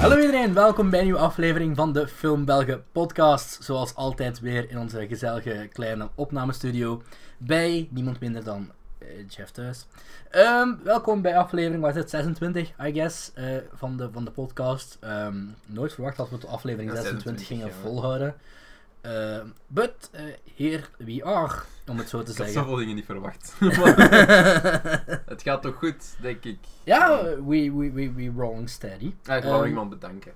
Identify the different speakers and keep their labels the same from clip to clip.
Speaker 1: Hallo iedereen, welkom bij een nieuwe aflevering van de Film Belgen podcast. Zoals altijd weer in onze gezellige kleine opnamestudio bij niemand minder dan eh, Jeff Thuis. Ehm, welkom bij aflevering, wat is het, 26 I guess, eh, van, de, van de podcast. Ehm, nooit verwacht dat we de aflevering
Speaker 2: Ja,
Speaker 1: 26 gingen
Speaker 2: 26, ja.
Speaker 1: volhouden. Ehm, but eh, here we are, om het zo te
Speaker 2: Ik had
Speaker 1: zeggen.
Speaker 2: zoveel dingen niet verwacht. Maar het gaat toch goed, denk ik.
Speaker 1: Ja, we, we, we, we rolling steady.
Speaker 2: Ah, ik wou
Speaker 1: Ehm,
Speaker 2: iemand bedanken.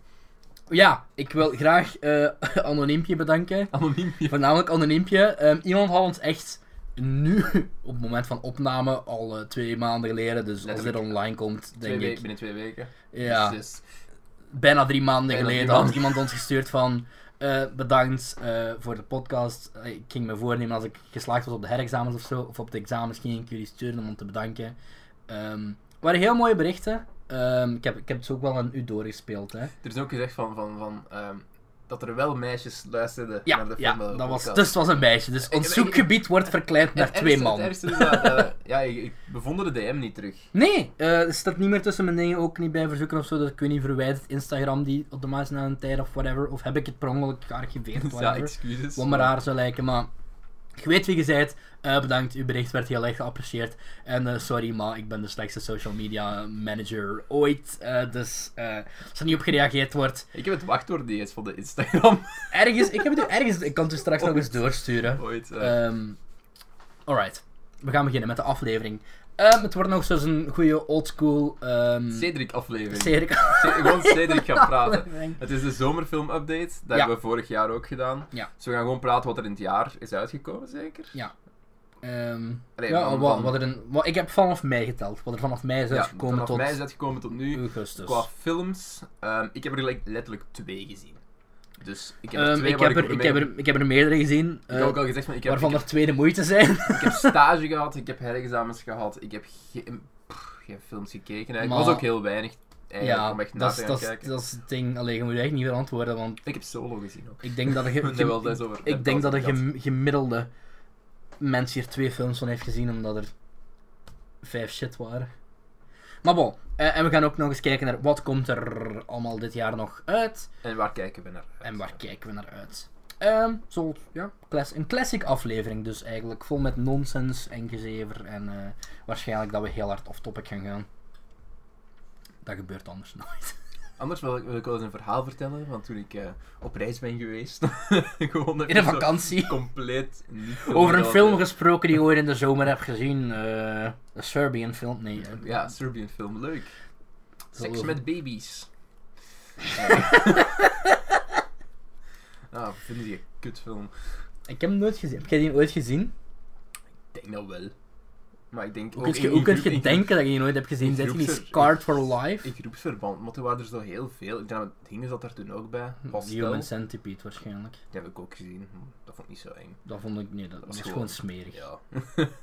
Speaker 1: Ja, ik wil graag eh Anoniempje bedanken.
Speaker 2: Anoniem. hier.
Speaker 1: Voornamelijk anoniempje. Ehm, iemand had ons echt nu, op het moment van opname, al eh, twee maanden geleden. Dus als dit
Speaker 2: Letterlijk.
Speaker 1: online komt,
Speaker 2: Twee
Speaker 1: denk
Speaker 2: weken,
Speaker 1: ik.
Speaker 2: binnen twee weken.
Speaker 1: Ja,
Speaker 2: Dus,
Speaker 1: bijna drie maanden
Speaker 2: Bijna
Speaker 1: geleden
Speaker 2: drie
Speaker 1: had iemand ons gestuurd van. eh, bedankt eh, voor de podcast. Eh, Ik ging me voornemen als ik geslaagd was op de herexamens of zo, of op de examens, ging ik jullie sturen om te bedanken. Ehm het waren heel mooie berichten. Ehm, ik, heb, ik heb dus ook wel aan u doorgespeeld. Hè.
Speaker 2: er is ook gezegd van, van, van ehm, dat er wel meisjes luisterden
Speaker 1: Ja,
Speaker 2: naar de
Speaker 1: ja
Speaker 2: film. eh,
Speaker 1: dat was,
Speaker 2: podcast.
Speaker 1: dus het was een meisje. Dus ons
Speaker 2: ik-
Speaker 1: zoekgebied wordt verkleind
Speaker 2: En
Speaker 1: naar
Speaker 2: het
Speaker 1: twee
Speaker 2: ergste-
Speaker 1: man.
Speaker 2: Het ergste is dat, eh, ja, ik, ik bevond de DM niet terug.
Speaker 1: Nee, eh, er staat niet meer tussen mijn dingen, ook niet bij verzoeken of zo. Dus ik weet niet, verwijderd Instagram die op de maas na een tijd of whatever. Of heb ik het per ongeluk gearchiveerd,
Speaker 2: Dus ja,
Speaker 1: whatever.
Speaker 2: excuses.
Speaker 1: Wat me raar zou lijken, maar... Je weet wie je zijt. Eh, bedankt, uw bericht werd heel erg geapprecieerd. En eh, sorry, maar ik ben de slechtste social media manager ooit. Eh, dus eh, als er niet op gereageerd wordt...
Speaker 2: Ik heb het wachtwoord niet eens van de Instagram
Speaker 1: Ergens, ik heb het ergens... Ik kan het u straks nog eens doorsturen.
Speaker 2: ooit. eh.
Speaker 1: Ehm alright, we gaan beginnen met de aflevering. Ehm, het wordt nog zo'n een goede oldschool... ehm
Speaker 2: Cedric aflevering.
Speaker 1: Cedric.
Speaker 2: Ce- Gewoon Cedric gaat praten.
Speaker 1: aflevering.
Speaker 2: Het is de zomerfilm-update. Dat
Speaker 1: Ja.
Speaker 2: hebben we vorig jaar ook gedaan.
Speaker 1: Ja.
Speaker 2: Dus we gaan gewoon praten wat er in het jaar is uitgekomen, zeker?
Speaker 1: Ehm,
Speaker 2: Allee,
Speaker 1: ja,
Speaker 2: van-
Speaker 1: wat,
Speaker 2: van-
Speaker 1: wat er een, wat, ik heb vanaf mei geteld. Wat er vanaf mei is uitgekomen
Speaker 2: vanaf
Speaker 1: tot Dus-
Speaker 2: mij is dat gekomen tot nu.
Speaker 1: augustus.
Speaker 2: Qua films, ehm, ik heb er gelijk letterlijk twee gezien. Dus ik heb er
Speaker 1: Ehm,
Speaker 2: twee
Speaker 1: ik,
Speaker 2: waar
Speaker 1: heb er, ik,
Speaker 2: mee-
Speaker 1: heb er, ik heb er meerdere gezien,
Speaker 2: Ik heb
Speaker 1: eh,
Speaker 2: ook al gezegd, van, ik, heb,
Speaker 1: waarvan
Speaker 2: ik,
Speaker 1: er twee de moeite zijn.
Speaker 2: heb, ik heb stage gehad, ik heb herexamens gehad, ik heb geen, pff, geen films gekeken. Eigenlijk.
Speaker 1: Maar-
Speaker 2: Er was ook heel weinig eigenlijk,
Speaker 1: ja,
Speaker 2: om echt na
Speaker 1: dat is-
Speaker 2: te gaan
Speaker 1: dat is-
Speaker 2: kijken.
Speaker 1: dat is het ding. Alleen je moet echt niet verantwoorden, want
Speaker 2: Ik heb Solo gezien ook.
Speaker 1: ik denk dat een ge-
Speaker 2: Daar wel eens over.
Speaker 1: ik denk dat een
Speaker 2: hem
Speaker 1: gem- gemiddelde mens hier twee films van heeft gezien, omdat er vijf shit waren. Maar bon, eh, en we gaan ook nog eens kijken naar wat komt er allemaal dit jaar nog uit.
Speaker 2: En waar kijken we naar? uit?
Speaker 1: En waar kijken we naar uit? Ehm, zo, ja, class- een classic aflevering dus eigenlijk. Vol met nonsens en gezever. En eh, waarschijnlijk dat we heel hard off-topic gaan gaan. Dat gebeurt anders nooit.
Speaker 2: Anders wil ik, wil ik wel eens een verhaal vertellen, want toen ik eh, op reis ben geweest, gewoon
Speaker 1: In een
Speaker 2: even zo
Speaker 1: vakantie.
Speaker 2: compleet niet
Speaker 1: Over een film
Speaker 2: gerelateerd.
Speaker 1: gesproken die ik ooit in de zomer heb gezien. eh een Serbian film, nee. eh,
Speaker 2: Ja, Serbian film, leuk.
Speaker 1: Zal
Speaker 2: Seks
Speaker 1: over-
Speaker 2: met baby's. ah, vind je kutfilm?
Speaker 1: Ik heb hem nooit gezien. Heb jij die ooit gezien?
Speaker 2: Ik denk dat wel. Maar ik denk
Speaker 1: Hoe
Speaker 2: ook
Speaker 1: kun je,
Speaker 2: Oh,
Speaker 1: hoe
Speaker 2: in- in
Speaker 1: kun
Speaker 2: groep-
Speaker 1: je
Speaker 2: in
Speaker 1: denken dat je die nooit hebt gezien?
Speaker 2: in
Speaker 1: Zet je niet
Speaker 2: groepser-
Speaker 1: scarred for life?
Speaker 2: groep- In groepsverband, maar toen waren er zo heel veel. Ik denk dat Dingen zat daar toen ook bij.
Speaker 1: Hm,
Speaker 2: Hostel,
Speaker 1: Human
Speaker 2: die
Speaker 1: Centipede waarschijnlijk.
Speaker 2: heb ik ook gezien. Dat vond ik niet zo eng.
Speaker 1: Dat vond ik, nee, dat, was
Speaker 2: was
Speaker 1: gewoon,
Speaker 2: gewoon-
Speaker 1: smerig.
Speaker 2: Ja.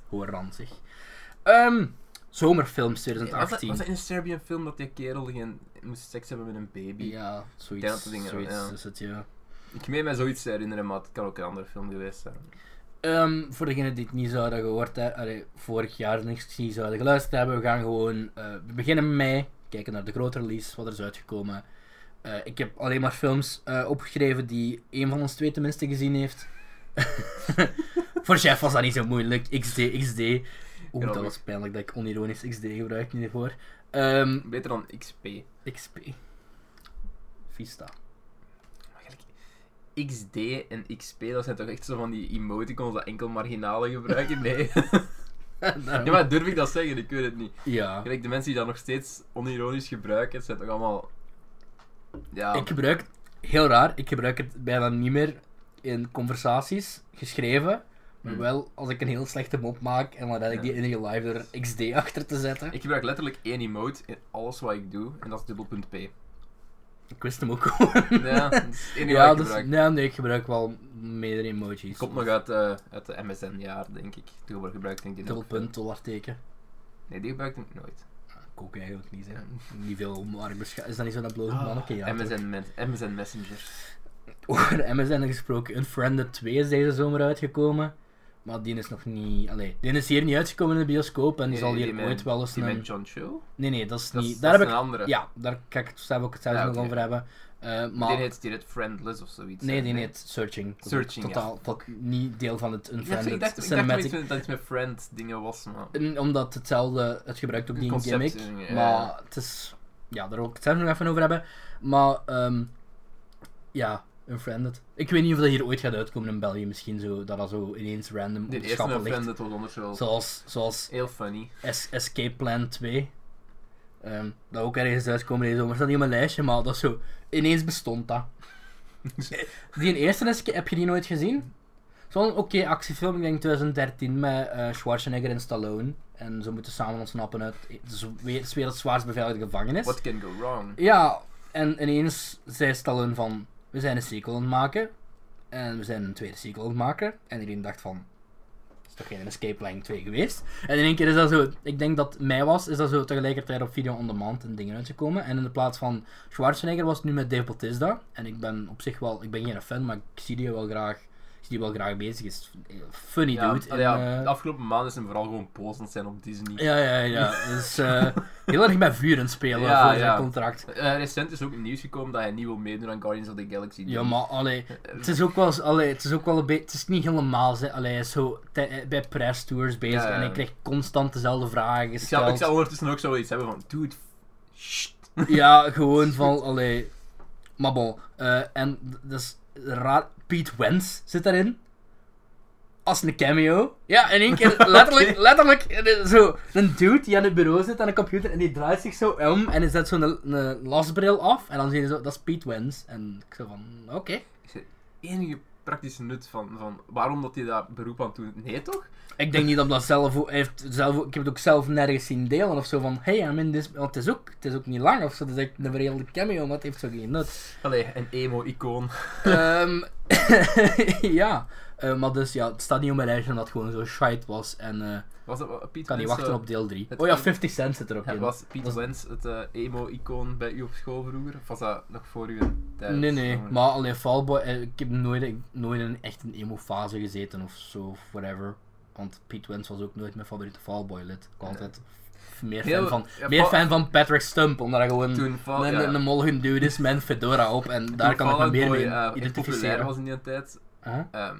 Speaker 1: Hoe ranzig. Ehm, zomerfilms
Speaker 2: Was dat,
Speaker 1: 2018.
Speaker 2: was dat in een Serbian film dat die kerel geen, moest seks hebben met een baby?
Speaker 1: Ja,
Speaker 2: denk
Speaker 1: zoiets,
Speaker 2: dat dat dingen-
Speaker 1: zoiets
Speaker 2: ja.
Speaker 1: is het, ja.
Speaker 2: Ik meen mij zoiets te herinneren, maar het kan ook een andere film geweest zijn.
Speaker 1: Ehm, voor degenen die het niet zouden gehoord hebben, allee, vorig jaar niks niet zouden geluisterd hebben, we gaan gewoon, eh, we beginnen met mei, kijken naar de grote release, wat er is uitgekomen. Eh, ik heb alleen maar films eh, opgeschreven die één van ons twee tenminste gezien heeft. voor Jeff was dat niet zo moeilijk, XD, XD. Oeh,
Speaker 2: Ja,
Speaker 1: dat
Speaker 2: maar-
Speaker 1: was pijnlijk dat ik onironisch XD gebruik hiervoor. Ehm
Speaker 2: Beter dan XP. Maar
Speaker 1: XP. Vista.
Speaker 2: gelijk, XD en XP, dat zijn toch echt zo van die emoticons dat enkel marginalen gebruiken? Nee. ja, maar durf ik dat zeggen? Ik weet het niet.
Speaker 1: Ja.
Speaker 2: Gelijk, de mensen die dat nog steeds onironisch gebruiken, zijn toch allemaal... Ja,
Speaker 1: Ik gebruik, heel raar, ik gebruik het bijna niet meer in conversaties, geschreven. Maar
Speaker 2: Hmm.
Speaker 1: wel als ik een heel slechte mop maak en dan red ik die in real life door er XD achter te zetten. Ik,
Speaker 2: ik gebruik letterlijk één emote in alles wat ik doe, en dat is dubbelpunt P.
Speaker 1: wist hem ook gewoon.
Speaker 2: Ja, dat is het enige
Speaker 1: Ja,
Speaker 2: wat ik
Speaker 1: dus,
Speaker 2: gebruik.
Speaker 1: nee, nee, ik gebruik wel meerdere emojis.
Speaker 2: Komt nog uit, eh, uit de MSN-jaar, denk ik. Toen wordt gebruikt, denk ik. die nog.
Speaker 1: Dubbelpunt, dollarteken.
Speaker 2: Nee, die gebruikte ik nooit.
Speaker 1: Ik ook eigenlijk niet, hè. Niet veel, maar ik bescha- Is dat niet zo dat blote
Speaker 2: Ah,
Speaker 1: manneke? Ja, toch?
Speaker 2: MSN, men- MSN Messenger.
Speaker 1: Over MSN gesproken, Unfriended 2 is deze zomer uitgekomen. Maar die is nog niet. Allee, die is hier niet uitgekomen in de bioscoop en die zal hier
Speaker 2: met-
Speaker 1: ooit wel eens.
Speaker 2: Eh, Die
Speaker 1: een-
Speaker 2: met John Cho?
Speaker 1: Nee, nee, dat is
Speaker 2: Dat
Speaker 1: niet.
Speaker 2: is,
Speaker 1: daar
Speaker 2: dat
Speaker 1: heb
Speaker 2: is
Speaker 1: ik.
Speaker 2: een andere.
Speaker 1: Ja, daar kan ik het zelfs nog
Speaker 2: Ja,
Speaker 1: nog
Speaker 2: oké.
Speaker 1: over hebben. Eh, maar...
Speaker 2: Die heet, die heet Friendless of zoiets.
Speaker 1: Nee,
Speaker 2: hè?
Speaker 1: die heet Searching. Dat is
Speaker 2: Searching, ja.
Speaker 1: Totaal tot niet deel van het
Speaker 2: Ik dacht,
Speaker 1: Unfriended
Speaker 2: ik dacht, ik dacht
Speaker 1: Cinematic.
Speaker 2: wel iets dat het met friend dingen was, maar...
Speaker 1: En Omdat hetzelfde, het gebruikt ook
Speaker 2: Het
Speaker 1: die
Speaker 2: concept,
Speaker 1: gimmick.
Speaker 2: eh, ja.
Speaker 1: Maar het is. Ja, daar wil ik het zelf nog even over hebben. Maar, ehm ja, Unfriended. Ik weet niet of dat hier ooit gaat uitkomen in België. Misschien zo, dat dat zo ineens random op
Speaker 2: De
Speaker 1: de
Speaker 2: eerste
Speaker 1: schappen
Speaker 2: met
Speaker 1: ligt.
Speaker 2: Friended was anders wel
Speaker 1: Zoals, zoals
Speaker 2: heel funny.
Speaker 1: Es- Escape Plan 2. Ehm, dat ook ergens uitkomen deze zomer. Staat niet op mijn lijstje, maar dat is zo. Ineens bestond dat. die eerste Escape, heb je die nooit gezien? Zo'n oké actiefilm, ik denk 2013, met eh, Schwarzenegger en Stallone. En ze moeten samen ontsnappen uit de zwe- de werelds zwaarst beveiligde gevangenis.
Speaker 2: What can go wrong?
Speaker 1: Ja, en ineens zei Stallone van, we zijn een sequel aan het maken. En we zijn een tweede sequel aan het maken. En iedereen dacht van, is toch geen Escape Plan 2 geweest? En in één keer is dat zo, ik denk dat het mei was, is dat zo tegelijkertijd op Video On Demand en dingen uitgekomen. En in de plaats van Schwarzenegger was het nu met Dave Bautista. En ik ben op zich wel, ik ben geen fan, maar ik zie die wel graag, ik zie die wel graag bezig. Is funny
Speaker 2: Ja,
Speaker 1: dude.
Speaker 2: allee, ja,
Speaker 1: En, eh,
Speaker 2: de afgelopen maanden is hem vooral gewoon posend zijn op Disney.
Speaker 1: ja, ja, ja. Dus eh, heel erg met vuren spelen
Speaker 2: Ja,
Speaker 1: voor zijn
Speaker 2: ja.
Speaker 1: contract.
Speaker 2: Eh, recent is ook nieuws gekomen dat hij niet wil meedoen aan Guardians of the Galaxy.
Speaker 1: Ja, maar allee, het is ook wel, eens- allee, het is ook wel een beetje, het is niet helemaal, ze- allee, hij is zo te- eh, bij press tours bezig
Speaker 2: Ja, ja.
Speaker 1: en hij krijgt constant dezelfde vragen
Speaker 2: Ik zou,
Speaker 1: gesteld.
Speaker 2: ik zou ondertussen ook zoiets hebben van, dude, shit.
Speaker 1: Ja, gewoon van, allee, maar bon, eh, en d- dat is raar, Pete Wentz zit daarin. Als een cameo. Ja, in één keer, letterlijk,
Speaker 2: Oké.
Speaker 1: letterlijk, eh, zo, een dude die aan het bureau zit aan een computer en die draait zich zo om en hij zet zo'n een, lasbril af en dan zien ze zo, dat is Pete Wentz. En ik zo van, oké.
Speaker 2: Enige praktische nut van, van waarom dat hij daar beroep aan doet. Nee toch?
Speaker 1: Ik denk niet dat dat zelf, hij heeft zelf. Ik heb het ook zelf nergens zien delen of zo van. Hey, I'm in this. Want het is ook, het is ook niet lang of zo. Het is echt een verheerlijke cameo, maar het heeft zo geen nut.
Speaker 2: Allee, een emo-icoon.
Speaker 1: Ehm, ja, Eh, maar dus ja, het staat niet op mijn lijstje omdat het gewoon zo shite was. En eh,
Speaker 2: Was dat wat- Piet
Speaker 1: ik kan niet
Speaker 2: Wens,
Speaker 1: wachten
Speaker 2: eh,
Speaker 1: op deel 3.
Speaker 2: het-
Speaker 1: Oh ja, 50 Cent zit er ook
Speaker 2: Ja,
Speaker 1: in.
Speaker 2: was Piet Wens het eh, emo-icoon bij u op school vroeger? Of was dat nog voor uw tijd?
Speaker 1: Nee, nee, maar alleen Fallboy. eh, Ik heb nooit, ik- nooit in echt een emo-fase gezeten of zo, of whatever. Want Pete Wentz was ook nooit mijn favoriete Fallboy-lid. Ik was
Speaker 2: Nee.
Speaker 1: altijd meer
Speaker 2: Heel-
Speaker 1: fan van,
Speaker 2: ja,
Speaker 1: meer
Speaker 2: Fall-
Speaker 1: fan van Patrick Stump, omdat hij gewoon.
Speaker 2: Toen val,
Speaker 1: Een,
Speaker 2: ja,
Speaker 1: een mollige dude is met een fedora op en daar kan ik me meer mee
Speaker 2: in eh, populair
Speaker 1: identificeren.
Speaker 2: was in die tijd.
Speaker 1: Huh?
Speaker 2: ehm,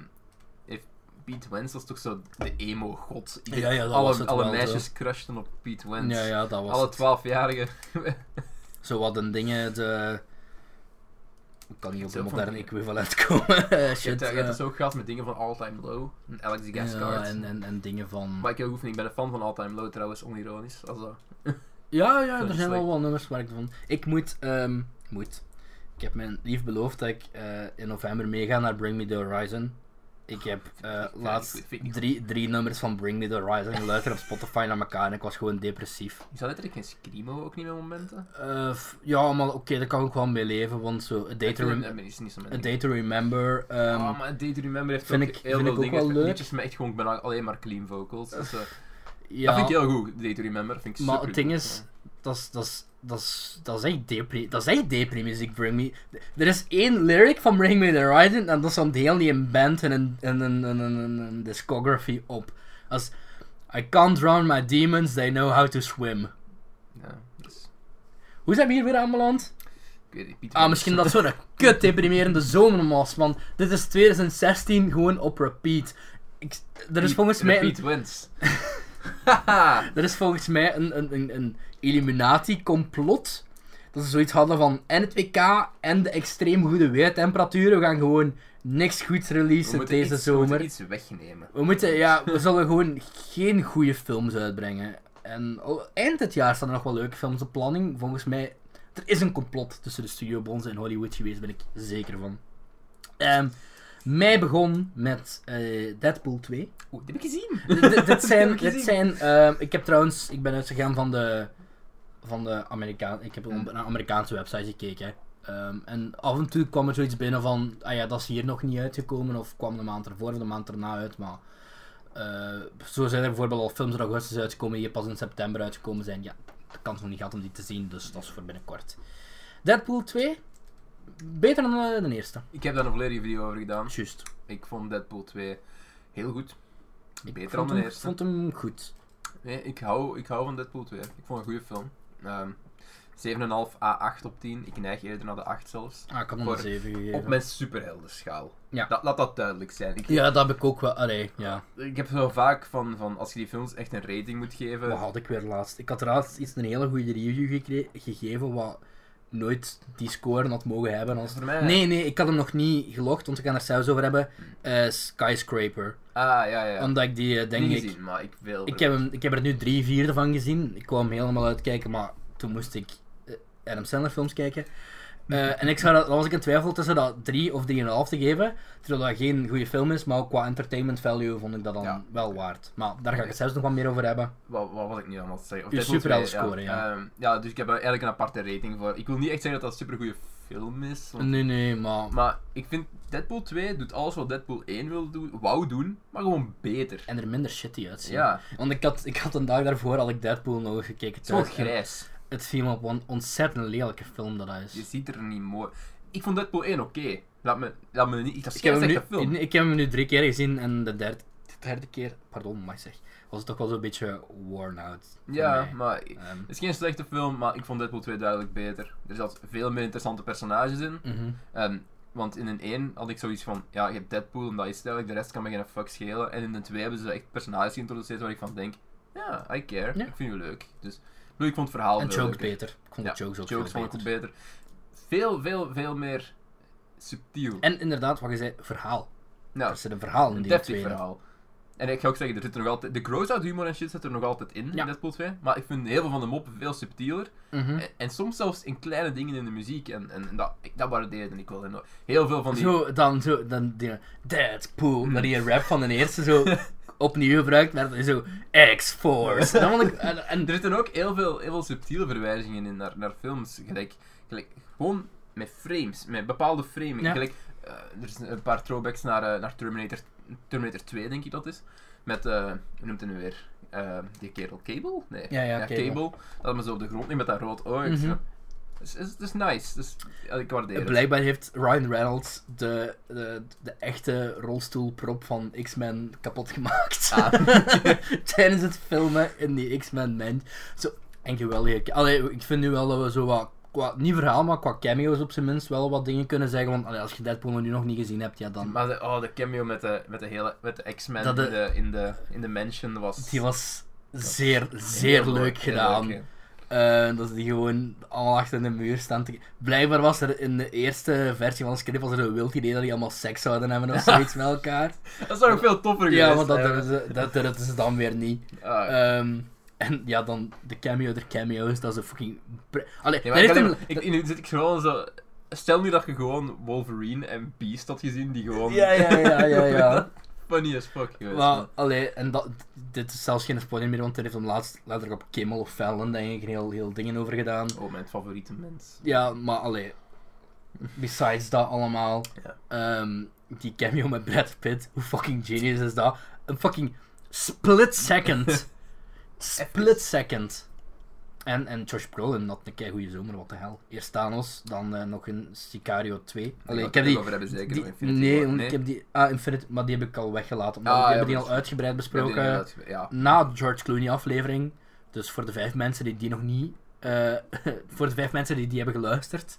Speaker 2: heeft Piet Wens was toch zo de emo-god. Iedereen-
Speaker 1: Ja, ja, dat
Speaker 2: alle
Speaker 1: was het
Speaker 2: alle
Speaker 1: wel,
Speaker 2: meisjes crushten op Piet Wens.
Speaker 1: Ja, ja, dat was
Speaker 2: alle
Speaker 1: het.
Speaker 2: twaalfjarigen.
Speaker 1: Zo wat een dingen, de... Ik kan niet op
Speaker 2: Het
Speaker 1: een
Speaker 2: is ook van
Speaker 1: modern
Speaker 2: die-
Speaker 1: equivalent komen. Eh,
Speaker 2: Je
Speaker 1: Shit.
Speaker 2: hebt, eh, je hebt
Speaker 1: eh,
Speaker 2: dus ook gehad met dingen van All Time Low en Alex the
Speaker 1: ja,
Speaker 2: Gascard.
Speaker 1: en, en, en dingen van...
Speaker 2: Maar ik hoef niet, ik ben een fan van All Time Low trouwens, onironisch. Als dat.
Speaker 1: Ja, ja, er
Speaker 2: is
Speaker 1: zijn wel
Speaker 2: like-
Speaker 1: wat nummers waar ik van... Ik moet... ehm, ik moet. Ik heb mijn lief beloofd dat ik eh, in november meega naar Bring Me The Horizon. Ik heb eh,
Speaker 2: ik-
Speaker 1: laatst
Speaker 2: vind ik niet
Speaker 1: drie, drie nummers van Bring Me The Horizon geluisterd op Spotify naar elkaar en ik was gewoon depressief.
Speaker 2: Is dat letterlijk geen Screamo ook niet met momenten?
Speaker 1: Eh, f- ja, maar oké, daar kan ik wel mee leven, want zo, A Day
Speaker 2: Ik
Speaker 1: to,
Speaker 2: vind-
Speaker 1: Rem-
Speaker 2: eh, ben is niet zo mijn
Speaker 1: A
Speaker 2: ding.
Speaker 1: Day to Remember, ehm,
Speaker 2: Ah, maar Day to Remember heeft
Speaker 1: vind
Speaker 2: ook
Speaker 1: ik-
Speaker 2: heel
Speaker 1: vind
Speaker 2: veel
Speaker 1: ik ook
Speaker 2: dingen.
Speaker 1: wel
Speaker 2: Het-
Speaker 1: leuk.
Speaker 2: Liedjes met echt gewoon bijna alleen maar clean vocals. Dus, eh,
Speaker 1: ja,
Speaker 2: Dat vind ik heel goed, Day to Remember. Vind ik
Speaker 1: maar het
Speaker 2: supergoed.
Speaker 1: ding is, dat is- dat is- dat is- dat is echt depri, dat is echt depri muziek, Bring Me. Er is één lyric van Bring Me The Horizon en dat is van heel die een band en een, en een, en een, en een discography op. Als I can't drown my demons, they know how to swim.
Speaker 2: Ja, dus,
Speaker 1: Hoe zijn we hier weer aanbeland?
Speaker 2: ik weet niet, Piet
Speaker 1: Ah,
Speaker 2: Wens.
Speaker 1: misschien dat zo'n kut deprimerende zomer was, want dit is 2016 gewoon op repeat. Ik, er is
Speaker 2: Piet-
Speaker 1: volgens mij een
Speaker 2: Piet Wens. Haha.
Speaker 1: Er is volgens mij een, een, een, een Illuminati-complot. Dat ze zoiets hadden van en het WK en de extreem goede weertemperaturen. We gaan gewoon niks goeds
Speaker 2: We
Speaker 1: releasen
Speaker 2: moeten
Speaker 1: deze
Speaker 2: iets, We
Speaker 1: zomer.
Speaker 2: moeten iets wegnemen.
Speaker 1: We moeten, ja, we zullen gewoon geen goede films uitbrengen. En al- eind dit jaar staan er nog wel leuke films op planning. Volgens mij, er is een complot tussen de studiobonzen en Hollywood geweest, ben ik zeker van. Ehm mei begon met eh, Deadpool 2.
Speaker 2: Oeh, dit heb ik gezien.
Speaker 1: D- d- dit
Speaker 2: Dat heb
Speaker 1: zijn,
Speaker 2: ik
Speaker 1: dit
Speaker 2: gezien.
Speaker 1: zijn ehm, ik heb trouwens, ik ben uitgegaan van de, van de Amerikaan, ik heb om- naar Amerikaanse websites gekeken. hè. Ehm, en af en toe kwam er zoiets binnen van, ah ja, dat is hier nog niet uitgekomen, of kwam de maand ervoor of de maand erna uit, maar eh, zo zijn er bijvoorbeeld al films in augustus uitgekomen die hier pas in september uitgekomen zijn. Ja, de kans nog niet gehad om die te zien, dus dat is voor binnenkort. Deadpool 2, beter dan eh, de eerste.
Speaker 2: Ik heb daar een volledige video over gedaan.
Speaker 1: Juist.
Speaker 2: Ik vond Deadpool 2 heel goed. Beter dan
Speaker 1: vond,
Speaker 2: de
Speaker 1: hem,
Speaker 2: eerste.
Speaker 1: vond hem goed.
Speaker 2: Nee, ik hou, ik hou van Deadpool 2. Ik vond het een goede film. Ehm 7,5 A8 op 10. Ik neig eerder naar de 8 zelfs.
Speaker 1: Ah, ik had hem
Speaker 2: Voor-
Speaker 1: een 7 gegeven.
Speaker 2: Op mijn superheldenschaal.
Speaker 1: Ja.
Speaker 2: Dat, laat dat duidelijk zijn. Ik,
Speaker 1: Ja, dat heb ik ook wel. Allee, ja.
Speaker 2: ik heb zo vaak van, van als je die films echt een rating moet geven.
Speaker 1: Wat had ik weer laatst? Ik had laatst iets een hele goede review gekre- gegeven wat nooit die score had mogen hebben. Als...
Speaker 2: Voor mij-
Speaker 1: Nee, nee, ik had hem nog niet gelogd, want we gaan er zelfs over hebben. Eh, Skyscraper.
Speaker 2: Ah, ja, ja.
Speaker 1: Omdat ik die, eh, denk
Speaker 2: Niet
Speaker 1: ik...
Speaker 2: gezien, maar ik wil.
Speaker 1: Ik heb, hem, ik heb er nu drie vierde van gezien. Ik kwam helemaal uitkijken, maar toen moest ik eh, Adam Sandler films kijken. Eh, en ik zou dat, dan was ik in twijfel tussen dat 3 of 3,5 te geven. Terwijl dat geen goede film is, maar ook qua entertainment value vond ik dat dan
Speaker 2: Ja.
Speaker 1: wel waard. Maar daar ga ik het zelfs nog wat meer over hebben.
Speaker 2: Wat, wat was ik nu allemaal te zeggen? Of
Speaker 1: Uw
Speaker 2: Deadpool
Speaker 1: superheldenscore,
Speaker 2: 2,
Speaker 1: ja.
Speaker 2: Ehm, ja, dus ik heb er eigenlijk een aparte rating voor. Ik wil niet echt zeggen dat dat een supergoeie film is. want-
Speaker 1: Nee, nee, maar.
Speaker 2: Maar ik vind Deadpool 2 doet alles wat Deadpool 1 wil doen, wou doen, maar gewoon beter.
Speaker 1: En er minder shitty uitzien.
Speaker 2: Ja,
Speaker 1: Want ik had, ik had een dag daarvoor had ik Deadpool nog gekeken.
Speaker 2: het is gewoon
Speaker 1: thuis en
Speaker 2: grijs.
Speaker 1: Het viel me op wat een ontzettend lelijke film dat dat is.
Speaker 2: Je ziet er niet mooi. Ik vond Deadpool 1 oké. Laat me, laat me niet. Dat is
Speaker 1: Ik heb,
Speaker 2: geen
Speaker 1: hem
Speaker 2: slechte
Speaker 1: nu,
Speaker 2: film.
Speaker 1: ik heb hem nu drie keer gezien en de derde, de derde keer, pardon, maar zeg, was het toch wel zo'n beetje worn out. voor
Speaker 2: Ja,
Speaker 1: mij.
Speaker 2: maar
Speaker 1: Ehm,
Speaker 2: het is geen slechte film, maar ik vond Deadpool 2 duidelijk beter. Er zat veel meer interessante personages in.
Speaker 1: mhm.
Speaker 2: Ehm, want in een 1 had ik zoiets van, ja, je hebt Deadpool en dat is het eigenlijk, de rest kan me geen fuck schelen. En in de 2 hebben ze echt personages geïntroduceerd waar ik van denk, ja, I care,
Speaker 1: Ja.
Speaker 2: ik vind het leuk. Dus ik bedoel, ik vond het verhaal
Speaker 1: En
Speaker 2: veel
Speaker 1: jokes
Speaker 2: leuker.
Speaker 1: beter. Ik vond de jokes ook
Speaker 2: jokes
Speaker 1: veel
Speaker 2: vond ik
Speaker 1: beter.
Speaker 2: ook beter. Veel, veel, veel meer subtiel.
Speaker 1: En inderdaad, wat je zei, verhaal.
Speaker 2: nou,
Speaker 1: Er zit een verhaal in
Speaker 2: een
Speaker 1: die
Speaker 2: deftig
Speaker 1: twee.
Speaker 2: verhaal. En ik ga ook zeggen, er zit er nog altijd, de gross-out humor en shit zit er nog altijd in,
Speaker 1: Ja.
Speaker 2: in Deadpool 2. Maar ik vind heel veel van de moppen veel subtieler.
Speaker 1: Mhm.
Speaker 2: En, en soms zelfs in kleine dingen in de muziek. En, en, en dat, ik- dat waardeerde ik wel enorm. Heel veel van die... Mm.
Speaker 1: Zo, dan zo, dan die Deadpool, dat die rap van de eerste zo opnieuw gebruikt werd, zo X-Force. Dan vond ik, en, en
Speaker 2: Er zitten ook heel veel, heel veel subtiele verwijzingen in naar, naar films. Gelijk, gelijk, gewoon met frames, met bepaalde framing.
Speaker 1: Ja.
Speaker 2: Gelijk, eh, er zijn een paar throwbacks naar, eh, naar Terminator, Terminator 2, denk ik dat is. Met, eh, hoe noemt hij nu weer? Eh, die kerel Cable? Nee.
Speaker 1: Ja, ja, Cable.
Speaker 2: Dat me zo op de grond ligt met dat rood oog. Het is
Speaker 1: Mhm.
Speaker 2: is, is, is nice. Dus, ja, ik waardeer het.
Speaker 1: Blijkbaar heeft Ryan Reynolds de, de, de echte rolstoelprop van X-Men kapot gemaakt.
Speaker 2: Ah.
Speaker 1: Tijdens het filmen in die X-Men man. Zo, en geweldig. Allee, ik vind nu wel dat we zo wat, qua, niet verhaal, maar qua cameo's op zijn minst wel wat dingen kunnen zeggen. Want allee, als je Deadpool nu nog niet gezien hebt, ja dan...
Speaker 2: Maar de, oh, de cameo met de, met de, hele, met de X-Men in
Speaker 1: Dat de-
Speaker 2: de, in, de, in de mansion was...
Speaker 1: Die was zeer,
Speaker 2: heel
Speaker 1: zeer leuk
Speaker 2: heel
Speaker 1: gedaan.
Speaker 2: leuk, ja.
Speaker 1: Eh, dat ze die gewoon allemaal achter de muur staan te... Blijkbaar was er in de eerste versie van het script was er een wild idee dat die allemaal seks zouden hebben of zoiets met elkaar.
Speaker 2: Dat zou ook veel toffer
Speaker 1: Ja,
Speaker 2: geweest
Speaker 1: want dat
Speaker 2: zijn.
Speaker 1: durfden ze, dat durfden ze dan weer niet.
Speaker 2: Ah.
Speaker 1: Ehm, en ja, dan de cameo der cameo's, dat is een fucking... pre- Allee,
Speaker 2: Ja,
Speaker 1: daar
Speaker 2: maar ik
Speaker 1: heeft
Speaker 2: kan
Speaker 1: hem...
Speaker 2: niet- ik, nu zit ik gewoon zo. Stel nu dat je gewoon Wolverine en Beast had gezien, die gewoon.
Speaker 1: Ja, ja, ja, ja, ja.
Speaker 2: Funny as fuck geweest.
Speaker 1: Maar, allee, en dat, dit is zelfs geen spoiler meer, want er heeft hem laatst letterlijk op Kimmel of Fallon, denk ik, een heel, heel dingen over gedaan.
Speaker 2: Oh, mijn favoriete mens.
Speaker 1: Ja, maar allee, besides dat allemaal,
Speaker 2: Ja.
Speaker 1: ehm, die cameo met Brad Pitt, hoe fucking genius is dat? Een fucking split second. split second. En, en Josh Brolin had een kei goede zomer, wat de hel. Eerst Thanos, dan eh, nog een Sicario 2. Allee,
Speaker 2: gaan
Speaker 1: ik heb
Speaker 2: we het
Speaker 1: die...
Speaker 2: nog over hebben, zeker,
Speaker 1: die-
Speaker 2: over Infinity
Speaker 1: nee,
Speaker 2: War.
Speaker 1: want
Speaker 2: Nee.
Speaker 1: ik heb die... Ah, Infinity, maar die heb ik al weggelaten. Omdat
Speaker 2: Ah,
Speaker 1: we
Speaker 2: ja,
Speaker 1: hebben die
Speaker 2: maar-
Speaker 1: al uitgebreid
Speaker 2: Ja, die
Speaker 1: besproken
Speaker 2: inderdaad, Ja.
Speaker 1: na de George Clooney aflevering. Dus voor de vijf mensen die die nog niet. eh, voor de vijf mensen die die hebben geluisterd.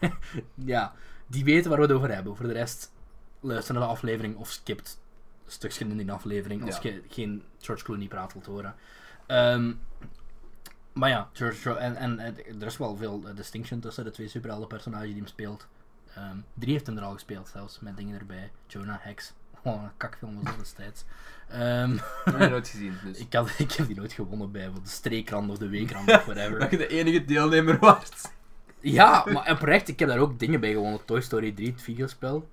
Speaker 1: ja, die weten waar we het over hebben. Voor de rest, luister naar de aflevering of skipt stukjes in die aflevering. Als
Speaker 2: Ja.
Speaker 1: je geen George Clooney praat wilt horen. Ehm, maar ja, George, Clo- en, en, eh, er is wel veel eh, distinction tussen de twee superheldenpersonages die hem speelt. Ehm, drie heeft hem er al gespeeld zelfs, met dingen erbij. Jonah Hex. Oh, een kakfilm was dat destijds. Ehm,
Speaker 2: Dat heb je nooit gezien. Dus.
Speaker 1: ik, had, ik heb die nooit gewonnen bij wat de streekrand of de weekrand of
Speaker 2: Dat
Speaker 1: whatever.
Speaker 2: je de enige deelnemer waard.
Speaker 1: ja, maar oprecht, ik heb daar ook dingen bij gewonnen. Toy Story 3, het videospel.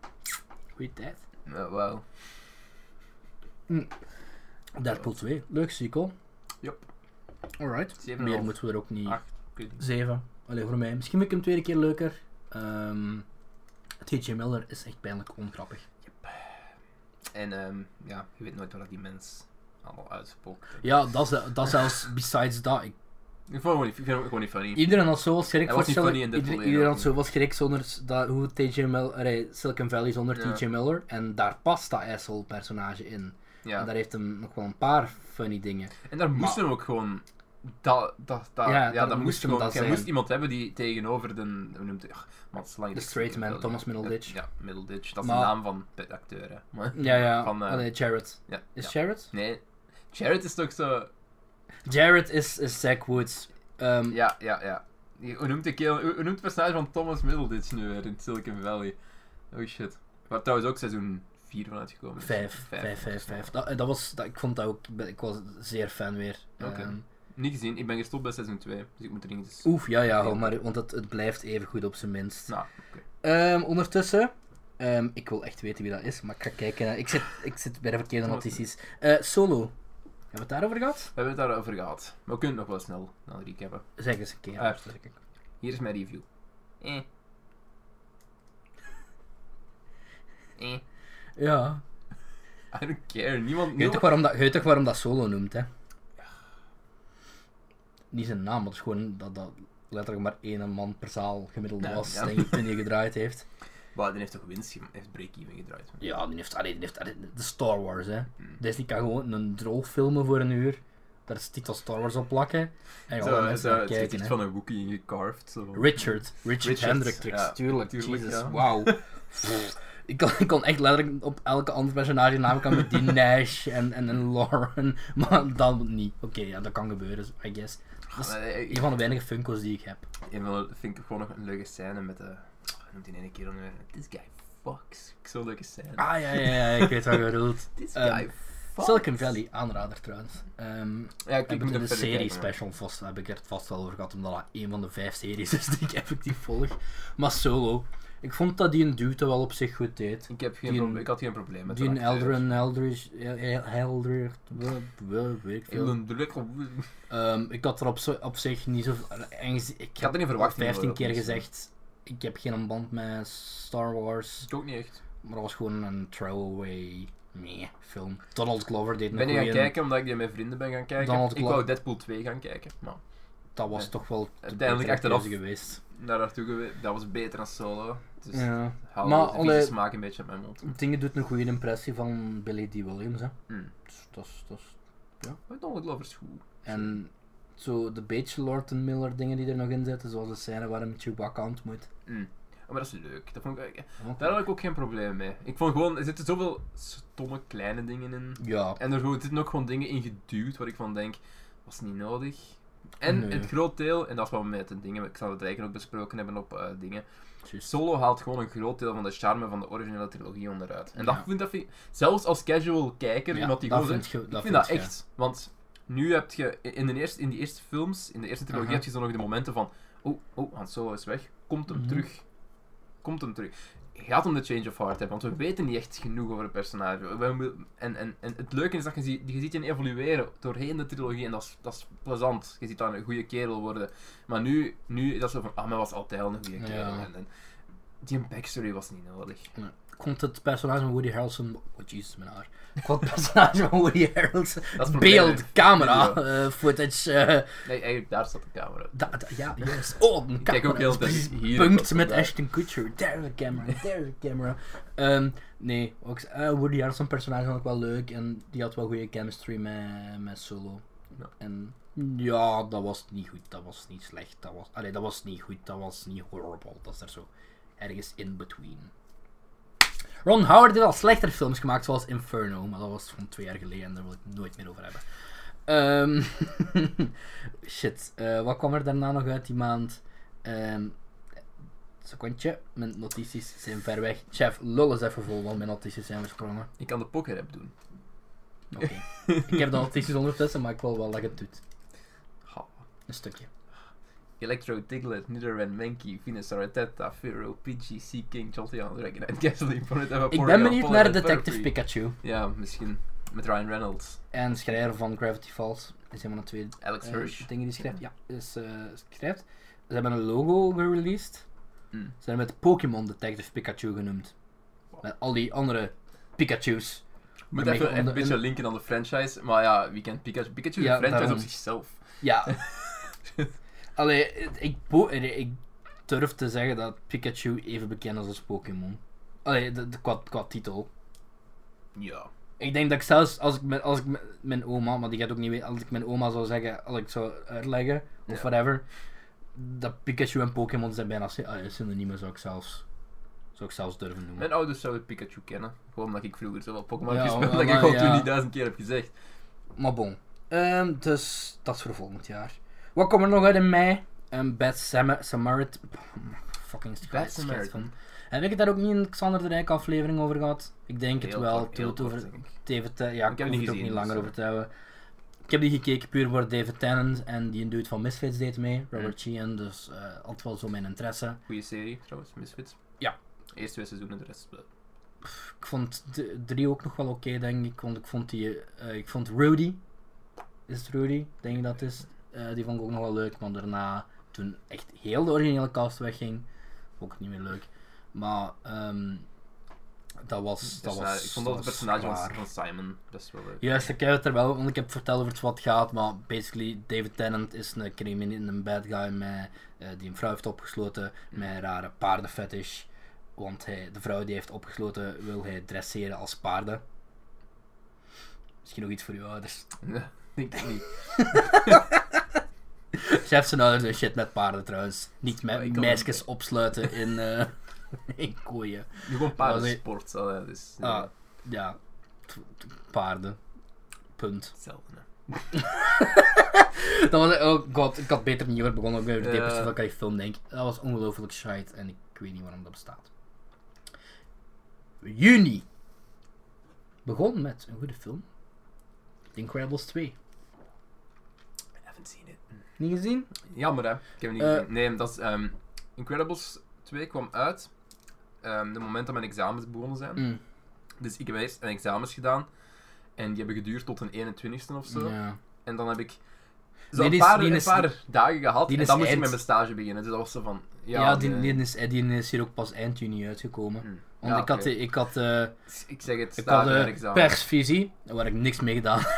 Speaker 1: Goeie tijd.
Speaker 2: Ja, Wauw.
Speaker 1: Deadpool 2, leuk sequel.
Speaker 2: Yep.
Speaker 1: Alright.
Speaker 2: Zeven en
Speaker 1: Meer
Speaker 2: half.
Speaker 1: moeten we er ook niet.
Speaker 2: Acht. Ik weet niet.
Speaker 1: 7. Alleen voor mij. Misschien vind ik hem tweede keer leuker. Ehm TJ Miller is echt pijnlijk ongrappig.
Speaker 2: En ehm, ja, je weet nooit waar dat die mens allemaal uitspookt.
Speaker 1: Ja, dat, is- dat zelfs besides dat. Ik,
Speaker 2: Ik vond hem gewoon niet- ik vind hem gewoon niet funny.
Speaker 1: iedereen had zoveel schrik
Speaker 2: Hij
Speaker 1: voor
Speaker 2: was niet
Speaker 1: Sil-
Speaker 2: funny in Deadpool
Speaker 1: iedereen,
Speaker 2: één
Speaker 1: iedereen had
Speaker 2: ook
Speaker 1: zoveel schrik zonder s- dat, hoe TJ Miller, allee, Silicon Valley zonder
Speaker 2: Ja.
Speaker 1: TJ Miller. En daar past dat asshole personage in. En
Speaker 2: Ja.
Speaker 1: daar heeft hem nog wel een paar funny dingen.
Speaker 2: En daar moest
Speaker 1: Maar-
Speaker 2: hem ook gewoon. Dat, dat, dat,
Speaker 1: Ja,
Speaker 2: ja,
Speaker 1: daar
Speaker 2: dat
Speaker 1: moest
Speaker 2: moest
Speaker 1: hem
Speaker 2: gewoon.
Speaker 1: dat
Speaker 2: Jij
Speaker 1: zijn.
Speaker 2: moest iemand hebben die tegenover de. Hoe noemt hij? Ach, man, het is lang
Speaker 1: The
Speaker 2: niet-
Speaker 1: Straight Man,
Speaker 2: eh,
Speaker 1: Thomas Middleditch.
Speaker 2: Ja, Middleditch. Dat is
Speaker 1: Maar-
Speaker 2: de naam van de acteur, hè. Maar-
Speaker 1: Ja, ja.
Speaker 2: Van, eh,
Speaker 1: Allee, Jared.
Speaker 2: ja,
Speaker 1: Is
Speaker 2: ja.
Speaker 1: Jared?
Speaker 2: Nee. Jared is toch zo.
Speaker 1: Jared is, is Zack Woods. Ehm,
Speaker 2: Ja, ja, ja. Die- Hoe noemt, de kerel, hoe, hoe noemt het personage van Thomas Middleditch nu weer in Silicon Valley? Oh shit. Waar trouwens ook seizoen 4 van uitgekomen is.
Speaker 1: Vijf, vijf, vijf, vijf. Dat, dat was, dat, ik vond dat ook, ik ben- ik was zeer fan weer.
Speaker 2: Oké.
Speaker 1: Ehm,
Speaker 2: Niet gezien, ik ben gestopt bij seizoen 2, dus ik moet er niet eens...
Speaker 1: oef, ja, ja, hou maar, want het, het blijft even goed op zijn minst.
Speaker 2: Nou, oké.
Speaker 1: Ehm, ondertussen, ehm, ik wil echt weten wie dat is, maar ik ga kijken. naar- Ik zit, ik zit bij de verkeerde
Speaker 2: Oh.
Speaker 1: notities. Eh, Solo. Hebben we het daarover gehad?
Speaker 2: We hebben het daarover gehad. Maar we kunnen het nog wel snel, snel recappen.
Speaker 1: Zeg eens een keer.
Speaker 2: Ah, ja, zeker. Hier is mijn review. Eh. Eh.
Speaker 1: Ja.
Speaker 2: I don't care, niemand...
Speaker 1: Je weet, toch
Speaker 2: niemand-
Speaker 1: waarom dat, je weet toch waarom dat Solo noemt, hè? Niet zijn naam, maar het is gewoon dat, dat letterlijk maar één man per zaal gemiddeld
Speaker 2: Ja,
Speaker 1: was,
Speaker 2: ja.
Speaker 1: denk ik, toen hij gedraaid heeft.
Speaker 2: Bah, die heeft toch winst, gem- heeft break-even gedraaid.
Speaker 1: Ja, die heeft, allee, die heeft allee, de Star Wars, hè.
Speaker 2: Hmm.
Speaker 1: Disney kan gewoon een drol filmen voor een uur, daar is de titel Star Wars op plakken, en gewoon
Speaker 2: Zo,
Speaker 1: mensen
Speaker 2: zo,
Speaker 1: naar
Speaker 2: het
Speaker 1: kijken,
Speaker 2: gezicht
Speaker 1: hè.
Speaker 2: van een Wookiee ingecarved. Zo.
Speaker 1: Richard, Richard,
Speaker 2: Richard,
Speaker 1: Hendricks,
Speaker 2: ja,
Speaker 1: tuurlijk,
Speaker 2: tuurlijk,
Speaker 1: Jesus,
Speaker 2: ja.
Speaker 1: wauw. Pff, ik, kon, ik kon echt letterlijk op elke andere personage naam kan met die Nash en, en, en Lauren, maar dan niet. Oké, ja, dat kan gebeuren, I guess. Dat is
Speaker 2: Maar, eh, ik-
Speaker 1: een van de weinige Funko's die ik heb.
Speaker 2: En dan vind ik gewoon nog een leuke scène met de. Hoe noemt die ene kerel nu? weer? This guy fucks. Ik Zo'n leuke scène.
Speaker 1: Ah ja, ja, ja, ik weet wat je bedoelt.
Speaker 2: This
Speaker 1: ehm,
Speaker 2: guy fucks.
Speaker 1: Silicon Valley, aanrader trouwens. Ehm,
Speaker 2: Ja, ik,
Speaker 1: Ik heb
Speaker 2: moet
Speaker 1: het in
Speaker 2: hem
Speaker 1: de
Speaker 2: verder
Speaker 1: serie
Speaker 2: kijken, maar-
Speaker 1: special vast, heb ik er het vast wel over gehad, omdat dat een van de vijf series is die ik effectief volg. Maar solo, ik vond dat die een dude dat wel op zich goed deed.
Speaker 2: Ik, heb geen
Speaker 1: Die-
Speaker 2: probleem- ik had geen probleem met
Speaker 1: Die een
Speaker 2: de acteur.
Speaker 1: Eldrin, Eldridge, Eldridge, weet ik veel.
Speaker 2: Elden Druk-
Speaker 1: Ehm, ik had er op, zo- op zich niet zo... aangezien- Ik
Speaker 2: had er niet verwacht, in
Speaker 1: 15
Speaker 2: ieder geval,
Speaker 1: keer
Speaker 2: dat is,
Speaker 1: gezegd, ik heb geen band met Star Wars,
Speaker 2: Ik ook niet echt.
Speaker 1: maar dat was gewoon een throwaway meh, film. Donald Glover deed
Speaker 2: Ik
Speaker 1: een
Speaker 2: ben niet gaan
Speaker 1: goeie-
Speaker 2: kijken omdat ik die met vrienden ben gaan kijken.
Speaker 1: Donald
Speaker 2: ik
Speaker 1: Glover.
Speaker 2: wou Deadpool 2 gaan kijken. Maar
Speaker 1: Dat was
Speaker 2: Ja.
Speaker 1: toch wel de
Speaker 2: Uiteindelijk
Speaker 1: betere
Speaker 2: achteraf.
Speaker 1: keuze geweest.
Speaker 2: naar daartoe geweest. Dat was beter dan solo. Dus ja.
Speaker 1: Ja.
Speaker 2: haal
Speaker 1: Maar Mm.
Speaker 2: de
Speaker 1: alle-
Speaker 2: vieze smaak een beetje op mijn mond.
Speaker 1: Dingen doet een goede impressie van Billy D. Williams. Hè.
Speaker 2: Mm.
Speaker 1: Dus dat is- dat is-
Speaker 2: Maar Donald Glover is goed.
Speaker 1: En zo de beetje Lord and Miller dingen die er nog in zitten, zoals de scène waar hem Chewbacca ontmoet.
Speaker 2: Mm. Maar dat is leuk. Dat vond ik...
Speaker 1: Ook
Speaker 2: Daar had ik ook geen probleem mee. Ik vond gewoon, er zitten zoveel stomme kleine dingen in.
Speaker 1: Ja,
Speaker 2: En er zitten ook gewoon dingen in geduwd waar ik van denk, was niet nodig. En
Speaker 1: Nee.
Speaker 2: het groot deel, en dat is wat we met de dingen, ik zal het eigenlijk ook besproken hebben op eh, dingen.
Speaker 1: juist.
Speaker 2: Solo haalt gewoon een groot deel van de charme van de originele trilogie onderuit. En
Speaker 1: Ja.
Speaker 2: dat vind, dat vind ik, zelfs als casual kijker,
Speaker 1: Ja,
Speaker 2: iemand die
Speaker 1: dat
Speaker 2: gewoon
Speaker 1: vind
Speaker 2: zegt,
Speaker 1: je- dat
Speaker 2: ik vind dat
Speaker 1: vind je.
Speaker 2: echt. Want nu heb je, in de eerste, in die eerste films, in de eerste trilogie,
Speaker 1: Aha.
Speaker 2: heb je zo nog de momenten van, oh, oh, Han Solo is weg, komt hem
Speaker 1: Mhm.
Speaker 2: terug. Komt hem terug. Gaat hem de change of heart hebben, want we weten niet echt genoeg over het personage. We- we- en, en, en het leuke is dat je ziet, je ziet hen evolueren doorheen de trilogie en dat is, dat is plezant. Je ziet dan een goede kerel worden. Maar nu, nu is dat zo van, ah, maar was altijd al een goede
Speaker 1: Ja.
Speaker 2: kerel. En, en die backstory was niet nodig.
Speaker 1: Ik vond het personage van Woody Harrelson... Oh, jezus, mijn haar. Ik vond het personage van Woody Harrelson...
Speaker 2: Dat is het probleem, hè.
Speaker 1: Beeld, camera,
Speaker 2: Video.
Speaker 1: eh, footage... eh,
Speaker 2: Nee, eigenlijk daar staat de camera.
Speaker 1: da- da- ja, juist. Oh, een
Speaker 2: Ik kijk ook
Speaker 1: camera.
Speaker 2: heel
Speaker 1: Dat is
Speaker 2: tijd hier.
Speaker 1: Pumped met
Speaker 2: Ja.
Speaker 1: Ashton Kutcher. There's a camera, there's a camera. Ehm, nee, ook, eh, Woody Harrelson personage vond ik wel leuk. En die had wel goede chemistry met, met Solo.
Speaker 2: Ja.
Speaker 1: En ja, dat was niet goed. Dat was niet slecht. Dat was, allee, dat was niet goed. Dat was niet horrible. Dat is er zo ergens in between. Ron Howard heeft al slechtere films gemaakt, zoals Inferno. Maar dat was van twee jaar geleden en daar wil ik het nooit meer over hebben. Ehm, shit, eh, wat kwam er daarna nog uit die maand? Ehm secondje, mijn notities zijn ver weg. Chef, lul eens even vol, want mijn notities zijn versprongen.
Speaker 2: Ik kan de poker app doen.
Speaker 1: Oké. ik heb de notities ondertussen, maar ik wil wel dat je het doet.
Speaker 2: Ha.
Speaker 1: Een stukje.
Speaker 2: Electro, Diglett, Nidoran, Mankey, Venus, Arateta, Pharaoh, Pidgey, Sea King, Jolteon, Dragon, and Gasoline, Bonnet,
Speaker 1: Ik ben benieuwd naar Detective Pikachu.
Speaker 2: Ja, misschien. Met Ryan Reynolds.
Speaker 1: En schrijver van Gravity Falls. Dat is een van de twee
Speaker 2: Alex
Speaker 1: eh,
Speaker 2: Hirsch.
Speaker 1: dingen die schrijft. Ja, is, eh, schrijft. Ze hebben een logo gereleased.
Speaker 2: Mm.
Speaker 1: Ze hebben het Pokémon Detective Pikachu genoemd. Met al die andere Pikachu's.
Speaker 2: Moet
Speaker 1: Ermee
Speaker 2: even
Speaker 1: om
Speaker 2: een
Speaker 1: de-
Speaker 2: beetje linken aan de franchise, maar ja, wie kent Pikachu? Pikachu is
Speaker 1: Ja,
Speaker 2: een franchise
Speaker 1: daarom.
Speaker 2: op zichzelf.
Speaker 1: Ja. Allee, het- ik, bo- eh, ik durf te zeggen dat Pikachu even bekend is als Pokémon. Allee, de, de, qua, qua titel.
Speaker 2: Ja.
Speaker 1: Ik denk dat ik zelfs als ik, met, als ik met mijn oma, maar die gaat ook niet weten, als ik mijn oma zou zeggen, als ik zou uitleggen, of
Speaker 2: Ja.
Speaker 1: whatever, dat Pikachu en Pokémon zijn bijna sy- ah, synoniemen, zou ik zelfs, zou ik zelfs durven noemen.
Speaker 2: Mijn ouders zouden Pikachu kennen. Gewoon omdat ik vroeger zoveel Pokémon
Speaker 1: Ja,
Speaker 2: heb gespeeld.
Speaker 1: maar-
Speaker 2: Dat ik gewoon
Speaker 1: ja.
Speaker 2: toen die duizend keer heb gezegd.
Speaker 1: Maar bon. Ehm, dus dat is voor volgend jaar. Wat komt er nog uit in mei? Een Bad Sam Samaritan. Fucking
Speaker 2: Bad
Speaker 1: schijt
Speaker 2: Samaritan.
Speaker 1: van. Heb ik het daar ook niet in een Xander de Rijk aflevering over gehad? Ik denk het
Speaker 2: Heel
Speaker 1: wel.
Speaker 2: kort,
Speaker 1: toen
Speaker 2: heel
Speaker 1: het over
Speaker 2: kort, denk ik.
Speaker 1: David Ten- Ja, ik,
Speaker 2: Ik
Speaker 1: heb
Speaker 2: heb het
Speaker 1: het
Speaker 2: niet
Speaker 1: ook niet
Speaker 2: gezien,
Speaker 1: langer
Speaker 2: dus,
Speaker 1: over te houden. Ik heb die gekeken puur voor David Tennant en die dude van Misfits deed mee, Robert
Speaker 2: Hm.
Speaker 1: Sheehan, dus eh altijd wel zo mijn interesse.
Speaker 2: Goeie serie trouwens, Misfits.
Speaker 1: Ja.
Speaker 2: Eerst twee seizoenen, de rest eh, is wel-
Speaker 1: Ik vond de drie ook nog wel oké, denk ik. Want ik vond die. eh, ik vond Rudy. Is het Rudy? Denk ik dat het is. Eh, die vond ik ook nog wel leuk. Maar daarna, toen echt heel de originele cast wegging, vond ik het niet meer leuk. Maar ehm, dat was. Dat
Speaker 2: Dus,
Speaker 1: was
Speaker 2: eh, ik vond dat het
Speaker 1: was
Speaker 2: personage van,
Speaker 1: klaar.
Speaker 2: van Simon best wel leuk.
Speaker 1: Juist, ik heb het er wel, want ik heb verteld over het wat gaat, maar basically David Tennant is een crimineel, een bad guy met, eh, die een vrouw heeft opgesloten met een rare paardenfetish. Want hij, de vrouw die hij heeft opgesloten wil hij dresseren als paarden. Misschien nog iets voor uw ouders.
Speaker 2: Ja, denk ik niet.
Speaker 1: Chef zijn ouders doen shit met paarden trouwens. Niet
Speaker 2: Maar Oh, ik
Speaker 1: met
Speaker 2: kan
Speaker 1: meisjes
Speaker 2: hem-
Speaker 1: opsluiten in, eh, in kooien.
Speaker 2: Nu gewoon paardensport. eh, Dus, eh,
Speaker 1: Ah. Ja, t- t- paarden. Punt.
Speaker 2: Hetzelfde. hè.
Speaker 1: Dat was, oh god, ik had beter niet over begonnen. Ik ben weer
Speaker 2: Ja.
Speaker 1: depressief dat ik aan die film denk. Dat was ongelooflijk shite en ik weet niet waarom dat bestaat. Juni. Begon met een goede film. The Incredibles 2.
Speaker 2: I haven't seen it.
Speaker 1: Niet gezien?
Speaker 2: Jammer hè, ik heb hem niet
Speaker 1: Eh.
Speaker 2: gezien. Nee, dat is, ehm, Incredibles 2 kwam uit. ehm de moment dat mijn examens begonnen zijn.
Speaker 1: Mm.
Speaker 2: Dus ik heb eerst een examens gedaan. En die hebben geduurd tot een 21ste of zo.
Speaker 1: Ja.
Speaker 2: En dan heb ik zo
Speaker 1: Nee,
Speaker 2: een
Speaker 1: die is-
Speaker 2: paar,
Speaker 1: die
Speaker 2: een
Speaker 1: is-
Speaker 2: paar dagen gehad.
Speaker 1: die
Speaker 2: En
Speaker 1: is
Speaker 2: dan moest ik
Speaker 1: eind.
Speaker 2: met mijn stage beginnen. Dus dat was zo van...
Speaker 1: Ja,
Speaker 2: Ja,
Speaker 1: die,
Speaker 2: nee.
Speaker 1: die, is, eh, die is hier ook pas eind juni uitgekomen.
Speaker 2: Hm.
Speaker 1: Want
Speaker 2: Ja,
Speaker 1: ik had,
Speaker 2: oké.
Speaker 1: de- ik had, eh,
Speaker 2: Ik zeg het,
Speaker 1: ik
Speaker 2: stage
Speaker 1: had eh,
Speaker 2: en
Speaker 1: de
Speaker 2: examen.
Speaker 1: persvisie, waar ik niks mee gedaan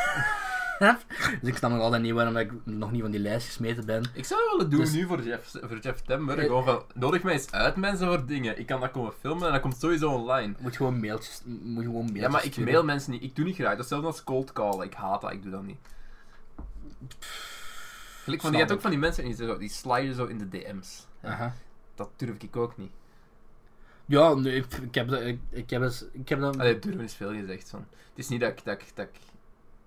Speaker 1: heb. Dus ik snap nog altijd niet waarom ik nog niet van die lijst gesmeten ben.
Speaker 2: Ik zou wel het doen
Speaker 1: Dus-
Speaker 2: nu voor Jeff, voor Jeff Tember.
Speaker 1: Eh.
Speaker 2: Gewoon van, nodig mij eens uit mensen voor dingen. Ik kan dat komen filmen en dat komt sowieso online.
Speaker 1: Moet gewoon mailtjes, moet gewoon mailtjes
Speaker 2: Ja, maar ik
Speaker 1: sturen.
Speaker 2: mail mensen niet. Ik doe niet graag. Dat is zelfs als cold callen. Ik haat dat. Ik doe dat niet. Gelijk van, je
Speaker 1: Snap
Speaker 2: hebt ook
Speaker 1: ik.
Speaker 2: van die mensen en die, zo, die sliden zo in de DM's.
Speaker 1: Aha.
Speaker 2: Dat durf ik ook
Speaker 1: Mm.
Speaker 2: niet.
Speaker 1: Ja, nee, ik, ik heb dat. Ik, ik heb eens. Ik heb dat.
Speaker 2: Allee, durven is veel gezegd. Van. Het is niet dat ik, dat ik, dat ik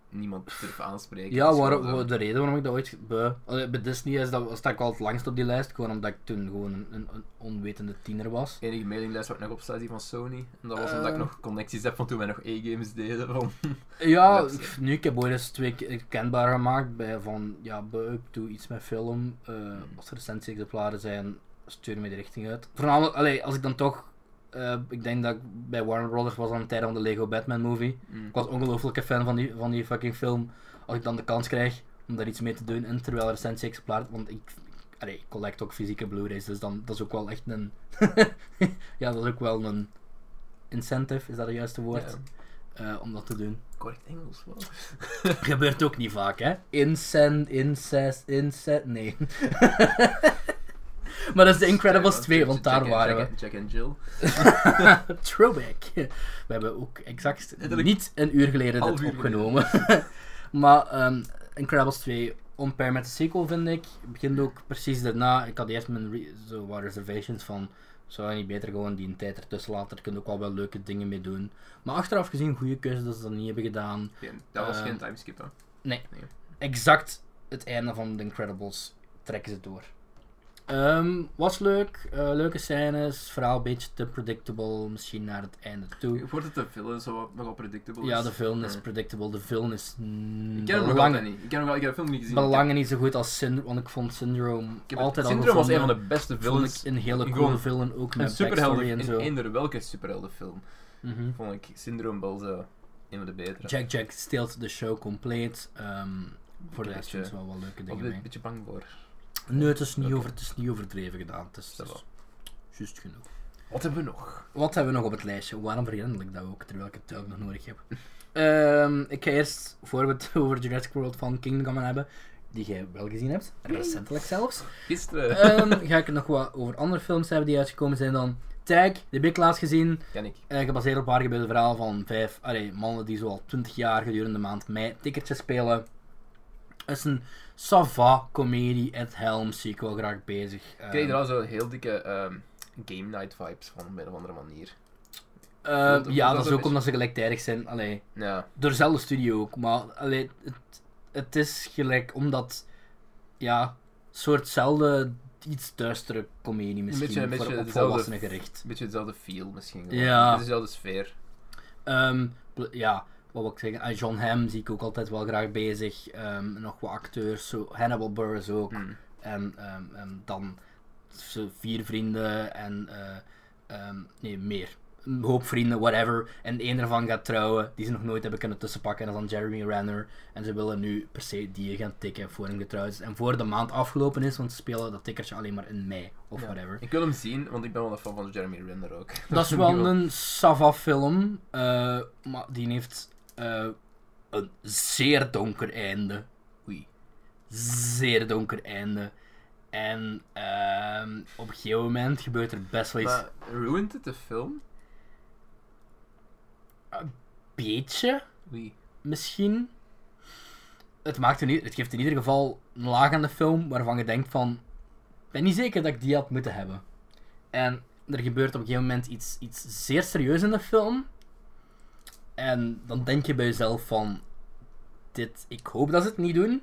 Speaker 2: niemand durf aanspreken.
Speaker 1: ja,
Speaker 2: Het is
Speaker 1: waar,
Speaker 2: gewoon eh, zo.
Speaker 1: waar- de reden waarom ik dat ooit bij, allee, bij Disney is, dat sta ik al het langst op die lijst. Gewoon omdat ik toen gewoon een, een, een onwetende tiener was.
Speaker 2: De enige mailinglijst waar ik nog op staat is die van Sony. En dat was omdat ik
Speaker 1: Eh.
Speaker 2: nog connecties heb van toen wij nog e-games deden. Van.
Speaker 1: Ja,
Speaker 2: Dat is-
Speaker 1: pff, nu, ik heb ooit eens twee keer kenbaar gemaakt bij van, ja, beuk, doe iets met film. eh, Als er recensie-exemplaren zijn, stuur me de richting uit. Voornamelijk, allee, als ik dan toch, eh, ik denk dat ik bij Warner Brothers was aan het tijd van de Lego Batman movie.
Speaker 2: Mm.
Speaker 1: Ik was ongelooflijke fan van die, van die fucking film. Als ik dan de kans krijg om daar iets mee te doen, en terwijl recensie-exemplaar, want ik, ik- allee, ik collect ook fysieke Blu-rays, dus dan, dat is ook wel echt een, ja, dat is ook wel een incentive, is dat het juiste woord,
Speaker 2: Ja.
Speaker 1: eh, om dat te doen.
Speaker 2: Correct Engels, wow.
Speaker 1: Gebeurt ook niet vaak, hè? Incend, incest, incest. Nee. maar dat is de Incredibles 2, want daar waren we.
Speaker 2: Jack, Jack and Jill.
Speaker 1: Throwback. We hebben ook exact
Speaker 2: Letterlijk
Speaker 1: niet een uur geleden
Speaker 2: half
Speaker 1: dit
Speaker 2: uur
Speaker 1: opgenomen. maar ehm Incredibles 2, onpermanent sequel vind ik. Het begint ook precies daarna. Ik had eerst mijn re- zo wat reservations van. Zou je niet beter gewoon die een tijd ertussen laten? Er kunnen ook wel wel leuke dingen mee doen. Maar achteraf gezien, goede keuze dat ze dat niet hebben gedaan.
Speaker 2: Geen- Dat was
Speaker 1: Eh.
Speaker 2: geen timeskip, hè.
Speaker 1: exact het einde van The Incredibles trekken ze door. Ehm, was leuk, eh, leuke scènes, verhaal een beetje te predictable, misschien naar het einde toe.
Speaker 2: Wordt het een film zo wat nogal predictable?
Speaker 1: Ja,
Speaker 2: is?
Speaker 1: de film is
Speaker 2: Eh.
Speaker 1: predictable, de film is mm,
Speaker 2: Ik ken hem nog
Speaker 1: belangen-
Speaker 2: altijd niet. Ik ken hem wel, ik heb de film niet gezien.
Speaker 1: belangen niet zo goed als Syndrome, want ik vond Syndrome
Speaker 2: Ik heb
Speaker 1: altijd al
Speaker 2: Syndrome was een van
Speaker 1: gevonden.
Speaker 2: de beste
Speaker 1: Vond
Speaker 2: films.
Speaker 1: ik een hele
Speaker 2: Gewoon
Speaker 1: coole film, ook
Speaker 2: Een
Speaker 1: met
Speaker 2: superhelden,
Speaker 1: backstory en
Speaker 2: in
Speaker 1: zo.
Speaker 2: eender welke superheldenfilm,
Speaker 1: Mhm.
Speaker 2: vond ik Syndrome wel zo een van de betere.
Speaker 1: Jack Jack steelt de show compleet. ehm, voor de
Speaker 2: Een
Speaker 1: rest
Speaker 2: beetje-
Speaker 1: is wel wel leuke
Speaker 2: Ik
Speaker 1: dingen
Speaker 2: ben
Speaker 1: mee.
Speaker 2: een beetje bang voor.
Speaker 1: Nee, het is niet,
Speaker 2: Oké.
Speaker 1: over, het is niet overdreven gedaan. Het is,
Speaker 2: Dat
Speaker 1: het is juist genoeg.
Speaker 2: Wat hebben we nog?
Speaker 1: Wat hebben we nog op het lijstje? Waarom verhandel ik dat ook, terwijl ik het duidelijk nog nodig heb? Ehm, ik ga eerst, voor we het over Jurassic World van Kingdom gaan hebben, die jij wel gezien hebt, recentelijk zelfs,
Speaker 2: Gisteren.
Speaker 1: Eh. Ehm, ga ik het nog wat over andere films hebben die uitgekomen zijn dan. Tag, die heb ik laatst gezien.
Speaker 2: Ken ik.
Speaker 1: eh, gebaseerd op waar gebeurde verhaal van vijf allee, mannen die zoal 20 jaar gedurende de maand mei tikkertjes spelen. Het is een sava comedie at Helms, ik wel graag bezig.
Speaker 2: Ik kreeg
Speaker 1: Ehm,
Speaker 2: er al zo heel dikke ehm, game night vibes van, op een of andere manier.
Speaker 1: eh,
Speaker 2: voelt- voelt
Speaker 1: ja,
Speaker 2: dat
Speaker 1: dat is
Speaker 2: ook
Speaker 1: ook
Speaker 2: eens-
Speaker 1: omdat ze gelijktijdig zijn. Allee,
Speaker 2: Ja,
Speaker 1: door dezelfde studio ook, maar allee, het, het is gelijk omdat, ja, soortzelfde, iets duistere comedie misschien,
Speaker 2: beetje- een
Speaker 1: voor-
Speaker 2: beetje
Speaker 1: op
Speaker 2: dezelfde-
Speaker 1: volwassenen gericht.
Speaker 2: een beetje dezelfde feel misschien. gewoon.
Speaker 1: Ja.
Speaker 2: Een beetje Dezelfde sfeer.
Speaker 1: Ehm, pl- ja, wat wil ik zeggen? Ah, John Hamm zie ik ook altijd wel graag bezig. Ehm, nog wat acteurs, zo, Hannibal Buress ook.
Speaker 2: Hmm.
Speaker 1: En, ehm, en dan zo vier vrienden en... eh, ehm, nee, meer. Een hoop vrienden, whatever. En één ervan gaat trouwen, die ze nog nooit hebben kunnen tussenpakken. En dat is dan Jeremy Renner. En ze willen nu per se die gaan tikken voor hem getrouwd is. En voor de maand afgelopen is, want ze spelen dat tikkertje alleen maar in mei of
Speaker 2: Ja.
Speaker 1: whatever.
Speaker 2: Ik wil hem zien, want ik ben wel een fan van Jeremy Renner ook.
Speaker 1: Dat is wel een Sava-film, eh, maar die heeft eh, een zeer donker einde.
Speaker 2: Oei.
Speaker 1: Zeer donker einde. En ehm, op een gegeven moment gebeurt er best wel iets.
Speaker 2: Maar ruined het de film?
Speaker 1: beetje,
Speaker 2: Oei.
Speaker 1: misschien. Het, maakt in, ieder- het geeft in ieder geval een laag aan de film waarvan je denkt van... Ik ben niet zeker dat ik die had moeten hebben. En er gebeurt op een gegeven moment iets, iets zeer serieus in de film. En dan denk je bij jezelf van... Dit, ik hoop dat ze het niet doen.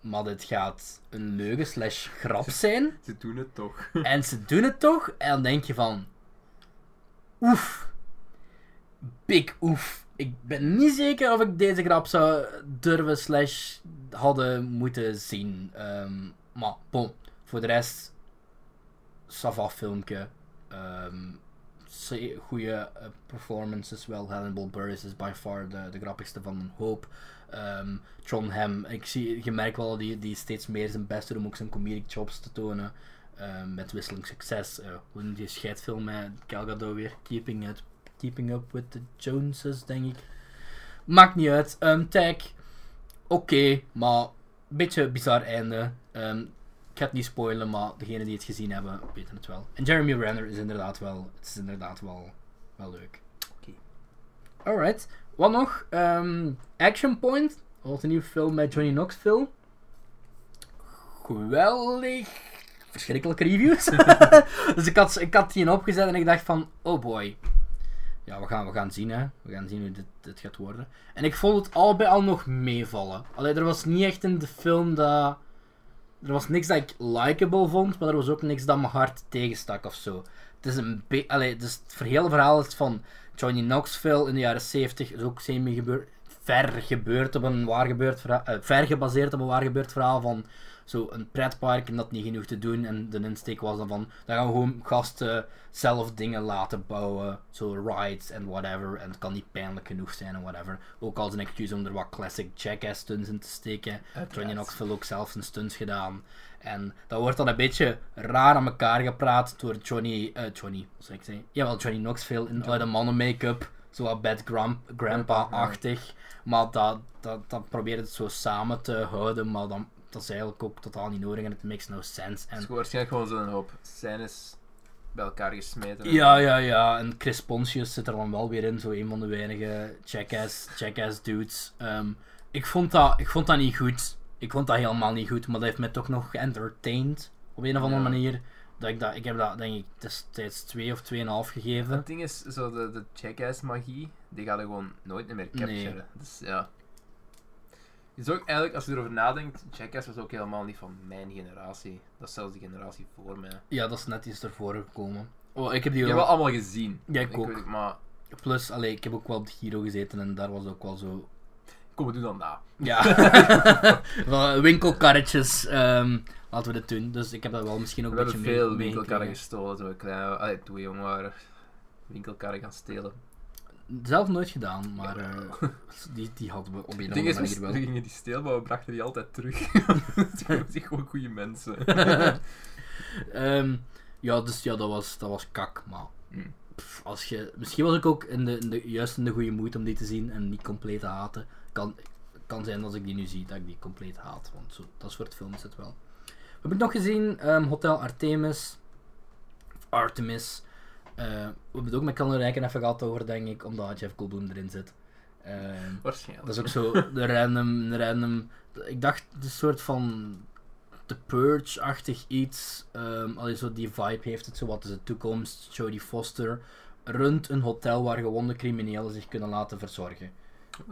Speaker 1: Maar dit gaat een leugen slash grap zijn.
Speaker 2: Ze doen het toch.
Speaker 1: En ze doen het toch. En dan denk je van... Oef. Big oef. Ik ben niet zeker of ik deze grap zou durven slash hadden moeten zien. Ehm, maar bon. Voor de rest... Sava filmpje. Ehm goede eh, performances wel. Hannibal Burris is by far de, de grappigste van een hoop. Ehm, John Hamm. Ik zie, je merkt wel dat die, die steeds meer zijn best doet om ook zijn comedic chops te tonen. Ehm, met wisselend succes. Eh, Hoe noemt die scheidfilm met Gal Gadot weer? Keeping, it, Keeping Up With The Joneses, denk ik. Maakt niet uit. Ehm tag, oké, maar een beetje bizar einde. Ehm, ik ga het niet spoilen, maar degenen die het gezien hebben, weten het wel. En Jeremy Renner is inderdaad wel, het is inderdaad wel, wel leuk.
Speaker 2: Oké.
Speaker 1: Alright, wat nog? Ehm, Action Point, wat een nieuwe film met Johnny Knoxville. Geweldig verschrikkelijke reviews. dus ik had, ik had die opgezet en ik dacht van, oh boy. Ja, we gaan, we gaan zien hè. We gaan zien hoe dit, dit gaat worden. En ik vond het al bij al nog meevallen. Alleen er was niet echt in de film dat... Er was niks dat ik likable vond, maar er was ook niks dat mijn hart tegenstak of zo. Het is een beetje... Allee, dus het hele verhaal is van Johnny Knoxville in de jaren 70. Is ook semi gebeurd... Ver gebeurd op een waar gebeurd verhaal... eh, ver gebaseerd op een waar gebeurd verhaal van zo een pretpark en dat niet genoeg te doen. En de insteek was dan van, dan gaan we gewoon gasten zelf dingen laten bouwen. Zo rides en whatever. En het kan niet pijnlijk genoeg zijn en whatever. Ook als een excuus om er wat classic jackass stunts in te steken. Johnny Knoxville ook zelf zijn stunts gedaan. En dat wordt dan een beetje raar aan elkaar gepraat door Johnny... eh, Johnny, wat zou ik zeggen? Jawel, Johnny Knoxville in oude mannen make-up. Zo wat Bad Gram- Grandpa-achtig. Maar dat, dat, dat probeert het zo samen te houden. Maar dan, dat is eigenlijk ook totaal niet nodig en het makes no sense.
Speaker 2: Het
Speaker 1: En,
Speaker 2: is waarschijnlijk gewoon zo'n hoop scènes bij elkaar gesmeten.
Speaker 1: ja, ja, ja. En Chris Pontius zit er dan wel weer in. Zo een van de weinige jackass, jackass dudes. Ehm, ik, vond dat, ik vond dat niet goed. Ik vond dat helemaal niet goed. Maar dat heeft me toch nog geëntertained. Op een of andere
Speaker 2: Ja.
Speaker 1: manier. Dat ik, dat, ik heb dat denk ik destijds 2 of 2,5 gegeven.
Speaker 2: Het ding is, zo de, de jackass magie, die gaat er gewoon nooit meer capturen.
Speaker 1: Nee.
Speaker 2: Dus ja. Het is ook eigenlijk, als je erover nadenkt, jackass was ook helemaal niet van mijn generatie. Dat is zelfs de generatie voor mij.
Speaker 1: Ja, dat is net iets ervoor gekomen. Oh, ik heb die
Speaker 2: Ik heb wel allemaal gezien.
Speaker 1: Ja, ik ook.
Speaker 2: weet het, maar
Speaker 1: Plus, allee, ik heb ook wel op de Giro gezeten en daar was ook wel zo
Speaker 2: kom, we doen dat na.
Speaker 1: Ja, Wel, winkelkarretjes. ehm, laten we dit doen. Dus ik heb dat wel misschien ook
Speaker 2: We
Speaker 1: een
Speaker 2: hebben
Speaker 1: beetje mee-
Speaker 2: veel
Speaker 1: meegekregen.
Speaker 2: winkelkarren gestolen toen we klein waren. Allee, toen we jong waren. Winkelkarren gaan stelen.
Speaker 1: Zelf nooit gedaan, maar
Speaker 2: Ja.
Speaker 1: eh, die, die hadden we op een
Speaker 2: Het
Speaker 1: of
Speaker 2: ding
Speaker 1: andere
Speaker 2: is,
Speaker 1: manier
Speaker 2: we
Speaker 1: wel.
Speaker 2: gingen die stelen, maar we brachten die altijd terug. Het waren zich gewoon goede mensen.
Speaker 1: Ehm, ja, dus ja, dat was, dat was kak, maar...
Speaker 2: Hmm.
Speaker 1: pff, als je, misschien was ik ook in de, in de, juist in de goede moed om die te zien en niet compleet te haten. Kan, kan zijn dat als ik die nu zie, dat ik die compleet haat. Want zo, dat soort films is het wel. Wat heb ik nog gezien? Ehm, Hotel Artemis. Artemis. Eh, we hebben het ook met Callan Rijken even gehad over, denk ik, omdat Jeff Goldblum erin zit. Eh,
Speaker 2: Waarschijnlijk.
Speaker 1: dat is ook zo de random, de random. Ik dacht het is een soort van The Purge-achtig iets. Ehm allee, zo die vibe heeft het zo. Wat is de toekomst? Jodie Foster runt een hotel waar gewonde criminelen zich kunnen laten verzorgen.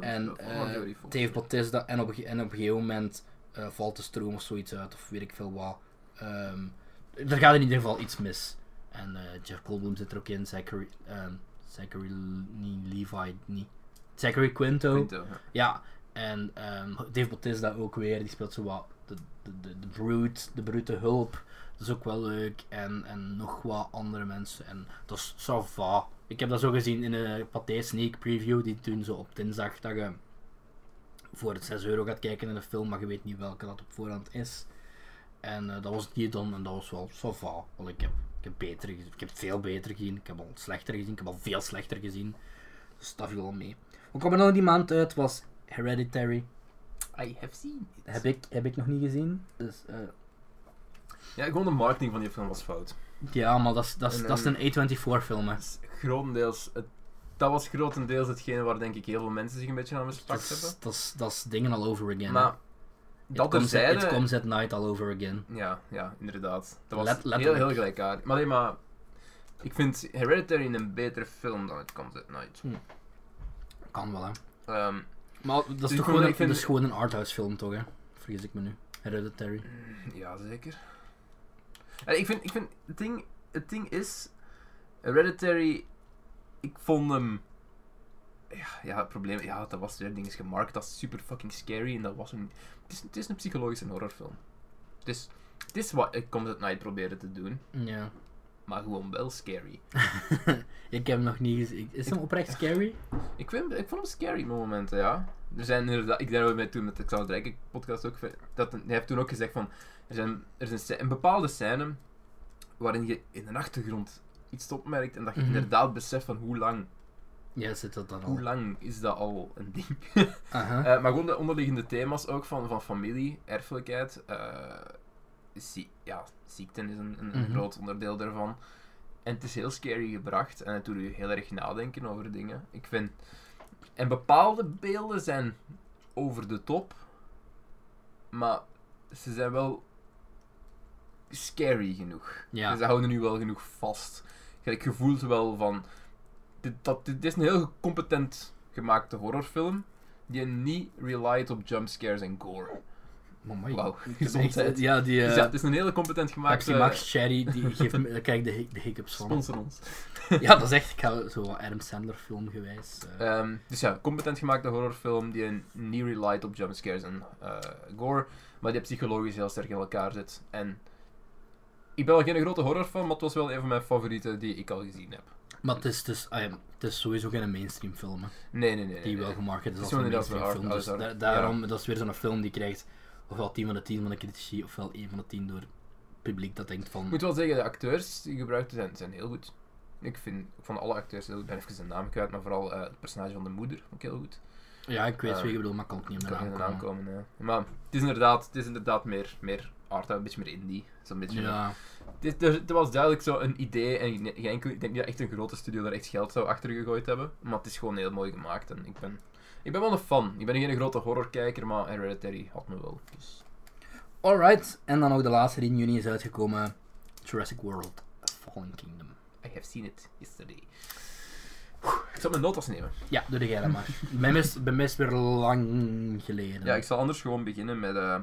Speaker 1: En eh, Dave Bautista en op, een ge- en op een gegeven moment eh, valt de stroom of zoiets uit, of weet ik veel wat. Ehm, er gaat in ieder geval iets mis. En eh, Jeff Goldblum zit er ook in, Zachary, ehm, Zachary niet Levi, niet. Zachary Quinto.
Speaker 2: Quinto, ja.
Speaker 1: Ja, en ehm Dave Bautista ook weer, die speelt zo wat de, de, de, de Brute, de brute hulp. Dat is ook wel leuk. En, en nog wat andere mensen. En dat is ça va. Ik heb dat zo gezien in een Pathé Sneak Preview, die toen zo op dinsdag dat je voor het 6 euro gaat kijken in een film, maar je weet niet welke dat op voorhand is. En eh, dat was die dan en dat was wel ça va. Want ik heb, ik, heb beter, gezien- ik heb veel beter gezien, ik heb al slechter gezien, ik heb al veel slechter gezien. Dus dat viel wel mee. Wat kwam er nog die maand uit was Hereditary.
Speaker 2: I have seen it.
Speaker 1: Heb ik, heb ik nog niet gezien. Dus, eh,
Speaker 2: Ja, gewoon de marketing van die film was fout.
Speaker 1: ja, maar dat is- dat is
Speaker 2: En,
Speaker 1: dat is een A24 film. hè.
Speaker 2: Dat is grotendeels... Het, dat was grotendeels hetgene waar denk ik heel veel mensen zich een beetje aan
Speaker 1: Dat
Speaker 2: mispakken hebben.
Speaker 1: is- dat is- dat is dingen all over again. hè.
Speaker 2: Maar
Speaker 1: It
Speaker 2: dat
Speaker 1: comes, at,
Speaker 2: terzijde...
Speaker 1: it comes at night all over again.
Speaker 2: Ja, ja, inderdaad. Dat was
Speaker 1: Let-
Speaker 2: heel,
Speaker 1: letterlijk.
Speaker 2: heel gelijkaardig. Maar nee, maar... Ik vind Hereditary een betere film dan It Comes at Night.
Speaker 1: Kan wel, hè.
Speaker 2: Ehm,
Speaker 1: Maar dat is
Speaker 2: ik
Speaker 1: toch
Speaker 2: vind-
Speaker 1: gewoon,
Speaker 2: ik
Speaker 1: een-
Speaker 2: vind-
Speaker 1: dat is gewoon een arthouse film, toch, hè? Vergis ik me nu. Hereditary.
Speaker 2: Ja, zeker. Ja, ik vind, ik vind het, ding, het ding is, Hereditary, ik vond hem... Ja, ja, het probleem, ja, dat was het ding is gemarket als super fucking scary en dat was hem... Het is, het is een psychologische horrorfilm. Het is, het is wat ik Comes at Night probeerde te doen,
Speaker 1: Ja.
Speaker 2: maar gewoon wel scary.
Speaker 1: ik heb hem nog niet gezien. Is hem oprecht scary?
Speaker 2: Ik, vind, ik vond hem scary op momenten, ja. Er zijn inderdaad, ik daarover met toen met de Xander Rijken podcast ook, dat, hij heeft toen ook gezegd van, er zijn, er zijn scè- een bepaalde scène waarin je in de achtergrond iets opmerkt en dat je
Speaker 1: Mhm. Oh.
Speaker 2: inderdaad beseft van hoe lang,
Speaker 1: Ja, zit dat dan al.
Speaker 2: hoe lang is dat al een ding.
Speaker 1: Aha.
Speaker 2: Eh, maar gewoon de onderliggende thema's ook van, van familie, erfelijkheid, eh, zie- ja, ziekten is een, een
Speaker 1: Mhm.
Speaker 2: groot onderdeel daarvan. En het is heel scary gebracht en het doet je heel erg nadenken over dingen. Ik vind... En bepaalde beelden zijn over de top, maar ze zijn wel scary genoeg.
Speaker 1: Ja.
Speaker 2: En Dus ze houden nu wel genoeg vast. Gelijk, Je voelt wel van... Dit, dat, dit is een heel competent gemaakte horrorfilm die niet relied op jumpscares en gore.
Speaker 1: Mamma, ik-
Speaker 2: Wauw,
Speaker 1: ik heb
Speaker 2: gezondheid.
Speaker 1: echt- Ja, die...
Speaker 2: Dus
Speaker 1: eh,
Speaker 2: ja, het is een hele competent gemaakte...
Speaker 1: Pepsi Max Cherry, die geeft me... Kijk, de, hic- de hiccups van.
Speaker 2: Sponsor ons.
Speaker 1: Ja, dat is echt ik ga zo wat Adam Sandler film gewijs. eh.
Speaker 2: Ehm, dus ja, competent gemaakte horrorfilm die niet relied op jumpscares en eh, gore, maar die psychologisch heel sterk in elkaar zit. En ik ben wel geen grote horrorfan, maar het was wel een van mijn favorieten die ik al gezien heb.
Speaker 1: maar het is, dus, ah ja, het is sowieso geen mainstream film, hè,
Speaker 2: Nee, nee, nee. nee,
Speaker 1: die
Speaker 2: nee.
Speaker 1: wel gemarket is
Speaker 2: Eh, Het
Speaker 1: als
Speaker 2: is
Speaker 1: een
Speaker 2: gewoon inderdaad
Speaker 1: mainstream film.
Speaker 2: wel
Speaker 1: Dus
Speaker 2: hard-
Speaker 1: da-
Speaker 2: hard-
Speaker 1: daarom, dat is weer zo'n film die krijgt ofwel 10 van de 10 van de critici, ofwel 1 van de 10 door het publiek dat denkt
Speaker 2: Ik
Speaker 1: van...
Speaker 2: moet wel zeggen, de acteurs die gebruikt zijn, zijn heel goed. Ik vind van alle acteurs heel goed. Ik ben even zijn naam kwijt, maar vooral eh, het personage van de moeder ook heel goed.
Speaker 1: Ja, ik weet
Speaker 2: Eh,
Speaker 1: wie je bedoelt, maar kan ook niet
Speaker 2: Ik
Speaker 1: meer
Speaker 2: kan niet in de naam
Speaker 1: aankomen.
Speaker 2: komen. hè. Maar het is inderdaad, het is inderdaad meer, meer art, een beetje meer indie. Zo'n beetje
Speaker 1: Ja,
Speaker 2: Dit, er, er was duidelijk zo een idee en geen enkel, ik denk niet dat echt een grote studio daar echt geld zou achter gegooid hebben. Maar het is gewoon heel mooi gemaakt en ik ben, ik ben wel een fan. Ik ben geen grote horrorkijker, maar Hereditary had me wel. Dus.
Speaker 1: alright. En dan ook de laatste die in juni is uitgekomen, Jurassic World Fallen Kingdom.
Speaker 2: I have seen it yesterday. Oeh, ik zal mijn notas nemen.
Speaker 1: Ja, doe jij dat maar. Bij mij is- bij mij is weer lang geleden.
Speaker 2: Ja, ik zal anders gewoon beginnen met, eh,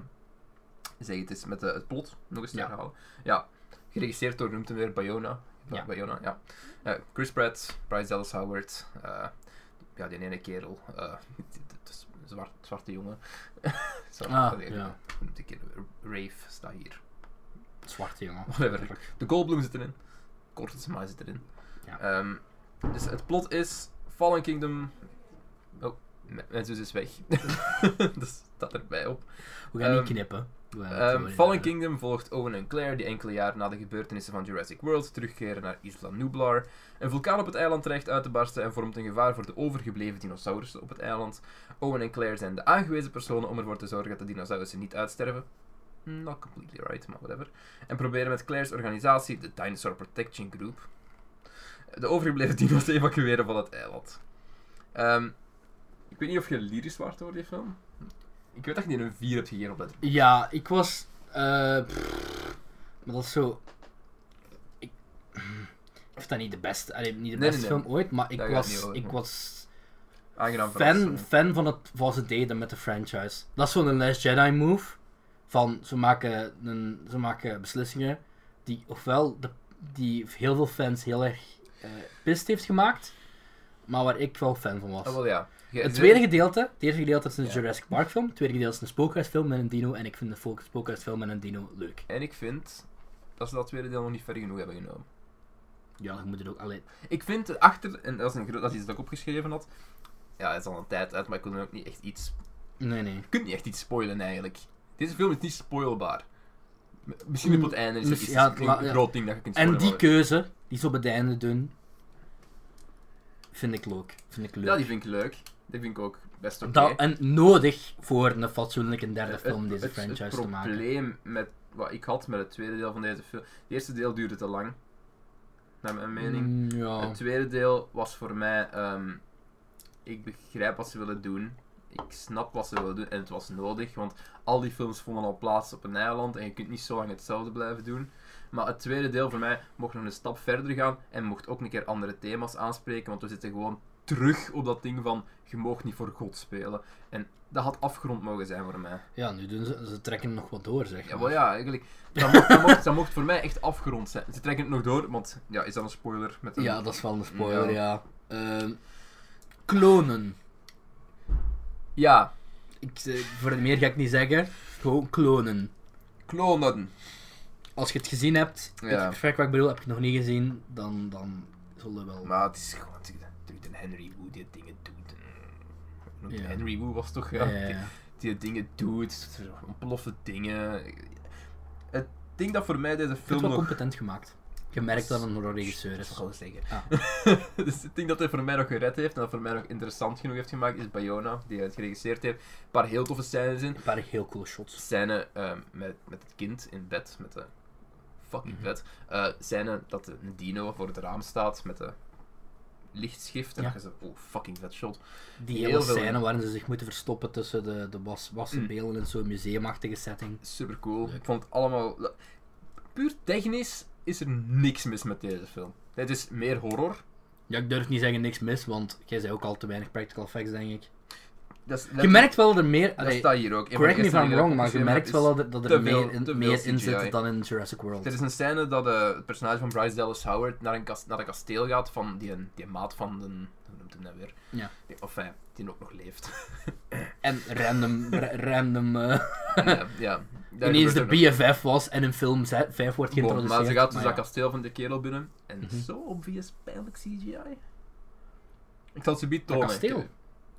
Speaker 2: zeg het eens, met eh, het plot. Nog eens te
Speaker 1: Ja.
Speaker 2: herhalen. Ja, geregisseerd door, noemt hem weer Bayona.
Speaker 1: Ja.
Speaker 2: Ja. Bayona, ja. Eh, Chris Pratt, Bryce Dallas Howard. eh, ja, die ene kerel. eh, het is een zwart, zwarte jongen. Zo,
Speaker 1: Ah,
Speaker 2: allee,
Speaker 1: ja.
Speaker 2: hoe noemt die kerel? Rave staat hier.
Speaker 1: Zwarte jongen.
Speaker 2: Whatever. De Goldblum zit erin. Kortens maar zit erin.
Speaker 1: Ja.
Speaker 2: Ehm, dus het plot is Fallen Kingdom. Oh, m- mijn zus is weg. Dus dat staat erbij op.
Speaker 1: We gaan niet
Speaker 2: Ehm,
Speaker 1: knippen. We gaan het
Speaker 2: Ehm,
Speaker 1: gewoon in
Speaker 2: Fallen
Speaker 1: de-
Speaker 2: Kingdom volgt Owen en Claire, die enkele jaren na de gebeurtenissen van Jurassic World terugkeren naar Isla Nublar. Een vulkaan op het eiland dreigt uit te barsten en vormt een gevaar voor de overgebleven dinosaurussen op het eiland. Owen en Claire zijn de aangewezen personen om ervoor te zorgen dat de dinosaurussen niet uitsterven. Not completely right, maar whatever. En proberen met Claire's organisatie, de Dinosaur Protection Group, eh, de overgebleven dino's te evacueren van het eiland. Ehm, ik weet niet of je lyrisch waart over die film. Ik weet dat je die een 4 hebt gegeven op dat.
Speaker 1: Ja, ik was. eh, pff, maar dat is zo. Ik, ik vind dat niet de beste. allee, niet de
Speaker 2: Nee,
Speaker 1: beste
Speaker 2: nee, nee.
Speaker 1: film ooit, maar ik
Speaker 2: Daar gaat het niet
Speaker 1: was.
Speaker 2: over,
Speaker 1: Ik
Speaker 2: nee.
Speaker 1: was
Speaker 2: Aangenaam
Speaker 1: fan,
Speaker 2: verrast, eh.
Speaker 1: fan van, het, van wat ze deden met de franchise. Dat is zo'n Last Jedi move. Van ze maken, een, ze maken beslissingen die ofwel de, die heel veel fans heel erg eh pist heeft gemaakt, maar waar ik wel fan van was.
Speaker 2: Ah, wel ja. Je-
Speaker 1: Het
Speaker 2: je-
Speaker 1: tweede gedeelte, het eerste gedeelte is een
Speaker 2: Ja.
Speaker 1: Jurassic Park film, het tweede gedeelte is een spookhuisfilm met een dino en ik vind de folk- spookhuisfilm met een dino leuk.
Speaker 2: En ik vind dat ze dat tweede deel nog niet ver genoeg hebben genomen.
Speaker 1: Ja, je moet het ook alleen.
Speaker 2: Ik vind het achter, en dat is, een, gro- dat is iets dat ik opgeschreven had. Ja, het is al een tijd uit, maar ik wil nu ook niet echt iets.
Speaker 1: Nee, nee.
Speaker 2: Je kunt niet echt iets spoilen eigenlijk. Deze film is niet spoilbaar. M- Misschien op het
Speaker 1: Mm,
Speaker 2: einde is er
Speaker 1: misschien-
Speaker 2: iets,
Speaker 1: ja,
Speaker 2: een
Speaker 1: la- ja.
Speaker 2: groot ding dat je kunt spoilen.
Speaker 1: En die
Speaker 2: maar-
Speaker 1: keuze, die ze op het einde doen, vind ik leuk. Vind ik leuk.
Speaker 2: Ja, die vind ik leuk. Die vind ik ook best oké.
Speaker 1: Dat- en nodig voor een fatsoenlijke derde
Speaker 2: Het-
Speaker 1: film deze
Speaker 2: het-
Speaker 1: franchise
Speaker 2: het
Speaker 1: te maken.
Speaker 2: probleem met wat ik had met het tweede deel van deze film. Het eerste deel duurde te lang, naar mijn mening.
Speaker 1: Mm, ja.
Speaker 2: Het tweede deel was voor mij. ehm, ik begrijp wat ze willen doen. Ik snap wat ze willen doen. En het was nodig, want al die films vonden al plaats op een eiland. En je kunt niet zo lang hetzelfde blijven doen. Maar het tweede deel voor mij mocht nog een stap verder gaan. En mocht ook een keer andere thema's aanspreken. Want we zitten gewoon terug op dat ding van. Je mag niet voor God spelen. En dat had afgrond mogen zijn voor mij.
Speaker 1: ja, nu doen ze, ze trekken nog wat door, zeg.
Speaker 2: Ja,
Speaker 1: maar.
Speaker 2: wel ja, eigenlijk. Dat mocht, dat, mocht, dat mocht voor mij echt afgerond zijn. Ze trekken het nog door, want ja, is dat een spoiler? Met een...
Speaker 1: Ja, dat is wel een spoiler,
Speaker 2: Ja.
Speaker 1: ja. Ehm, klonen.
Speaker 2: ja,
Speaker 1: Ik, eh, voor meer ga ik niet zeggen. Gewoon klonen.
Speaker 2: klonen.
Speaker 1: Als je het gezien hebt, weet je
Speaker 2: Ja.
Speaker 1: perfect wat ik bedoel, heb je het nog niet gezien, dan, dan zullen we wel.
Speaker 2: Maar het is gewoon. Dude, en Henry Wu die dingen doet. en-
Speaker 1: Ja.
Speaker 2: Henry Wu was toch. Ja,
Speaker 1: Ja, ja,
Speaker 2: Die,
Speaker 1: ja.
Speaker 2: die dingen doet, ontplofte dingen. Het ding dat voor mij deze
Speaker 1: Ik vind
Speaker 2: film
Speaker 1: het wel
Speaker 2: nog.
Speaker 1: competent gemaakt. Je merkt dat het een horrorregisseur is.
Speaker 2: gewoon zeggen.
Speaker 1: Ah.
Speaker 2: dus het ding dat hij voor mij nog gered heeft en dat voor mij nog interessant genoeg heeft gemaakt is Bayona, die het geregisseerd heeft. Een paar heel toffe scènes in.
Speaker 1: Een paar heel coole shots.
Speaker 2: scène ehm, met, met het kind in bed, met de
Speaker 1: Mhm.
Speaker 2: fucking vet. Eh, scène dat de- een dino voor het raam staat met de lichtschrift. En
Speaker 1: Ja.
Speaker 2: dan je zo, oh fucking vet shot.
Speaker 1: Die
Speaker 2: Heel
Speaker 1: hele
Speaker 2: veel,
Speaker 1: scène
Speaker 2: hè.
Speaker 1: waarin ze zich moeten verstoppen tussen de, de was, wassen
Speaker 2: Mm.
Speaker 1: beelden en zo'n museumachtige setting.
Speaker 2: Super cool.
Speaker 1: Leuk.
Speaker 2: Ik vond het allemaal. Puur technisch is er niks mis met deze film. Het is meer horror.
Speaker 1: Ja, ik durf niet zeggen niks mis, want jij zei ook al te weinig practical effects, denk ik.
Speaker 2: Dat is,
Speaker 1: Je merkt wel dat er meer.
Speaker 2: dat
Speaker 1: allee,
Speaker 2: staat hier ook. Een van de
Speaker 1: correct me if
Speaker 2: eerste
Speaker 1: I'm
Speaker 2: dingen dat
Speaker 1: wrong,
Speaker 2: ik
Speaker 1: maar je
Speaker 2: opgeschreven
Speaker 1: merkt
Speaker 2: heb,
Speaker 1: wel
Speaker 2: is-
Speaker 1: dat er, dat er
Speaker 2: te veel-
Speaker 1: meer,
Speaker 2: te
Speaker 1: in,
Speaker 2: veel
Speaker 1: meer in
Speaker 2: CGI.
Speaker 1: zit dan in Jurassic World.
Speaker 2: Er is een scène dat eh, het personage van Bryce Dallas Howard naar een, kas- naar een kasteel gaat van die, die maat van de... Hoe noemt hij nou weer?
Speaker 1: Ja.
Speaker 2: Die, of hij, die ook nog leeft.
Speaker 1: En random, ra- random eh,
Speaker 2: ja, ja. Daar
Speaker 1: ineens de
Speaker 2: gebeurt ook nog-
Speaker 1: BFF was en een film 5 wordt
Speaker 2: Bon,
Speaker 1: geïntroduceerd.
Speaker 2: Maar ze gaat dus
Speaker 1: ja.
Speaker 2: dat kasteel van de kerel binnen. En
Speaker 1: Mhm.
Speaker 2: zo obvious pijnlijk CGI. Ik zal het ze
Speaker 1: Dat
Speaker 2: biet tonen.
Speaker 1: kasteel?
Speaker 2: Ik-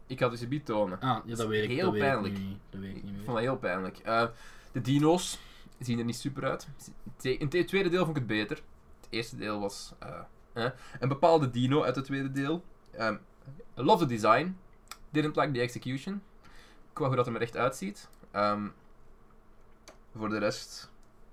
Speaker 2: Ik had het ze biet tonen.
Speaker 1: Ah, ja, dat weet ik.
Speaker 2: Heel
Speaker 1: dat weet ik
Speaker 2: pijnlijk.
Speaker 1: niet, dat weet ik
Speaker 2: Ik
Speaker 1: niet
Speaker 2: vond
Speaker 1: meer.
Speaker 2: dat heel pijnlijk. Eh, de dino's zien er niet super uit. Te- In het tweede deel vond ik het beter. Het eerste deel was eh, eh. een bepaalde dino uit het tweede deel. Ehm, I love the design. Didn't like the execution. Qua hoe dat er me echt uitziet. Ehm, voor de rest.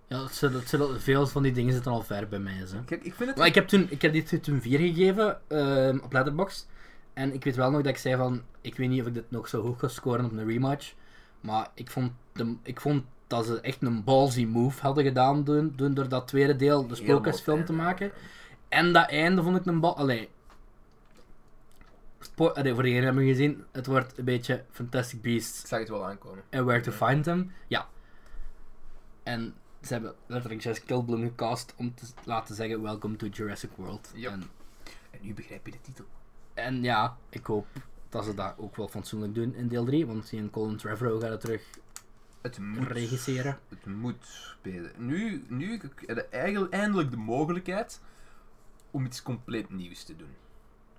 Speaker 1: Ja, dat zullen- dat zullen- veel van die dingen zitten al ver bij mij. Zo.
Speaker 2: Kijk, ik vind het.
Speaker 1: Maar ik heb, toen, ik heb dit toen 4 gegeven ehm, op Letterboxd. En ik weet wel nog dat ik zei van, ik weet niet of ik dit nog zo hoog ga scoren op een rematch. Maar ik vond, de, ik vond dat ze echt een ballsy move hadden gedaan doen, doen door dat tweede deel, de
Speaker 2: Helemaal
Speaker 1: spookhuisfilm te
Speaker 2: fijn,
Speaker 1: maken. En dat einde vond ik een bal... Allee. Spo- allee, voor degenen die hebben gezien, het wordt een beetje Fantastic Beasts
Speaker 2: Ik zag het wel aankomen.
Speaker 1: en Where to Find Them. Ja. En ze hebben letterlijk Jess Kilblum gecast om te laten zeggen Welcome to Jurassic World.
Speaker 2: Yep.
Speaker 1: En,
Speaker 2: En nu begrijp je de titel.
Speaker 1: en ja, ik hoop dat ze dat ook wel fatsoenlijk doen in deel 3, want die en Colin Trevorrow gaat het terug
Speaker 2: Het moet.
Speaker 1: regisseren.
Speaker 2: Het moet, Peter. Nu, nu heb je eigenlijk eindelijk de mogelijkheid om iets compleet nieuws te doen.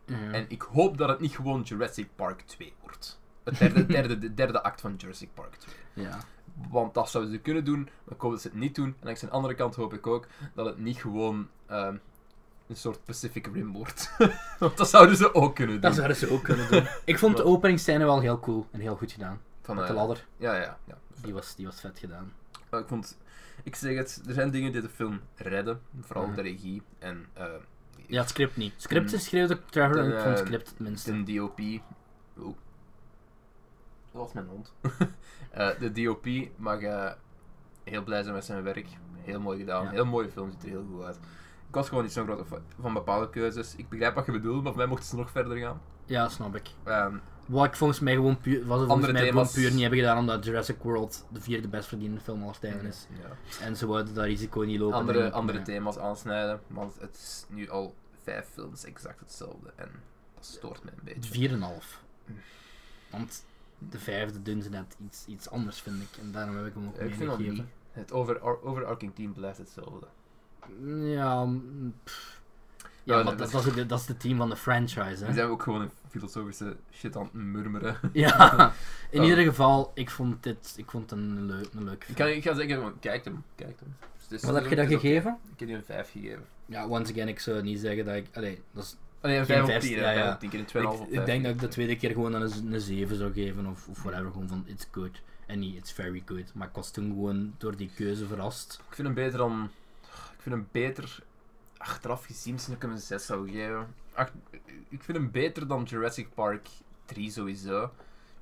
Speaker 1: Ja.
Speaker 2: En ik hoop dat het niet gewoon Jurassic Park 2 wordt. Het derde, derde, de derde act van Jurassic Park 2.
Speaker 1: ja.
Speaker 2: Want dat zouden ze kunnen doen, maar ik hoop dat ze het niet doen. En aan de andere kant hoop ik ook dat het niet gewoon ehm, een soort Pacific Rim wordt. Want dat zouden ze ook kunnen doen.
Speaker 1: Dat zouden ze ook kunnen doen. Ik vond de openingsscène wel heel cool en heel goed gedaan.
Speaker 2: Van,
Speaker 1: Met de
Speaker 2: eh,
Speaker 1: ladder,
Speaker 2: Ja, ja, ja.
Speaker 1: die was, die was vet gedaan.
Speaker 2: Maar ik vond, ik zeg het, er zijn dingen die de film redden, vooral
Speaker 1: Mhm.
Speaker 2: de regie en eh,
Speaker 1: Ja, het script niet. Script
Speaker 2: Mm.
Speaker 1: is schreeuwde Trevor en ik
Speaker 2: Eh,
Speaker 1: vond script het minste.
Speaker 2: De DOP. Oh. Dat was mijn hond. Eh, de DOP mag eh, heel blij zijn met zijn werk. Heel mooi gedaan.
Speaker 1: Ja.
Speaker 2: Heel mooie film, ziet er heel goed uit. Ik was gewoon niet zo'n grote fa- van bepaalde keuzes. Ik begrijp wat je bedoelt, maar voor mij mochten ze nog verder gaan.
Speaker 1: Ja, snap ik.
Speaker 2: Ehm,
Speaker 1: Wat ik volgens mij gewoon puur, was het volgens
Speaker 2: Andere
Speaker 1: mij gewoon
Speaker 2: thema's.
Speaker 1: puur niet hebben gedaan omdat Jurassic World de vierde best verdiende film aller tijden is.
Speaker 2: ja.
Speaker 1: En ze wouden dat risico niet lopen. denk
Speaker 2: Andere,
Speaker 1: ik,
Speaker 2: andere
Speaker 1: maar-
Speaker 2: thema's aansnijden, want het is nu al vijf films exact hetzelfde. En dat stoort me een beetje.
Speaker 1: 4,5. Want de vijfde doen ze net iets, iets anders, vind ik. En daarom heb ik hem ook
Speaker 2: Ik vind dat niet.
Speaker 1: meegegeven.
Speaker 2: Het over, overarching team blijft hetzelfde.
Speaker 1: Ja, mm, pff. ja,
Speaker 2: Ja,
Speaker 1: maar
Speaker 2: dat-
Speaker 1: dat, dat, is de, dat is de team van de franchise,
Speaker 2: Dan
Speaker 1: hè.
Speaker 2: zijn we ook gewoon een filosofische shit aan het murmeren.
Speaker 1: Ja, in
Speaker 2: Oh.
Speaker 1: ieder geval, ik vond dit ik vond het een, leuk, een leuke
Speaker 2: Ik,
Speaker 1: film.
Speaker 2: kan, ik ga zeggen, van, kijk hem, kijk hem. Dus het is-
Speaker 1: Wat heb je
Speaker 2: het
Speaker 1: dat
Speaker 2: is oké.
Speaker 1: gegeven?
Speaker 2: Ik heb die een 5 gegeven.
Speaker 1: Ja, once again, ik zou niet zeggen dat ik... Allee, dat is,
Speaker 2: Allee, een
Speaker 1: Geen
Speaker 2: 5 op
Speaker 1: vijf,
Speaker 2: 10,
Speaker 1: ja,
Speaker 2: ja,
Speaker 1: ja.
Speaker 2: ja. Ik, een 2,5 op
Speaker 1: ik, ik
Speaker 2: 5
Speaker 1: denk dat ik de
Speaker 2: gegeven.
Speaker 1: tweede keer gewoon een, een 7 zou geven, of, of whatever, gewoon van it's good. En niet it's very good. Maar ik was toen gewoon door die keuze verrast.
Speaker 2: Ik vind hem beter dan... Ik vind hem beter... Achteraf gezien misschien dat ik hem een 6 zou geven. Ach, ik vind hem beter dan Jurassic Park 3 sowieso. Ik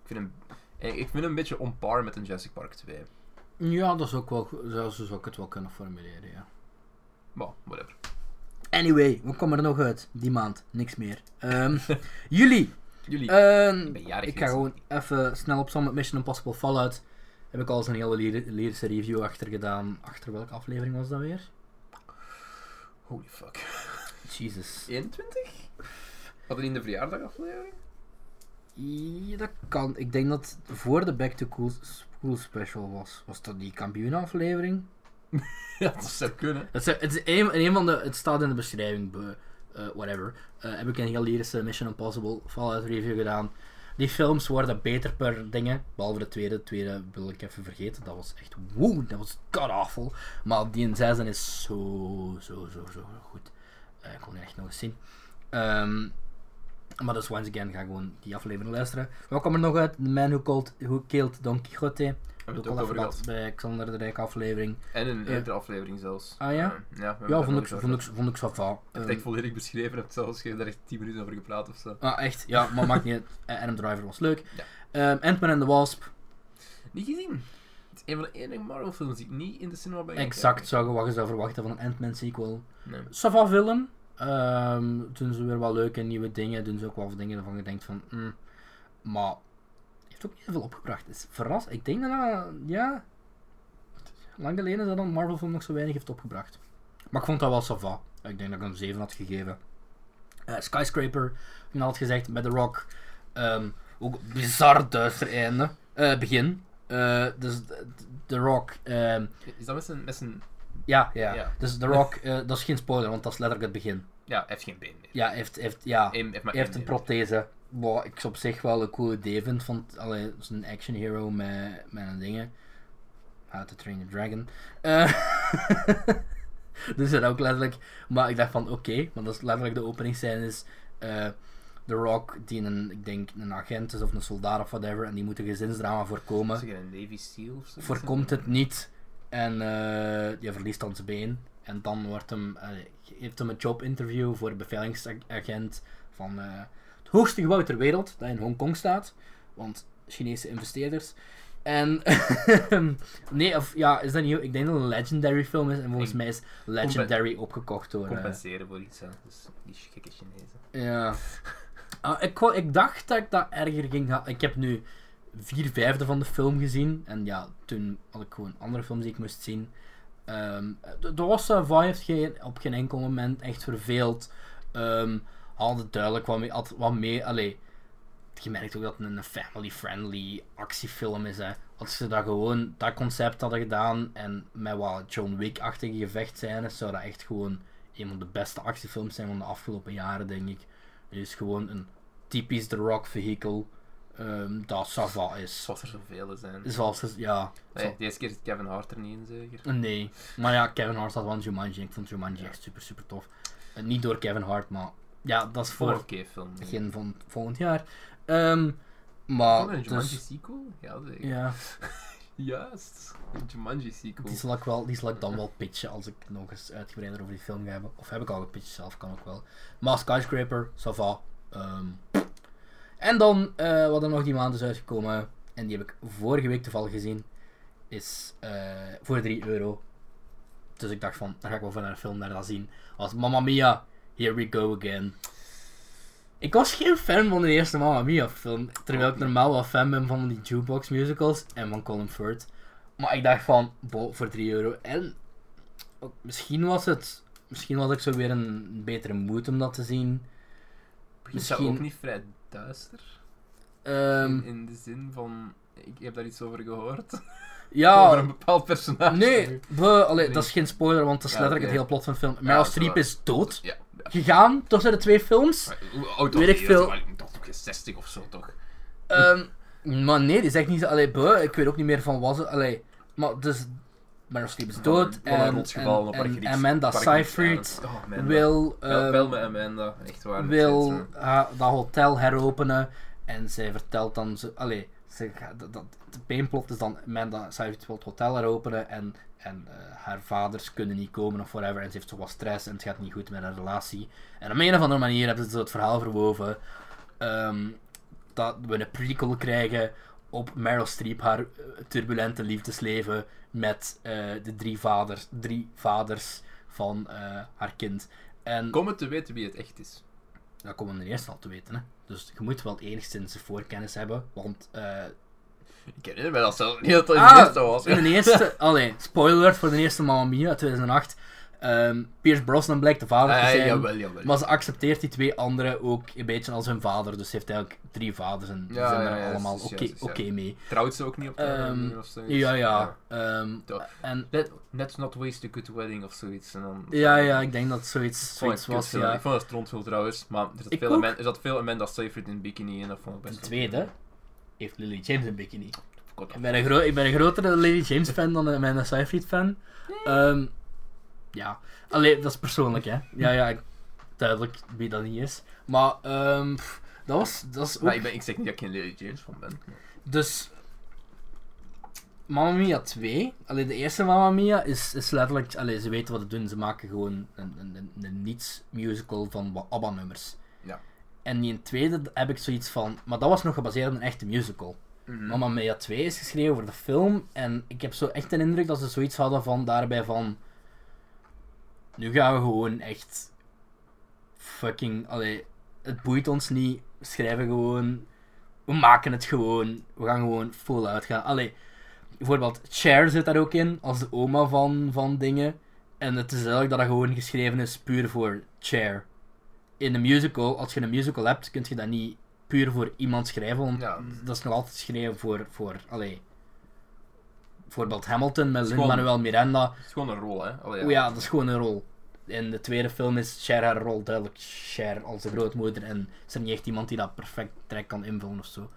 Speaker 2: vind hem... eh, Ik vind hem een beetje on par met een Jurassic Park 2.
Speaker 1: Ja, dat is ook wel, zo zo zou ik het wel kunnen formuleren, ja.
Speaker 2: Maar, whatever.
Speaker 1: Anyway, we komen er nog uit. Die maand, niks meer. Ehm, juli.
Speaker 2: Jullie,
Speaker 1: Ehm,
Speaker 2: ik ben jarig
Speaker 1: ik ga gewoon
Speaker 2: geweest.
Speaker 1: even snel op Summit Mission Impossible Fallout. Heb ik al eens een hele lyri- lyrische review achter gedaan. Achter welke aflevering was dat weer?
Speaker 2: Holy fuck.
Speaker 1: Jesus.
Speaker 2: 21? Hadden die in de verjaardag aflevering?
Speaker 1: Ja, dat kan. Ik denk dat het voor de Back to Cool School special was. Was dat die kampioenaflevering?
Speaker 2: Ja, dat zou kunnen.
Speaker 1: Het, is- het, is een, een van de, het staat in de beschrijving, buh, eh, whatever. Eh, heb ik een heel lyrische Mission Impossible Fallout review gedaan. Die films worden beter per dingen. Behalve de tweede. De tweede wil ik even vergeten. Dat was echt woe, dat was god awful. Maar die in zesde is zo, zo, zo, zo goed. Eh, ik kon die echt nog eens zien. Ehm, maar dus once again, ga gewoon die aflevering luisteren. Wat kwam er nog uit? The Man Who, Called, Who Killed Don Quixote.
Speaker 2: Hebben we
Speaker 1: Ook
Speaker 2: het
Speaker 1: al
Speaker 2: ook
Speaker 1: even
Speaker 2: over
Speaker 1: gehad
Speaker 2: gehad.
Speaker 1: bij Xander de Rijk aflevering.
Speaker 2: En een
Speaker 1: Ja.
Speaker 2: eerdere aflevering zelfs.
Speaker 1: Ah, ja?
Speaker 2: Eh, ja, we hebben
Speaker 1: Ja,
Speaker 2: daar
Speaker 1: vond ik,
Speaker 2: nooit over Ehm,
Speaker 1: vond ik, vond ik Eh, zo va.
Speaker 2: Ik heb het echt volledig beschreven, heb zelfs je hebt daar echt 10 minuten over gepraat of zo.
Speaker 1: Ah, echt? Ja, maar maakt niet uit. Eh, Adam Driver was leuk.
Speaker 2: Ja.
Speaker 1: Ehm, Ant-Man and the Wasp.
Speaker 2: Niet gezien. Het is een van de enige Marvel films die ik niet in de cinema ben gaan
Speaker 1: Exact zou je wat je zou verwachten van een Ant-Man sequel.
Speaker 2: kijken. Nee.
Speaker 1: Sava film. Ehm, doen ze weer wat leuke nieuwe dingen. Doen ze ook wel wat dingen waarvan je denkt van... mm, maar heeft ook niet zoveel opgebracht. Is verras. Ik denk dat dat... Ja... Lang geleden is dat een Marvel film nog zo weinig heeft opgebracht. Maar ik vond dat wel Sava. Ik denk dat ik hem 7 had gegeven. Eh, Skyscraper. Ik had gezegd met The Rock. Ehm, ook bizar duister einde. Eh, begin. Eh, dus The- The Rock... ehm,
Speaker 2: Is dat met zijn... Met zijn
Speaker 1: ja, ja,
Speaker 2: Ja.
Speaker 1: Dus The Rock, eh, dat is geen spoiler, want dat is letterlijk het begin.
Speaker 2: ja, hij heeft geen been meer.
Speaker 1: Ja, hij heeft, hij heeft, ja,
Speaker 2: Hij heeft, maar
Speaker 1: hij heeft
Speaker 2: één
Speaker 1: een
Speaker 2: been.
Speaker 1: prothese. Wat ik op zich wel een coole idee vind, want allee, dat is een action hero met, met een dingen. How to Train Your Dragon. Eh, dus dat ook letterlijk. Maar ik dacht van, oké, maar dat is letterlijk de openingsscène is... eh, The Rock, die een, ik denk, een agent is of een soldaat of whatever, en die moet een gezinsdrama voorkomen
Speaker 2: Is hij een Navy Seal of zo?
Speaker 1: voorkomt het niet en eh, je verliest dan zijn been. En dan wordt hem, eh, heeft hem een jobinterview voor een beveiligingsagent van eh, het hoogste gebouw ter wereld, dat in Hongkong staat. Want Chinese investeerders. En nee, of ja, is dat niet? Ik denk dat het een legendary film is. En volgens
Speaker 2: Ik-
Speaker 1: mij is legendary opgekocht door. eh,
Speaker 2: Compenseren voor iets, hè. Dus die gekke Chinezen.
Speaker 1: ja. Ah, ik, wou- ik dacht dat ik dat erger ging gaan. Ik heb nu vier vijfde van de film gezien. En ja, toen had ik gewoon andere films die ik moest zien. Ehm de de was Savoy heeft geen, op geen enkel moment echt verveeld. Ehm had het duidelijk wat mee. Had wat mee allee, je merkt ook dat het een family-friendly actiefilm is. Hè. Als ze dat gewoon, dat concept hadden gedaan en met wat John Wick-achtige gevechtscènes, zou dat echt gewoon een van de beste actiefilms zijn van de afgelopen jaren, denk ik. Het is gewoon een typisch The Rock-vehikel ehm, dat Sava is.
Speaker 2: Zoals er zoveel zijn.
Speaker 1: Zoals, er- ja.
Speaker 2: Nee,
Speaker 1: zo-
Speaker 2: deze keer zit Kevin Hart er niet in, zeker?
Speaker 1: Nee. Maar ja, Kevin Hart had wel een Jumanji. en Ik vond Jumanji echt super, super tof. Eh, niet door Kevin Hart, maar ja, dat is voor
Speaker 2: Voor oké film.
Speaker 1: begin van volgend jaar. Ehm,
Speaker 2: Komt
Speaker 1: maar.
Speaker 2: er Oh, een Jumanji
Speaker 1: Dus,
Speaker 2: sequel? Ja, zeker.
Speaker 1: ja.
Speaker 2: Juist. Een Jumanji sequel.
Speaker 1: Die zal, ik wel, die zal ik dan wel pitchen als ik nog eens uitgebreider over die film ga hebben. Of heb ik al gepitcht zelf, kan ook wel. Maar Skyscraper, ça va. Ehm, En dan, eh, wat er nog die maand is uitgekomen, en die heb ik vorige week toevallig gezien, is eh, voor 3 euro. Dus ik dacht van, dan ga ik wel van een film naar dat zien. Als Mamma Mia, Here We Go Again. Ik was geen fan van de eerste Mamma Mia film, terwijl ik normaal wel fan ben van die jukebox musicals en van Colin Firth. Maar ik dacht van, bo, voor 3 euro. En ook, misschien was het, misschien had ik zo weer een betere moed om dat te zien.
Speaker 2: Is dat ook
Speaker 1: misschien-
Speaker 2: niet vrij duister?
Speaker 1: Ehm,
Speaker 2: in, in de zin van, ik heb daar iets over gehoord.
Speaker 1: ja,
Speaker 2: over een bepaald personage.
Speaker 1: Nee, we, allee,
Speaker 2: Nee.
Speaker 1: dat is geen spoiler, want dat is
Speaker 2: Ja,
Speaker 1: letterlijk
Speaker 2: oké.
Speaker 1: het hele plot van de film.
Speaker 2: dat
Speaker 1: Meryl
Speaker 2: is
Speaker 1: Streep
Speaker 2: waar.
Speaker 1: is dood
Speaker 2: Ja.
Speaker 1: gegaan tussen de twee films.
Speaker 2: Maar Hoe oud
Speaker 1: Weet
Speaker 2: was
Speaker 1: ik
Speaker 2: die?
Speaker 1: veel.
Speaker 2: Dat is wel- Toch toch 60 of zo, toch?
Speaker 1: Ehm, maar nee, die zegt niet zo, allee, buh, ik weet ook niet meer van was het, allee. Maar dus, Meryl Streep is dood
Speaker 2: Van een
Speaker 1: en,
Speaker 2: rotsgeval
Speaker 1: en,
Speaker 2: op
Speaker 1: en
Speaker 2: Paragrieks-
Speaker 1: Amanda
Speaker 2: Paragrieks
Speaker 1: Seyfried
Speaker 2: Island. Oh, Amanda.
Speaker 1: wil,
Speaker 2: Bel,
Speaker 1: ehm,
Speaker 2: bel me Amanda, echt waar. dat
Speaker 1: wil
Speaker 2: zit, eh.
Speaker 1: ha- dat hotel heropenen en zij vertelt dan, ze, allee, ze, gaat- dat, dat, de peenplot is dan, Amanda Seyfried wil het hotel heropenen en, en eh, haar vaders kunnen niet komen of whatever en ze heeft zo wat stress en het gaat niet goed met haar relatie. En op een of andere manier hebben ze zo het verhaal verwoven ehm, dat we een prequel krijgen op Meryl Streep, haar eh, turbulente liefdesleven met eh, de drie vaders, drie vaders van eh, haar kind. En
Speaker 2: Komen te weten wie het echt is.
Speaker 1: dat komen we er eerst al te weten. Hè. Dus je moet wel enigszins de voorkennis hebben. Want eh,
Speaker 2: Ik herinner me dat zelf niet dat dat in
Speaker 1: Ah,
Speaker 2: de eerste was.
Speaker 1: in de eerste... allee, spoiler alert voor de eerste Mamma Mia uit 2008. ehm, Pierce Brosnan blijkt de vader te
Speaker 2: Ah,
Speaker 1: zijn.
Speaker 2: jawel, jawel.
Speaker 1: maar ze accepteert die twee anderen ook een beetje als hun vader. Dus ze heeft eigenlijk drie vaders en ze
Speaker 2: Ja,
Speaker 1: zijn
Speaker 2: ja,
Speaker 1: daar
Speaker 2: ja,
Speaker 1: allemaal
Speaker 2: juist,
Speaker 1: oké
Speaker 2: juist, ja.
Speaker 1: oké mee.
Speaker 2: Trouwt ze ook niet op de
Speaker 1: Ehm,
Speaker 2: manier of zoiets?
Speaker 1: Ja, ja. ehm,
Speaker 2: Toch.
Speaker 1: en,
Speaker 2: Let, let's not waste a good wedding of zoiets. En dan,
Speaker 1: ja, ja, ik denk dat het zoiets,
Speaker 2: Vond ik
Speaker 1: zoiets was.
Speaker 2: kutfilm.
Speaker 1: Ja.
Speaker 2: Ik vond dat strontful trouwens, maar er zat,
Speaker 1: Ik
Speaker 2: veel
Speaker 1: ook.
Speaker 2: Amanda, er zat veel Amanda Seyfried in bikini en dat vond ik best
Speaker 1: De tweede heeft Lily James een bikini.
Speaker 2: God, dat-
Speaker 1: Ik ben, een gro- ik ben een grotere Lady James fan dan eh, een Amanda Seyfried fan. Ehm, ja, alleen dat is persoonlijk, hè? Ja, ja, ik- duidelijk wie dat niet is. Maar ehm, pff, dat was, dat is ook.
Speaker 2: Maar Nou, ik, ben, ik zeg niet dat ik geen Lily James van ben.
Speaker 1: Dus Mamma Mia 2, alleen de eerste Mamma Mia is, is letterlijk, allee, ze weten wat ze doen, ze maken gewoon een, een, een, een niets musical van wat ABBA nummers.
Speaker 2: Ja.
Speaker 1: En die tweede heb ik zoiets van, maar dat was nog gebaseerd op een echte musical.
Speaker 2: Mhm.
Speaker 1: Mamma Mia 2 is geschreven voor de film. En ik heb zo echt een indruk dat ze zoiets hadden van daarbij van. Nu gaan we gewoon echt. Fucking. Allee, het boeit ons niet. We schrijven gewoon. We maken het gewoon. We gaan gewoon full out gaan. Allee, bijvoorbeeld Cher zit daar ook in. Als de oma van, van dingen. En het is eigenlijk dat dat gewoon geschreven is puur voor Cher. In een musical, als je een musical hebt, kun je dat niet puur voor iemand schrijven. Want
Speaker 2: Ja.
Speaker 1: dat is nog altijd geschreven voor, voor allee, bijvoorbeeld Hamilton met
Speaker 2: Schoon.
Speaker 1: Lin-Manuel Miranda.
Speaker 2: Het is gewoon een rol, hè? Allee,
Speaker 1: Oh ja, dat is gewoon een rol. In de tweede film is Cher haar rol duidelijk Cher als de grootmoeder en is er niet echt iemand die dat perfect direct kan invullen of zo.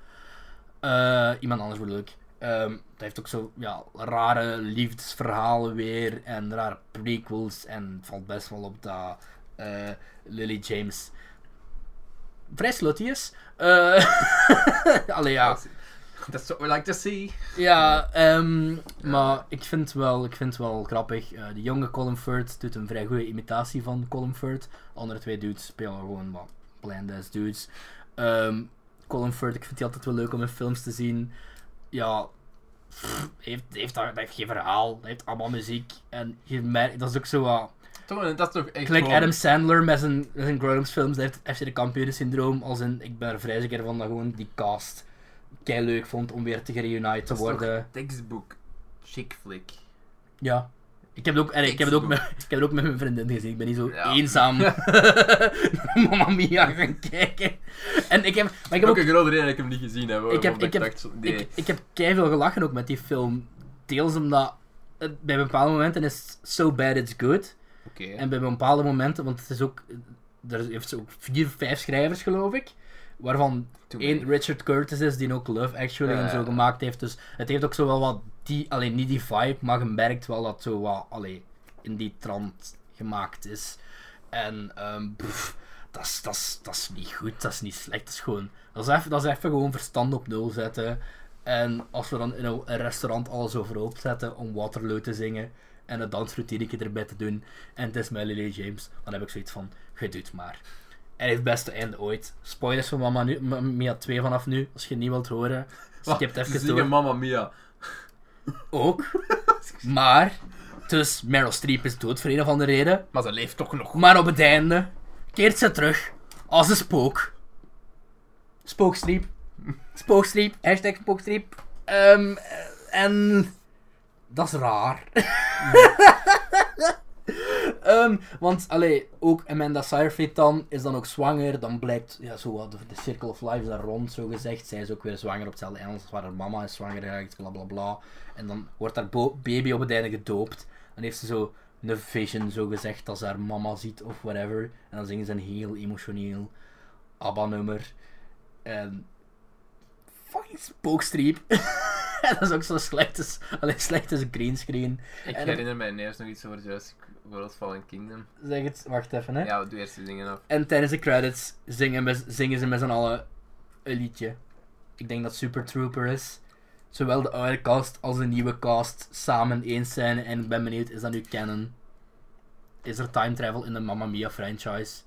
Speaker 1: Eh, iemand anders wordt leuk. Ehm dat heeft ook zo ja, rare liefdesverhalen weer en rare prequels en het valt best wel op dat eh, Lily James vrij slutty is. Eh, Allee ja,
Speaker 2: That's what we like to see.
Speaker 1: ja, ehm, maar ik vind, wel, ik vind het wel grappig. Eh, de jonge Colin Firth doet een vrij goede imitatie van Colin Firth. Andere twee dudes spelen gewoon wat blind ass dudes. Ehm, Colin Firth, ik vind die altijd wel leuk om in films te zien. Ja, pff, heeft, heeft, daar- dat heeft geen verhaal, dat heeft allemaal muziek. En je merkt, dat is ook zo wat...
Speaker 2: Toch, en dat is toch echt
Speaker 1: Gelijk
Speaker 2: gewoon-
Speaker 1: Adam Sandler met zijn, met zijn grown-ups films, dat heeft het FC de Kampioenen-syndroom. Als in, ik ben er vrij zeker van dat gewoon die cast kei leuk vond om weer te gereunite te
Speaker 2: dat is toch
Speaker 1: worden.
Speaker 2: Textbook chick flick.
Speaker 1: Ja. Ik heb het ook, eh, ik heb het ook, met, ik heb het ook met mijn vriendin gezien. Ik ben niet zo
Speaker 2: Ja.
Speaker 1: eenzaam naar Mamma Mia gaan kijken. En ik heb, maar ik heb
Speaker 2: ook
Speaker 1: ook,
Speaker 2: een grote reden dat ik hem niet gezien heb. hoor,
Speaker 1: Ik heb-
Speaker 2: want
Speaker 1: ik heb-
Speaker 2: dacht zo- nee.
Speaker 1: ik, ik heb keihard gelachen ook met die film. Deels omdat het bij bepaalde momenten is het so bad it's good.
Speaker 2: Oké.
Speaker 1: En bij bepaalde momenten, want het is ook, er heeft ze ook vier, vijf schrijvers geloof ik. Waarvan
Speaker 2: Too many.
Speaker 1: één Richard Curtis is, die ook Love Actually
Speaker 2: Ja,
Speaker 1: en
Speaker 2: ja,
Speaker 1: zo
Speaker 2: ja.
Speaker 1: gemaakt heeft. Dus het heeft ook zo wel wat die, alleen niet die vibe, maar je merkt wel dat zo wat allee, in die trant gemaakt is. En ehm pff, dat is- dat is dat is niet goed, dat is niet slecht. Dat is gewoon, dat is even, dat is even gewoon verstand op nul zetten. En als we dan in een een restaurant alles overhoop zetten om Waterloo te zingen en het dansroutine erbij te doen en het is met Lily James, dan heb ik zoiets van, je doet maar. En heeft het beste einde ooit. Spoilers van Mama nu, Ma- Mia 2 vanaf nu, als je niet wilt horen. Skip
Speaker 2: Ze
Speaker 1: even
Speaker 2: zingen
Speaker 1: door.
Speaker 2: Mamma Mia.
Speaker 1: Ook. Maar, dus Meryl Streep is dood voor een of andere reden.
Speaker 2: Maar ze leeft toch nog.
Speaker 1: Maar op het einde keert ze terug als een spook. Spookstreep. Spookstreep. Hashtag spookstreep. Ehm, eh, en dat is raar. Ehm, want allee, ook Amanda Seyfried dan is dan ook zwanger. Dan blijkt ja, zo, wat, de, de Circle of Life is daar rond, zo gezegd. Zij is ook weer zwanger op hetzelfde eiland als waar haar mama is zwanger geraakt, bla bla bla. En dan wordt haar bo- baby op het einde gedoopt. Dan heeft ze zo een vision, zo gezegd, als ze haar mama ziet of whatever. En dan zingen ze een heel emotioneel ABBA-nummer. En fucking spookstreep. dat is ook zo slecht als, allee, slecht als een greenscreen.
Speaker 2: Ik
Speaker 1: En-
Speaker 2: herinner mij ineens nog iets over Jurassic World Fallen Kingdom.
Speaker 1: Zeg het, wacht even hè.
Speaker 2: Ja, doe eerst die dingen af.
Speaker 1: En tijdens de credits zingen, we- zingen ze met z'n allen een liedje. Ik denk dat Super Trooper is. Zowel de oude cast als de nieuwe cast samen eens zijn. En ik ben benieuwd, is dat nu canon? Is er time travel in de Mamma Mia franchise?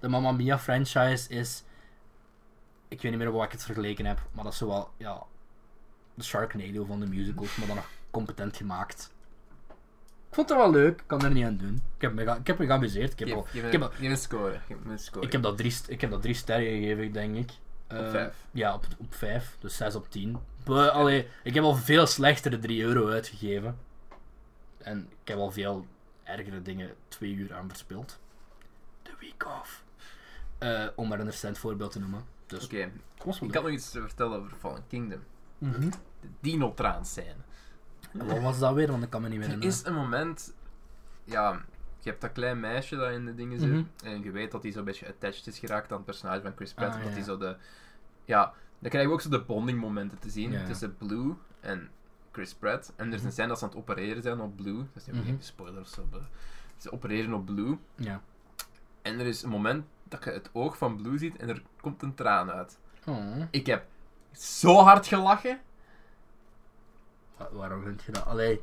Speaker 1: De Mamma Mia franchise is... Ik weet niet meer wat ik het vergeleken heb. Maar dat is zowel, ja... De Sharknado van de musicals, maar dan nog competent gemaakt. Ik vond het wel leuk. Ik kan er niet aan doen. Ik heb me, ga- ik heb me geamuseerd. Ik heb, al,
Speaker 2: Geef, geef,
Speaker 1: ik
Speaker 2: een-
Speaker 1: heb al-
Speaker 2: geef een score. Geef me een score.
Speaker 1: ik heb, dat drie, st- ik heb dat drie sterren gegeven, denk ik. Eh,
Speaker 2: vijf.
Speaker 1: Ja, op, op vijf. Dus zes op tien. Buh, allee, ik heb al veel slechtere 3 euro uitgegeven. En ik heb al veel ergere dingen twee uur aan verspild. De week off. Eh, om maar een recent voorbeeld te noemen. Dus
Speaker 2: Oké,
Speaker 1: het was wel
Speaker 2: ik had nog iets te vertellen over Fallen Kingdom.
Speaker 1: leuk. Mhm.
Speaker 2: De dinotraans zijn.
Speaker 1: En Wat was dat weer? Want ik kan me niet meer
Speaker 2: Er
Speaker 1: herinneren.
Speaker 2: is een moment, ja, je hebt dat klein meisje dat in de dingen zit.
Speaker 1: Mhm.
Speaker 2: En je weet dat hij zo'n beetje attached is geraakt aan het personage van Chris Pratt.
Speaker 1: Ah,
Speaker 2: omdat
Speaker 1: ja.
Speaker 2: hij zo de. Ja, dan krijgen we ook zo de bonding momenten te zien
Speaker 1: Ja, ja.
Speaker 2: tussen Blue en Chris Pratt. En er
Speaker 1: Mhm.
Speaker 2: zijn scènes dat ze aan het opereren zijn op Blue. Dat is nu
Speaker 1: Mhm.
Speaker 2: geen spoiler of zo. maar Ze opereren op Blue.
Speaker 1: Ja.
Speaker 2: En er is een moment dat je het oog van Blue ziet en er komt een traan uit.
Speaker 1: Oh.
Speaker 2: Ik heb zo hard gelachen.
Speaker 1: Wa- Waarom vind je dat? Allee,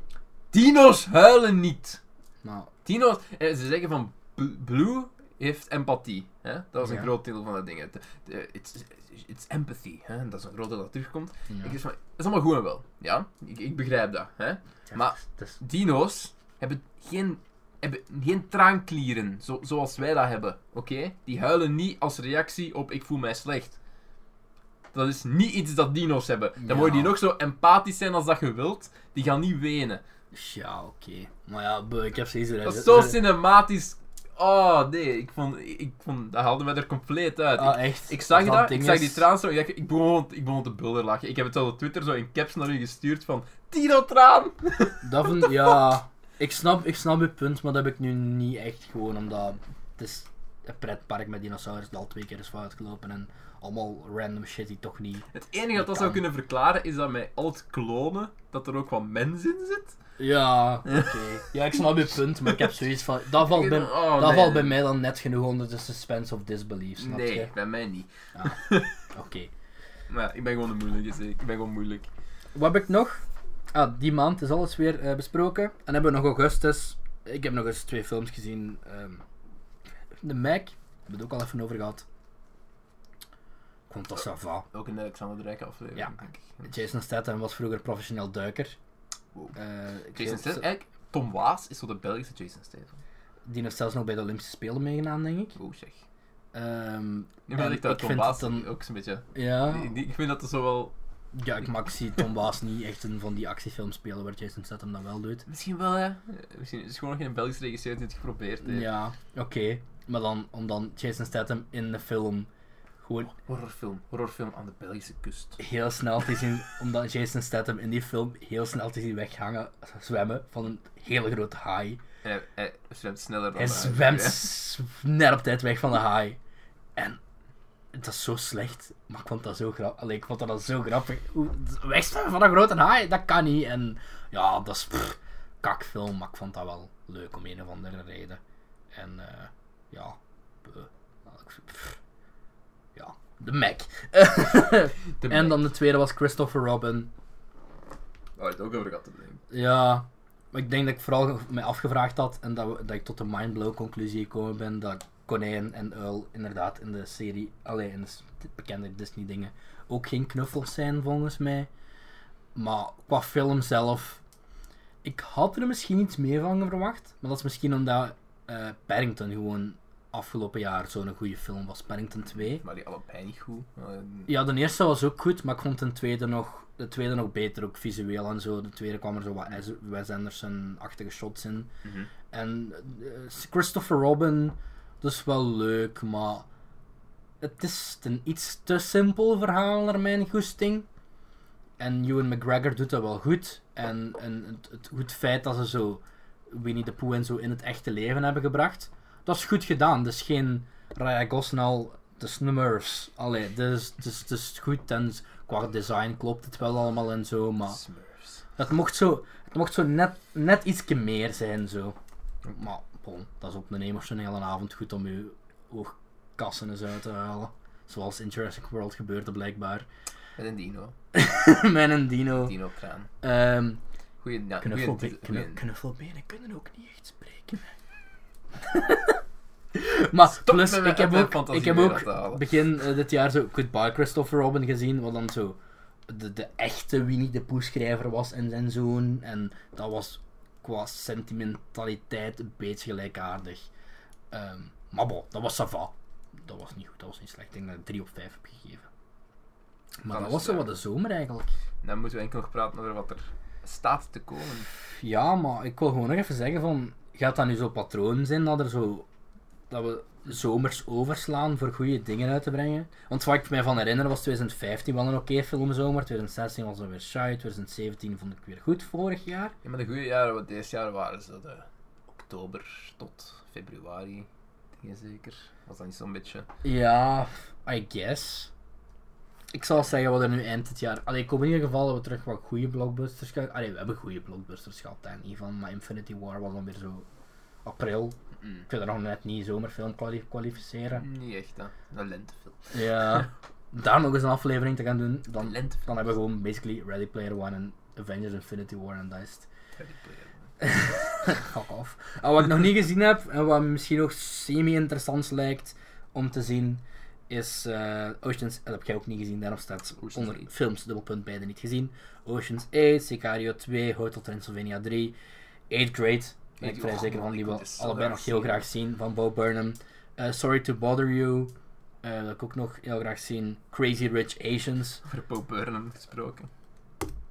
Speaker 2: Dino's huilen niet.
Speaker 1: nou,
Speaker 2: Dino's, eh, ze zeggen van B- Blue heeft empathie. Hè? Dat was een
Speaker 1: Ja.
Speaker 2: groot deel van dat ding. Het- de- It's, it's empathy. Hè? Dat is een groot deel dat terugkomt.
Speaker 1: ja.
Speaker 2: Ik dacht van, dat is allemaal goed en wel. Ja, ik, ik begrijp dat. Hè?
Speaker 1: Ja,
Speaker 2: maar-
Speaker 1: het is- het is-
Speaker 2: Dino's hebben geen, hebben geen traanklieren zo, zoals wij dat hebben. Oké? Die huilen niet als reactie op ik voel mij slecht. Dat is niet iets dat dino's hebben. Dan
Speaker 1: Ja.
Speaker 2: moet je die nog zo empathisch zijn als dat je wilt. Die gaan niet wenen.
Speaker 1: Ja, oké. Maar ja, buh, ik heb Dus- steeds...
Speaker 2: Dat is zo cinematisch. Oh nee, ik vond, ik vond dat haalde mij er compleet uit.
Speaker 1: Ah,
Speaker 2: ik,
Speaker 1: echt?
Speaker 2: ik zag
Speaker 1: Als
Speaker 2: dat, ik
Speaker 1: ding
Speaker 2: zag
Speaker 1: is-
Speaker 2: die traan zo, ik, dacht, ik, begon, ik begon te bulder lachen. Ik heb het al op Twitter zo in caps naar u gestuurd van, Tino traan!
Speaker 1: Dat vind- ja, ik snap, ik snap je punt, maar dat heb ik nu niet echt gewoon omdat het is een pretpark met dinosaurus dat al twee keer is foutgelopen en allemaal random shit die toch niet.
Speaker 2: Het enige
Speaker 1: Dat
Speaker 2: dat dat zou
Speaker 1: kan.
Speaker 2: kunnen verklaren is dat met al het klonen, dat er ook wat mens in zit.
Speaker 1: Ja, oké. Ja, ik snap je punt, maar ik heb zoiets van. Dat valt bij,
Speaker 2: Oh,
Speaker 1: dat
Speaker 2: nee.
Speaker 1: valt bij mij dan net genoeg onder de suspense of disbelief, snap
Speaker 2: Nee,
Speaker 1: je?
Speaker 2: bij mij niet.
Speaker 1: Oké.
Speaker 2: Maar ja, ik ben gewoon een moeilijke, zeg. ik ben gewoon moeilijk.
Speaker 1: Wat heb ik nog? Ah, die maand is alles weer eh, besproken. En hebben we nog augustus. Ik heb nog eens twee films gezien. ehm, de Mac, daar hebben we het ook al even over gehad. Ik vond dat sava.
Speaker 2: Ook in de Alexander Drake aflevering.
Speaker 1: Ja.
Speaker 2: denk ik.
Speaker 1: Jason Statham was vroeger professioneel duiker.
Speaker 2: Wow.
Speaker 1: Eh, ik
Speaker 2: Jason
Speaker 1: geloof-
Speaker 2: Statham, eigenlijk, Tom Waas is zo de Belgische Jason Statham.
Speaker 1: Die heeft zelfs nog bij de Olympische Spelen meegedaan, denk ik.
Speaker 2: Oh zeg.
Speaker 1: Ehm,
Speaker 2: Nu ben
Speaker 1: En
Speaker 2: ik dat
Speaker 1: ik
Speaker 2: Tom
Speaker 1: vind
Speaker 2: Waas
Speaker 1: het dan- Ah.
Speaker 2: ook zo'n beetje...
Speaker 1: ja.
Speaker 2: Die- die- Ik vind dat er zo wel...
Speaker 1: ja, ik mag zie Tom Baas niet echt een van die actiefilms spelen waar Jason Statham dat wel doet.
Speaker 2: Misschien wel, hè? Eh, Misschien is het gewoon geen Belgisch regisseur die het geprobeerd heeft.
Speaker 1: Ja, oké. Maar dan, om dan Jason Statham in de film gewoon
Speaker 2: Horrorfilm. Horrorfilm aan de Belgische kust.
Speaker 1: heel snel te zien, omdat Jason Statham in die film heel snel te zien weghangen, zwemmen van een hele grote haai.
Speaker 2: Hij, hij zwemt sneller dan
Speaker 1: Hij
Speaker 2: wij.
Speaker 1: zwemt
Speaker 2: Ja.
Speaker 1: s- net op tijd weg van de haai. En dat is zo slecht, maar ik vond dat zo grappig. Allee, ik vond dat al zo grappig. Hoe- Wegzwemmen van een grote haai, dat kan niet. En ja, dat is pff, kakfilm, maar ik vond dat wel leuk om een of andere reden. En eh, ja, eh, pff, ja, de Mac.
Speaker 2: De
Speaker 1: en
Speaker 2: Mac.
Speaker 1: dan de tweede was Christopher Robin.
Speaker 2: Oh, het ook over gehad, denk ik.
Speaker 1: Ja, maar ik denk dat ik vooral mij afgevraagd had en dat, we- dat ik tot de mindblow conclusie gekomen ben dat Konijn en Uil inderdaad in de serie, alleen in de s- de bekende Disney dingen, ook geen knuffels zijn volgens mij. Maar qua film zelf, ik had er misschien iets meer van verwacht, maar dat is misschien omdat eh, Paddington gewoon afgelopen jaar zo'n goede film was, Paddington 2.
Speaker 2: Maar die allebei niet goed. Eh,
Speaker 1: Ja, de eerste was ook goed, maar ik vond de tweede nog, de tweede nog beter, ook visueel en zo. De tweede kwam er zo wat Wes- Wes Anderson-achtige shots in.
Speaker 2: mhm.
Speaker 1: En eh, Christopher Robin, dat is wel leuk, maar het is een iets te simpel verhaal naar mijn goesting. En Ewan McGregor doet dat wel goed. En, en het, het, goed feit dat ze zo Winnie the Pooh en zo in het echte leven hebben gebracht, dat is goed gedaan. Dus geen Raya Gosnell, de Smurfs. Allee, dus het is, het is goed en qua design klopt het wel allemaal en zo, maar...
Speaker 2: Ah. Smurfs.
Speaker 1: Dat mocht zo, het mocht zo net, net ietsje meer zijn, zo. Maar, bon, dat is op een emotionele avond goed om je oogkassen eens uit te halen. Zoals in Jurassic World gebeurde blijkbaar.
Speaker 2: Met een dino.
Speaker 1: Mijn en Dino.
Speaker 2: Dino-kraan.
Speaker 1: Ehm,
Speaker 2: Goeie naam.
Speaker 1: knuffelbe- knu- knuffelbenen kunnen ook niet echt spreken. maar
Speaker 2: Stop
Speaker 1: plus,
Speaker 2: met mijn-
Speaker 1: ik heb
Speaker 2: mijn
Speaker 1: ook,
Speaker 2: fantasie
Speaker 1: ik heb
Speaker 2: weer
Speaker 1: ook
Speaker 2: uit te halen.
Speaker 1: begin eh, dit jaar zo Goodbye Christopher Robin gezien, wat dan zo de, de echte Winnie de Pooh schrijver was en zijn zoon. En dat was qua sentimentaliteit een beetje gelijkaardig. Ehm, maar bon, dat was sava. Dat was niet goed, dat was niet slecht. Ik denk dat ik 3 op 5 heb gegeven. Maar
Speaker 2: Dan
Speaker 1: dat
Speaker 2: is
Speaker 1: was
Speaker 2: het,
Speaker 1: zo
Speaker 2: ja.
Speaker 1: wat de zomer eigenlijk.
Speaker 2: Dan moeten we enkel nog praten over wat er staat te komen.
Speaker 1: Ja, maar ik wil gewoon nog even zeggen van... Gaat dat nu zo'n patroon zijn dat er zo... Dat we zomers overslaan voor goede dingen uit te brengen? Want wat ik mij van herinner was 2015 wel een oké filmzomer. 2016 was dat weer shy. 2017 vond ik weer goed vorig jaar.
Speaker 2: Ja, maar de goede jaren, wat deze jaar waren, ze dat eh, oktober tot februari. Dingen zeker. Was dat niet zo'n beetje.
Speaker 1: Ja, I guess. Ik zal zeggen wat er nu eind dit jaar... Allee, ik hoop in ieder geval dat we terug wat goede blockbusters gaan... Allee, we hebben goede blockbusters gehad daar niet van. Maar Infinity War was dan weer zo... April.
Speaker 2: Mm.
Speaker 1: Ik wil er nog net niet zomerfilm kwali- kwalificeren.
Speaker 2: Niet echt, hè. Een lentefilm.
Speaker 1: Ja. Daar nog eens een aflevering te gaan doen,
Speaker 2: Een
Speaker 1: dan,
Speaker 2: lentefilm.
Speaker 1: dan hebben we gewoon basically Ready Player One en Avengers Infinity War en dat is het.
Speaker 2: Ready Player One.
Speaker 1: Fuck off. En wat ik nog niet gezien heb, en wat misschien nog semi-interessant lijkt om te zien, is eh, Oceans... Dat heb jij ook niet gezien, daarom staat
Speaker 2: Ocean's
Speaker 1: onder
Speaker 2: Eight.
Speaker 1: films, dubbelpunt, beide niet gezien. Oceans 8, Sicario 2, Hotel Transylvania 3, 8 Grade, ben ik
Speaker 2: Eight-
Speaker 1: vrij
Speaker 2: oh,
Speaker 1: zeker van,
Speaker 2: ik
Speaker 1: die wil
Speaker 2: moet dit zo
Speaker 1: allebei
Speaker 2: graag
Speaker 1: nog heel
Speaker 2: zien.
Speaker 1: graag zien, van Bo Burnham. Eh, Sorry to Bother You, eh, wil ik ook nog heel graag zien. Crazy Rich Asians.
Speaker 2: Over Bo Burnham gesproken.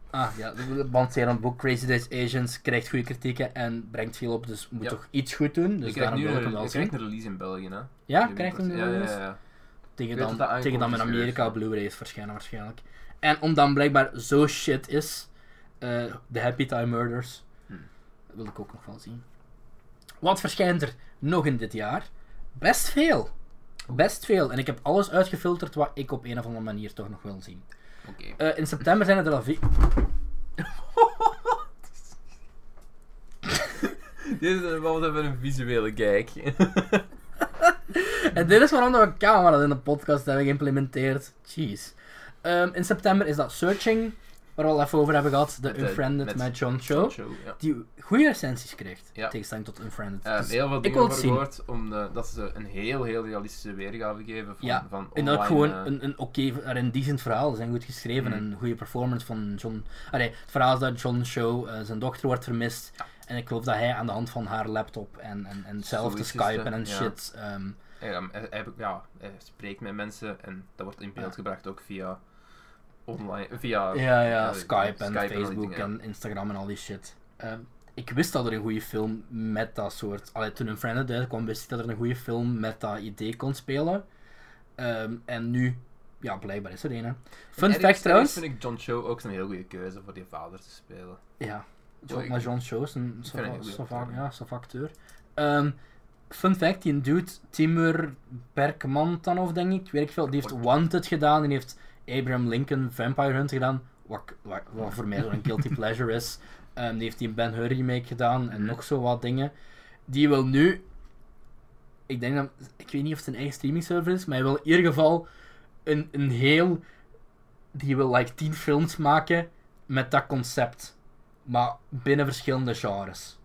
Speaker 1: Ah ja, want het boek Crazy Rich Asians krijgt goede kritieken en brengt veel op, dus moet
Speaker 2: Ja.
Speaker 1: toch iets goed doen. Dus
Speaker 2: ik krijg
Speaker 1: daarom
Speaker 2: nu
Speaker 1: wil ik hem
Speaker 2: een,
Speaker 1: wel
Speaker 2: ik
Speaker 1: zien.
Speaker 2: krijg een release in België, hè.
Speaker 1: Ja,
Speaker 2: Die
Speaker 1: krijgt hem nu
Speaker 2: binnenkort.
Speaker 1: wel
Speaker 2: ja,
Speaker 1: eens?
Speaker 2: ja, ja,
Speaker 1: Tegen
Speaker 2: Ik weet
Speaker 1: dan,
Speaker 2: dat dat
Speaker 1: tegen dan
Speaker 2: aankomt
Speaker 1: met
Speaker 2: is
Speaker 1: Amerika
Speaker 2: geweest.
Speaker 1: Blu-ray is verschijnen waarschijnlijk. En omdat hem blijkbaar zo shit is, eh The Happy Time Murders,
Speaker 2: Hmm.
Speaker 1: dat wil ik ook nog wel zien. Wat verschijnt er nog in dit jaar? Best veel. Best veel. En ik heb alles uitgefilterd wat ik op een of andere manier toch nog wil zien.
Speaker 2: Oké.
Speaker 1: Eh, in september zijn het er al vier.
Speaker 2: Dit is wel even een visuele kijk.
Speaker 1: En dit is waarom dat we camera's in de podcast hebben geïmplementeerd. Jeez. Ehm, in september is dat Searching, waar we al even over hebben gehad. De
Speaker 2: Met, eh,
Speaker 1: Unfriended met,
Speaker 2: met
Speaker 1: John Cho.
Speaker 2: ja.
Speaker 1: Die goede recensies krijgt.
Speaker 2: Ja.
Speaker 1: Tegenstelling tot Unfriended.
Speaker 2: Eh,
Speaker 1: Dus
Speaker 2: heel veel
Speaker 1: ik
Speaker 2: dingen
Speaker 1: wil
Speaker 2: over
Speaker 1: het zien.
Speaker 2: gehoord, omdat ze een heel, heel realistische weergave geven van,
Speaker 1: Ja,
Speaker 2: van
Speaker 1: En
Speaker 2: online...
Speaker 1: dat ook gewoon
Speaker 2: eh,
Speaker 1: een, een oké, er een decent verhaal. Ze zijn goed geschreven
Speaker 2: Mhm.
Speaker 1: en een goede performance van John. Allee, het verhaal is dat John Show, eh, zijn dochter wordt vermist. En ik geloof dat hij aan de hand van haar laptop en, en, en zelf te
Speaker 2: Zoiets is het,
Speaker 1: skypen en
Speaker 2: ja.
Speaker 1: shit. ehm,
Speaker 2: eh, Ja, hij, hij- ja, hij spreekt met mensen en dat wordt in beeld
Speaker 1: Ja.
Speaker 2: gebracht ook via online, via
Speaker 1: Ja, ja,
Speaker 2: eh,
Speaker 1: Skype en
Speaker 2: al die
Speaker 1: Facebook
Speaker 2: dingen.
Speaker 1: en Instagram en al die shit. Ehm, ik wist dat er een goede film met dat soort. Allee, toen een friend uitkwam, wist ik dat er een goede film met dat idee kon spelen. Ehm, en nu, ja, blijkbaar is er een. hè. Fun
Speaker 2: Ergens- ergens
Speaker 1: fact trouwens.
Speaker 2: vind ik John Cho ook een heel goede keuze voor die vader te spelen.
Speaker 1: Ja,
Speaker 2: Ja,
Speaker 1: John,
Speaker 2: ik-
Speaker 1: maar John Cho is een
Speaker 2: vind hem een goeie
Speaker 1: savant
Speaker 2: acteur.
Speaker 1: ja, savant acteur. Ehm, fun fact, die dude, Timur Berkmantanov, denk ik, weet ik veel, die heeft Wanted gedaan en die heeft Abraham Lincoln Vampire Hunt gedaan, wat, ik- wat, wat voor mij zo'n guilty pleasure is. Ehm, die heeft die Ben Hur remake gedaan en
Speaker 2: Mhm.
Speaker 1: nog zo wat dingen. Die wil nu, ik denk dat, ik weet niet of het een eigen streaming server is, maar hij wil in ieder geval een, een heel... Die wil like 10 films maken met dat concept. Maar binnen verschillende genres.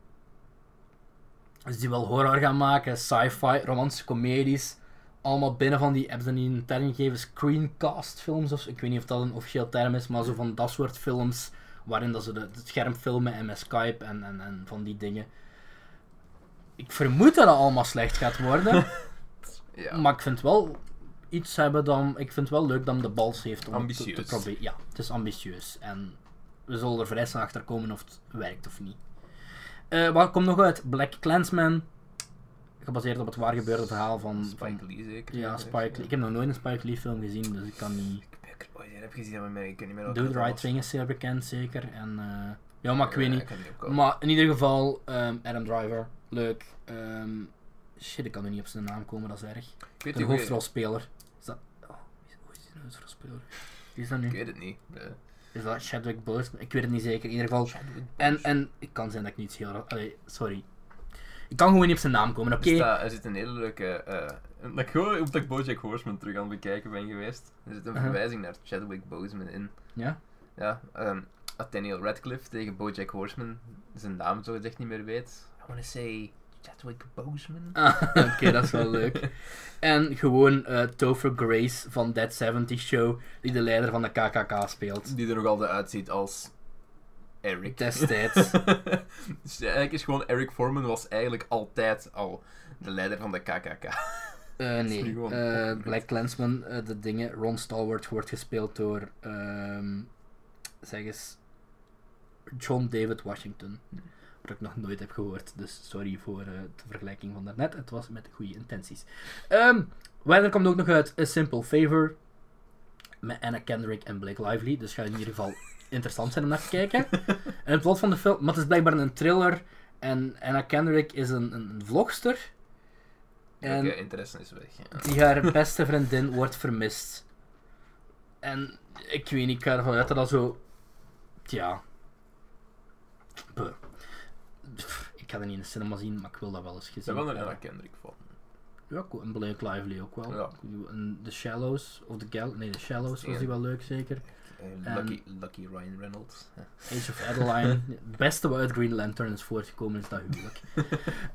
Speaker 1: Dus die wil horror gaan maken, sci-fi, romantische comedies. Allemaal binnen van die, hebben ze niet een term gegeven, screencast films of zo. Ik weet niet of dat een officieel term is, maar zo van dat soort films. Waarin dat ze de- het scherm filmen en met Skype en, en, en van die dingen. Ik vermoed dat dat allemaal slecht gaat worden.
Speaker 2: Ja.
Speaker 1: Maar ik vind wel iets hebben dan. Ik vind wel leuk dat hem de bals heeft om het te, te
Speaker 2: Ambitieus.
Speaker 1: proberen. Ja, het is ambitieus. En we zullen er vrij snel achter komen of het werkt of niet. Eh wat komt nog uit? Black Clansman. Gebaseerd op het waargebeurde verhaal van.
Speaker 2: Spike
Speaker 1: van-
Speaker 2: Lee zeker.
Speaker 1: ja, Spike Lee. Ik heb nog nooit een Spike Lee film gezien, dus ik kan niet.
Speaker 2: Ik heb ik ooit een heb gezien, maar ik weet niet meer welke
Speaker 1: Do
Speaker 2: dat
Speaker 1: the Right
Speaker 2: was.
Speaker 1: Thing is zeer bekend, zeker. En, eh, ja, maar ik weet
Speaker 2: Ja,
Speaker 1: niet.
Speaker 2: kan niet opkomen.
Speaker 1: Maar in ieder geval, ehm, Adam Driver. Leuk. Ehm, shit, ik kan er niet op zijn naam komen, dat is erg.
Speaker 2: ik weet
Speaker 1: De
Speaker 2: niet hoe je-
Speaker 1: hoofdrolspeler. Is dat... Oh, wie is- hoe is die hoofdrolspeler? Wie is dat
Speaker 2: Ik
Speaker 1: nu?
Speaker 2: weet het niet. Eh,
Speaker 1: Is dat Chadwick Boseman? Ik weet het niet zeker. In ieder geval... En, en het kan zijn dat ik niet heel... ra- Allee, sorry. Ik kan gewoon niet op zijn naam komen, oké?
Speaker 2: Er staat- er zit een hele leuke. eh, omdat ik hoor omdat ik Bojack Horseman terug aan het bekijken ben geweest. Er zit een
Speaker 1: Uh-huh.
Speaker 2: verwijzing naar Chadwick Boseman in.
Speaker 1: Ja?
Speaker 2: Ja, ehm Nathaniel Radcliffe tegen Bojack Horseman. Zijn naam zo echt niet meer weet. I wanna say Chadwick Boseman.
Speaker 1: Ah, oké, dat is wel leuk. En gewoon eh Topher Grace van Dead 70 Show, die de leider van de KKK speelt.
Speaker 2: Die er nog altijd uitziet als Eric.
Speaker 1: Destijds.
Speaker 2: dus eigenlijk is gewoon Eric Foreman was eigenlijk altijd al de leider van de KKK.
Speaker 1: Eh,
Speaker 2: is nu
Speaker 1: nee,
Speaker 2: gewoon
Speaker 1: Eh,
Speaker 2: opgemerkt.
Speaker 1: Black Clansman, eh, de dingen. Ron Stallworth wordt gespeeld door, ehm, zeg eens, John David Washington. Wat ik nog nooit heb gehoord, dus sorry voor eh, de vergelijking van daarnet. Het was met goede intenties. Ehm verder komt ook nog uit A Simple Favor. Met Anna Kendrick en Blake Lively. Dus gaat in ieder geval interessant zijn om naar te kijken. En het plot van de film... Maar het is blijkbaar een thriller. En Anna Kendrick is een, een een vlogster. En
Speaker 2: Oké, interesse is weg. Ja.
Speaker 1: die haar beste vriendin wordt vermist. En ik weet niet, ik ga ervan uit dat dat zo. Ja. Buh. Pff, Ik ga dat niet in de cinema zien, maar ik wil dat wel eens
Speaker 2: Ik ben
Speaker 1: gezien
Speaker 2: wel een Anna
Speaker 1: hebben.
Speaker 2: Kendrick van.
Speaker 1: Ja, cool. En Blake Lively ook wel.
Speaker 2: Ja.
Speaker 1: En The Shallows, of The Gal... Nee, The Shallows was
Speaker 2: Ja.
Speaker 1: die wel leuk, zeker. Ehm.
Speaker 2: Eh, Lucky, Lucky Ryan Reynolds. Ja.
Speaker 1: Age of Adeline. Het beste wat uit Green Lantern is voortgekomen is dat huwelijk.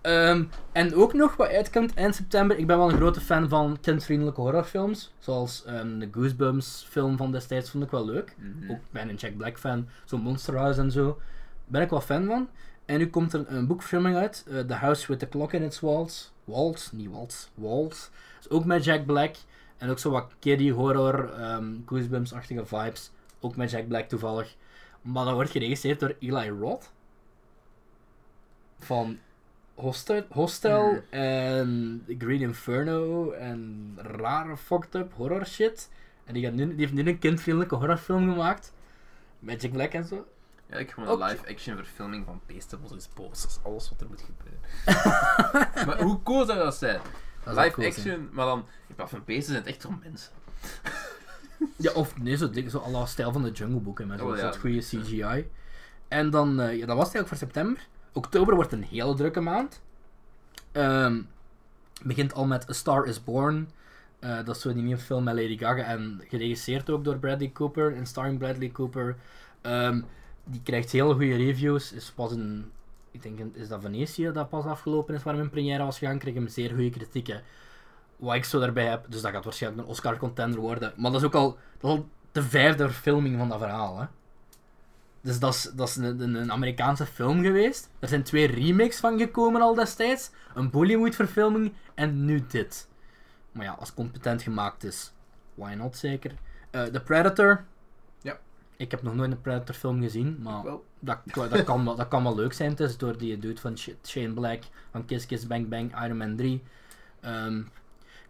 Speaker 1: Ehm, en ook nog wat uitkomt eind september. Ik ben wel een grote fan van kindvriendelijke horrorfilms. Zoals ehm, de Goosebumps film van destijds vond ik wel leuk.
Speaker 2: Mhm.
Speaker 1: Ook ben een Jack Black fan. Zo'n Monster House en zo. Ben ik wel fan van. En nu komt er een boekfilming uit. eh, the House with the Clock in its Walls. Walls, niet Walls. Walls. Dus ook met Jack Black. En ook zo wat kiddie horror, ehm, Goosebumps-achtige vibes. Ook met Jack Black toevallig. Maar dat wordt geregisseerd door Eli Roth. Van Hostel, Hostel
Speaker 2: Mm.
Speaker 1: en Green Inferno en rare fucked up horror shit. En die, gaat nu, die heeft nu een kindvriendelijke horrorfilm gemaakt. Met Jack Black en zo.
Speaker 2: Ja, ik gewoon
Speaker 1: Ook-
Speaker 2: een live-action verfilming van Beastables is boos. Dat is alles wat er moet gebeuren. maar hoe cool zou dat zijn?
Speaker 1: Dat zou cool zijn.
Speaker 2: Live-action, maar dan... In plaats van beesten zijn het echt gewoon mensen.
Speaker 1: Ja, of nee, zo, dik- zo à la stijl van de Jungle Book. hè, Met zo'n
Speaker 2: Oh, ja.
Speaker 1: soort goede CGI. En dan, eh, ja, dat was het eigenlijk voor september. Oktober wordt een hele drukke maand. Ehm, begint al met A Star Is Born. Eh, dat is zo die nieuwe film met Lady Gaga. En geregisseerd ook door Bradley Cooper. En starring Bradley Cooper. Ehm, die krijgt hele goede reviews. Is pas een... Ik denk, in- is dat Venetië dat pas afgelopen is waar mijn première was gegaan. Kreeg hem zeer goede kritieken. Wat ik zo daarbij heb. Dus dat gaat waarschijnlijk een Oscar-contender worden. Maar dat is ook al, dat is al de vijfde verfilming van dat verhaal, hè. Dus dat is, dat is een, een- een Amerikaanse film geweest. Er zijn twee remakes van gekomen al destijds. Een Bollywood-verfilming en nu dit. Maar ja, als het competent gemaakt is, why not zeker? Eh The Predator.
Speaker 2: Ja.
Speaker 1: Ik heb nog nooit een Predator-film gezien, maar
Speaker 2: Wel,
Speaker 1: dat, dat, kan, wel- dat kan wel leuk zijn. Het is door die dude van Sh- Shane Black, van Kiss Kiss Bang Bang, Iron Man 3. Ehm,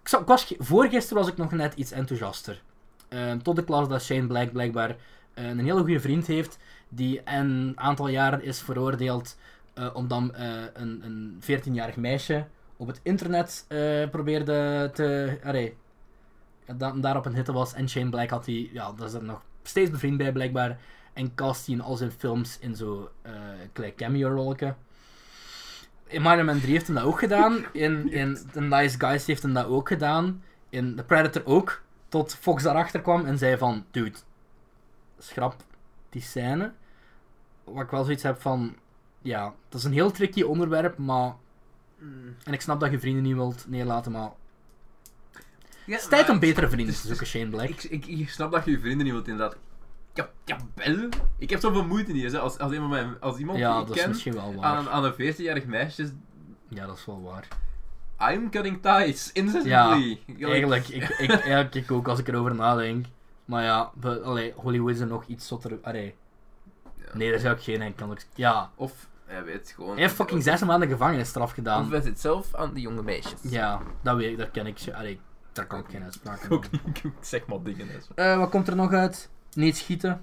Speaker 1: ik zou- ik was, ge- voorgisteren was ik nog net iets enthousiaster. Ehm, tot de klas dat Shane Black blijkbaar eh, een hele goede vriend heeft, die een aantal jaren is veroordeeld eh, omdat eh, een, een 14-jarig meisje op het internet eh, probeerde te... Array, dat hem daarop een hitte was. En Shane Black had die... Ja, daar is er nog steeds bevriend bij, blijkbaar. En cast die in al zijn films in zo eh klein cameo-rolken. In Iron Man 3 heeft hem dat ook gedaan. In, in The Nice Guys heeft hem dat ook gedaan. In The Predator ook. Tot Fox daarachter kwam en zei van, dude, schrap die scène. Wat ik wel zoiets heb van, ja, dat is een heel tricky onderwerp, maar...
Speaker 2: Mm.
Speaker 1: En ik snap dat je vrienden niet wilt neerlaten, maar...
Speaker 2: Ja,
Speaker 1: Het is tijd
Speaker 2: maar-
Speaker 1: om betere vrienden
Speaker 2: het
Speaker 1: te
Speaker 2: is- het
Speaker 1: zoeken, Shane Black.
Speaker 2: Ik, ik, ik snap dat je je vrienden niet wilt, inderdaad. Ja, jawel. Ik heb zoveel moeite niet eens. hè. Als, als, een van mijn, als iemand
Speaker 1: Ja,
Speaker 2: die ik
Speaker 1: dat is
Speaker 2: ken Ah,
Speaker 1: misschien wel waar.
Speaker 2: aan, aan een 14-jarig meisje is...
Speaker 1: Ja, dat is wel waar.
Speaker 2: I'm cutting ties, incessantly. Like-
Speaker 1: Eigenlijk, ik, ik, eigenlijk ik ook als ik erover nadenk. Maar ja, we, allee, Hollywood is er nog iets zotter. Allee.
Speaker 2: Ja.
Speaker 1: Nee, daar zou ik geen enkele. Ja,
Speaker 2: Of, hij weet gewoon...
Speaker 1: hij heeft fucking zes maanden gevangenisstraf
Speaker 2: Of
Speaker 1: gedaan.
Speaker 2: wij het zelf aan de jonge meisjes.
Speaker 1: Ja, dat weet ik, daar ken ik. ze- Allee, daar kan ik geen uitspraak
Speaker 2: Ik
Speaker 1: over
Speaker 2: ook
Speaker 1: doen.
Speaker 2: niet, ik zeg maar dingen. hè.
Speaker 1: Eh, wat komt er nog uit? Niet schieten.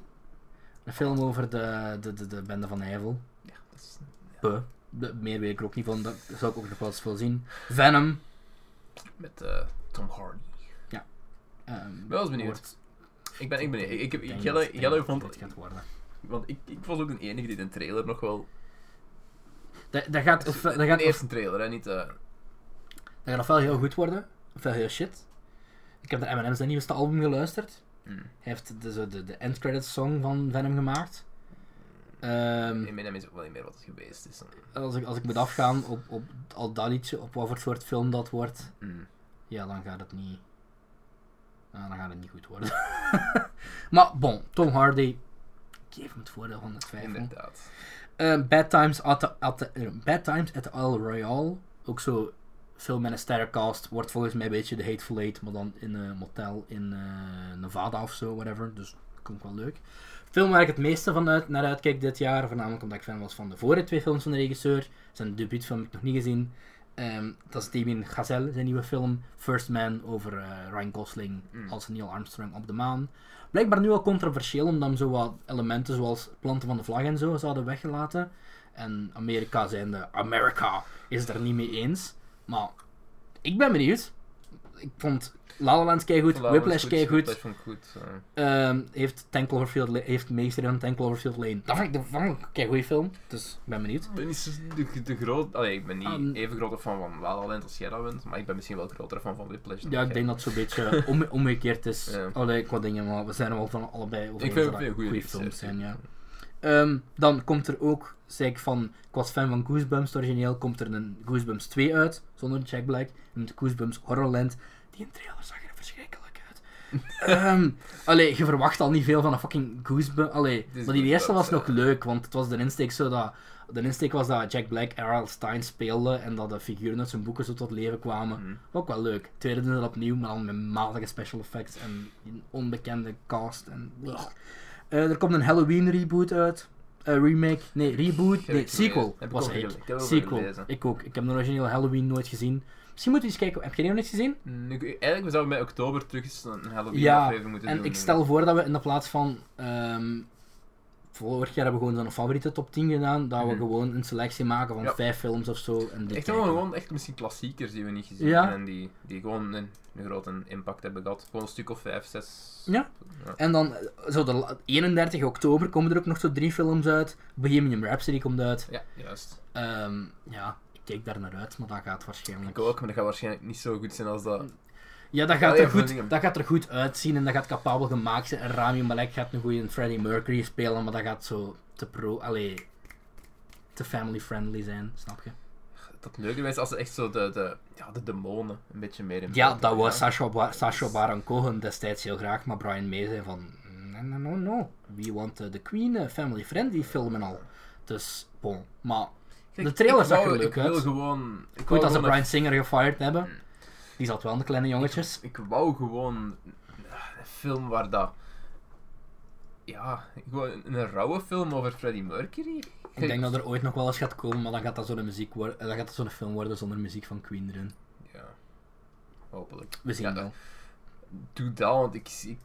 Speaker 1: Een film over de, de, de, de Bende van Eiffel.
Speaker 2: Ja, dat is...
Speaker 1: Puh. De- Meer weet ik er ook niet van, dat zou ik ook nog wel eens veel zien. Venom.
Speaker 2: Met eh, Tom Hardy.
Speaker 1: ehm,
Speaker 2: Wel eens benieuwd.
Speaker 1: wordt-
Speaker 2: Ik ben, ik ben, ik, ik, heb-
Speaker 1: denk dat-
Speaker 2: Jelle,
Speaker 1: denk
Speaker 2: Jelle
Speaker 1: dat
Speaker 2: vond,
Speaker 1: dit gaat worden.
Speaker 2: want ik, ik was ook de enige die de trailer nog wel,
Speaker 1: Dat, dat gaat, of, dat
Speaker 2: de
Speaker 1: gaat
Speaker 2: eerste trailer, hè, niet, eh
Speaker 1: Dat gaat ofwel heel goed worden, ofwel heel shit. Ik heb de M&M's zijn nieuwste album geluisterd.
Speaker 2: hmm.
Speaker 1: Hij heeft de, zo de, de end credits song van Venom gemaakt.
Speaker 2: in
Speaker 1: Ehm,
Speaker 2: mijn naam is ook wel niet meer wat het geweest is.
Speaker 1: als, ik, als ik moet afgaan op, op al dat liedje, op wat voor soort film dat wordt,
Speaker 2: Hmm.
Speaker 1: ja, dan gaat het niet... nou, dan gaat het niet goed worden. maar bon, Tom Hardy, ik geef hem het voordeel van de twijfel.
Speaker 2: Inderdaad.
Speaker 1: Eh, Bad, Times at the, at the- eh, Bad Times at the El Royale. Ook zo film met een sterrencast. Wordt volgens mij een beetje de Hateful Eight, maar dan in een motel in eh, Nevada of zo, whatever. Dus dat komt wel leuk. Film waar ik het meeste van uit, naar uitkijk dit jaar, voornamelijk omdat ik fan was van de vorige twee films van de regisseur. Zijn debuutfilm heb ik nog niet gezien. Ehm, dat is Damien Gazelle, zijn nieuwe film. First Man over eh, Ryan Gosling
Speaker 2: Mm.
Speaker 1: als Neil Armstrong op de maan. Blijkbaar nu al controversieel, omdat hem zo wat elementen zoals planten van de vlag en zo zouden weggelaten. En Amerika zijnde, America, is daar niet mee eens. Maar ik ben benieuwd. Ik vond La La Land keigoed,
Speaker 2: Voilà,
Speaker 1: Whiplash
Speaker 2: dat is
Speaker 1: keigoed.
Speaker 2: Whiplash vond ik goed. eh.
Speaker 1: Ehm, heeft Ten Cloverfield La- heeft meester aan Ten Cloverfield Lane. Dat vind ik, dat vind ik een goede film, dus ik ben benieuwd.
Speaker 2: Ik ben niet zo de, de groot... Allee, ik ben niet
Speaker 1: Um,
Speaker 2: even grote fan van La La Land als jij dat bent, maar ik ben misschien wel groter fan van Whiplash. dan
Speaker 1: Ja, ik
Speaker 2: jij.
Speaker 1: denk dat het zo'n beetje om, omgekeerd is.
Speaker 2: Ja.
Speaker 1: Allee, qua dingen, maar we zijn er wel van allebei over
Speaker 2: Ik
Speaker 1: eens
Speaker 2: vind
Speaker 1: dat
Speaker 2: het een
Speaker 1: dat
Speaker 2: goede
Speaker 1: goeie films zijn. Ja. Ehm, dan komt er ook, zei ik van, ik was fan van Goosebumps het origineel, komt er een Goosebumps 2 uit, zonder Jack Black, met Goosebumps Horrorland. Die een trailer zag er verschrikkelijk uit. Ehm allee, je verwacht al niet veel van een fucking Goosebumps. Allee,
Speaker 2: is
Speaker 1: maar die eerste was
Speaker 2: Goosebumps,
Speaker 1: nog
Speaker 2: ja.
Speaker 1: leuk, want het was de insteek zo dat... De insteek was dat Jack Black R.L. Stein speelde en dat de figuren uit zijn boeken zo tot leven kwamen.
Speaker 2: Hmm.
Speaker 1: Ook wel leuk. Tweede doen ze dat opnieuw, maar dan met matige special effects en een onbekende cast. En... Ugh. Eh, er komt een Halloween reboot uit. Eh, remake. Nee, reboot.
Speaker 2: Heb
Speaker 1: Nee,
Speaker 2: ik
Speaker 1: sequel.
Speaker 2: gelezen. Heb ik
Speaker 1: was
Speaker 2: ook
Speaker 1: ik.
Speaker 2: gelezen. Ik heb ook
Speaker 1: Sequel.
Speaker 2: gelezen.
Speaker 1: Ik ook. Ik heb de originele Halloween nooit gezien. Misschien moeten we eens kijken. Heb jij die nog niet gezien?
Speaker 2: Nu, Hmm, eigenlijk zouden we bij oktober terug eens een Halloween
Speaker 1: Ja,
Speaker 2: aflevering moeten
Speaker 1: En
Speaker 2: doen.
Speaker 1: ik stel voor dat we in de plaats van. ehm, vorig jaar hebben we gewoon zo'n favoriete top 10 gedaan. Dat we
Speaker 2: Mhm.
Speaker 1: gewoon een selectie maken van
Speaker 2: Ja.
Speaker 1: vijf films of zo. En die
Speaker 2: Echt wel
Speaker 1: kijken.
Speaker 2: gewoon echt misschien klassiekers die we niet gezien
Speaker 1: Ja.
Speaker 2: hebben en die, die gewoon een, een grote impact hebben gehad. Gewoon een stuk of 5, 6.
Speaker 1: Ja. En dan, eh, zo de la- 31 oktober komen er ook nog zo drie films uit. Bohemian Rhapsody komt uit.
Speaker 2: Ja, juist.
Speaker 1: Ehm, ja, ik kijk daar naar uit, maar dat gaat waarschijnlijk...
Speaker 2: Ik ook, maar dat gaat waarschijnlijk niet zo goed zijn als dat.
Speaker 1: Oh Ja, dat gaat,
Speaker 2: Ja,
Speaker 1: er
Speaker 2: ja,
Speaker 1: goed,
Speaker 2: Birmingham.
Speaker 1: dat gaat er goed uitzien en dat gaat capabel gemaakt zijn. En Rami Malek gaat een goede Freddie Mercury spelen, maar dat gaat zo te pro... Allee, te family-friendly zijn, snap je?
Speaker 2: Dat leuke is als ze echt zo de, de, ja, de demonen een beetje meer in
Speaker 1: Ja,
Speaker 2: beeld
Speaker 1: dat was
Speaker 2: hebben,
Speaker 1: Sacha, Ba- Sacha Baron Cohen destijds heel graag, maar Brian May zei van... No, no, no, no. We want eh, the Queen eh, family-friendly film en al. Dus, bon. Maar
Speaker 2: ja.
Speaker 1: de trailer
Speaker 2: Ik
Speaker 1: zag er
Speaker 2: wou-
Speaker 1: leuk
Speaker 2: ik wil
Speaker 1: uit.
Speaker 2: Gewoon, ik wou
Speaker 1: Goed dat ze
Speaker 2: gewoon
Speaker 1: Brian Singer gefired hebben. Die zat wel in de kleine jongetjes.
Speaker 2: Ik wou gewoon een film waar dat. Ja, gewoon een, een rauwe film over Freddie Mercury.
Speaker 1: Ik denk dat er ooit nog wel eens gaat komen, maar dan gaat dat zo'n, muziek worden, dan gaat dat zo'n film worden zonder muziek van Queen erin.
Speaker 2: Ja, hopelijk.
Speaker 1: We zien
Speaker 2: Ja,
Speaker 1: wel.
Speaker 2: Doe dat, want ik. ik,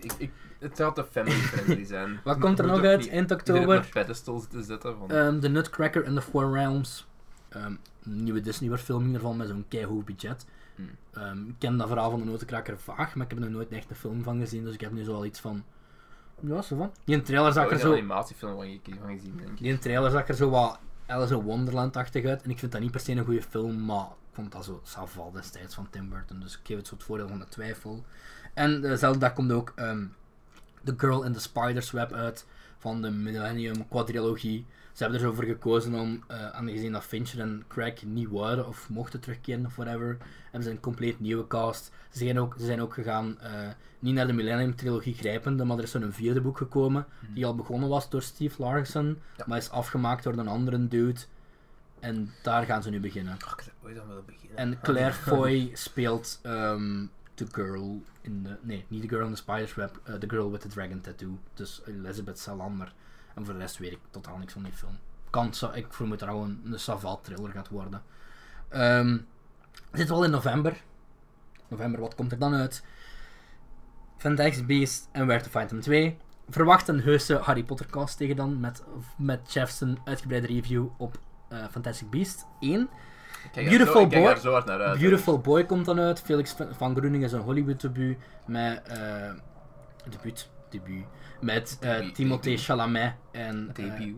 Speaker 2: ik, ik- het zou te family-friendly zijn.
Speaker 1: Wat komt er
Speaker 2: Moet
Speaker 1: nog
Speaker 2: ook
Speaker 1: uit
Speaker 2: niet
Speaker 1: eind
Speaker 2: iedereen op
Speaker 1: oktober?
Speaker 2: een pedestal te zetten. Van,
Speaker 1: Ehm, The Nutcracker and the Four Realms. Ehm, een nieuwe Disney-verfilming ervan met zo'n keihoog budget.
Speaker 2: Hmm.
Speaker 1: Ehm, ik ken dat verhaal van de Notenkraker vaag, maar ik heb er nooit echt een film van gezien, dus ik heb nu zoal iets van... Ja, zo van. Die trailer zag
Speaker 2: ik
Speaker 1: er
Speaker 2: heb
Speaker 1: zo...
Speaker 2: een animatiefilm van, ge- van gezien, denk ik.
Speaker 1: Die trailer zag er zo wat Alice in Wonderland-achtig uit. En ik vind dat niet per se een goede film, maar ik vond dat zo saval destijds van Tim Burton. Dus ik geef het zo het voordeel van de twijfel. En dezelfde dag komt ook ehm, The Girl in the Spider's Web uit van de Millennium Quadrilogie. Ze hebben er zo voor gekozen om, eh, aangezien dat Fincher en Craig niet waren of mochten terugkeren of whatever, hebben ze een compleet nieuwe cast. Ze zijn ook, ze zijn ook gegaan, eh, niet naar de Millennium Trilogie grijpende, maar er is zo'n vierde boek gekomen die al begonnen was door Steve Larson,
Speaker 2: Ja.
Speaker 1: maar is afgemaakt door een andere dude. En daar gaan ze nu beginnen.
Speaker 2: Ach, ik zou ooit aan willen beginnen.
Speaker 1: En Claire Foy speelt ehm, The Girl in de. Nee, niet The Girl in the Spider's Web. eh, the Girl with the Dragon Tattoo. Dus Elizabeth Salander. En voor de rest weet ik totaal niks van die film. Kan, zo- ik vermoed dat er gewoon een savat thriller gaat worden. Ehm zit wel in november. November, wat komt er dan uit? Fantastic Beast en Where to Find Them 2. Verwacht een heuse Harry Potter cast tegen dan met, met Jeff's uitgebreide review op eh, Fantastic Beast 1.
Speaker 2: Ik kijk er
Speaker 1: Beautiful
Speaker 2: zo, ik kijk
Speaker 1: Boy-
Speaker 2: er zo hard naar uit.
Speaker 1: Beautiful Boy komt dan uit. Felix van- van Groeningen is een Hollywood debuut met eh debuut, debuut met eh,
Speaker 2: Debuut,
Speaker 1: Timothée
Speaker 2: debuut.
Speaker 1: Chalamet en eh,
Speaker 2: Debut.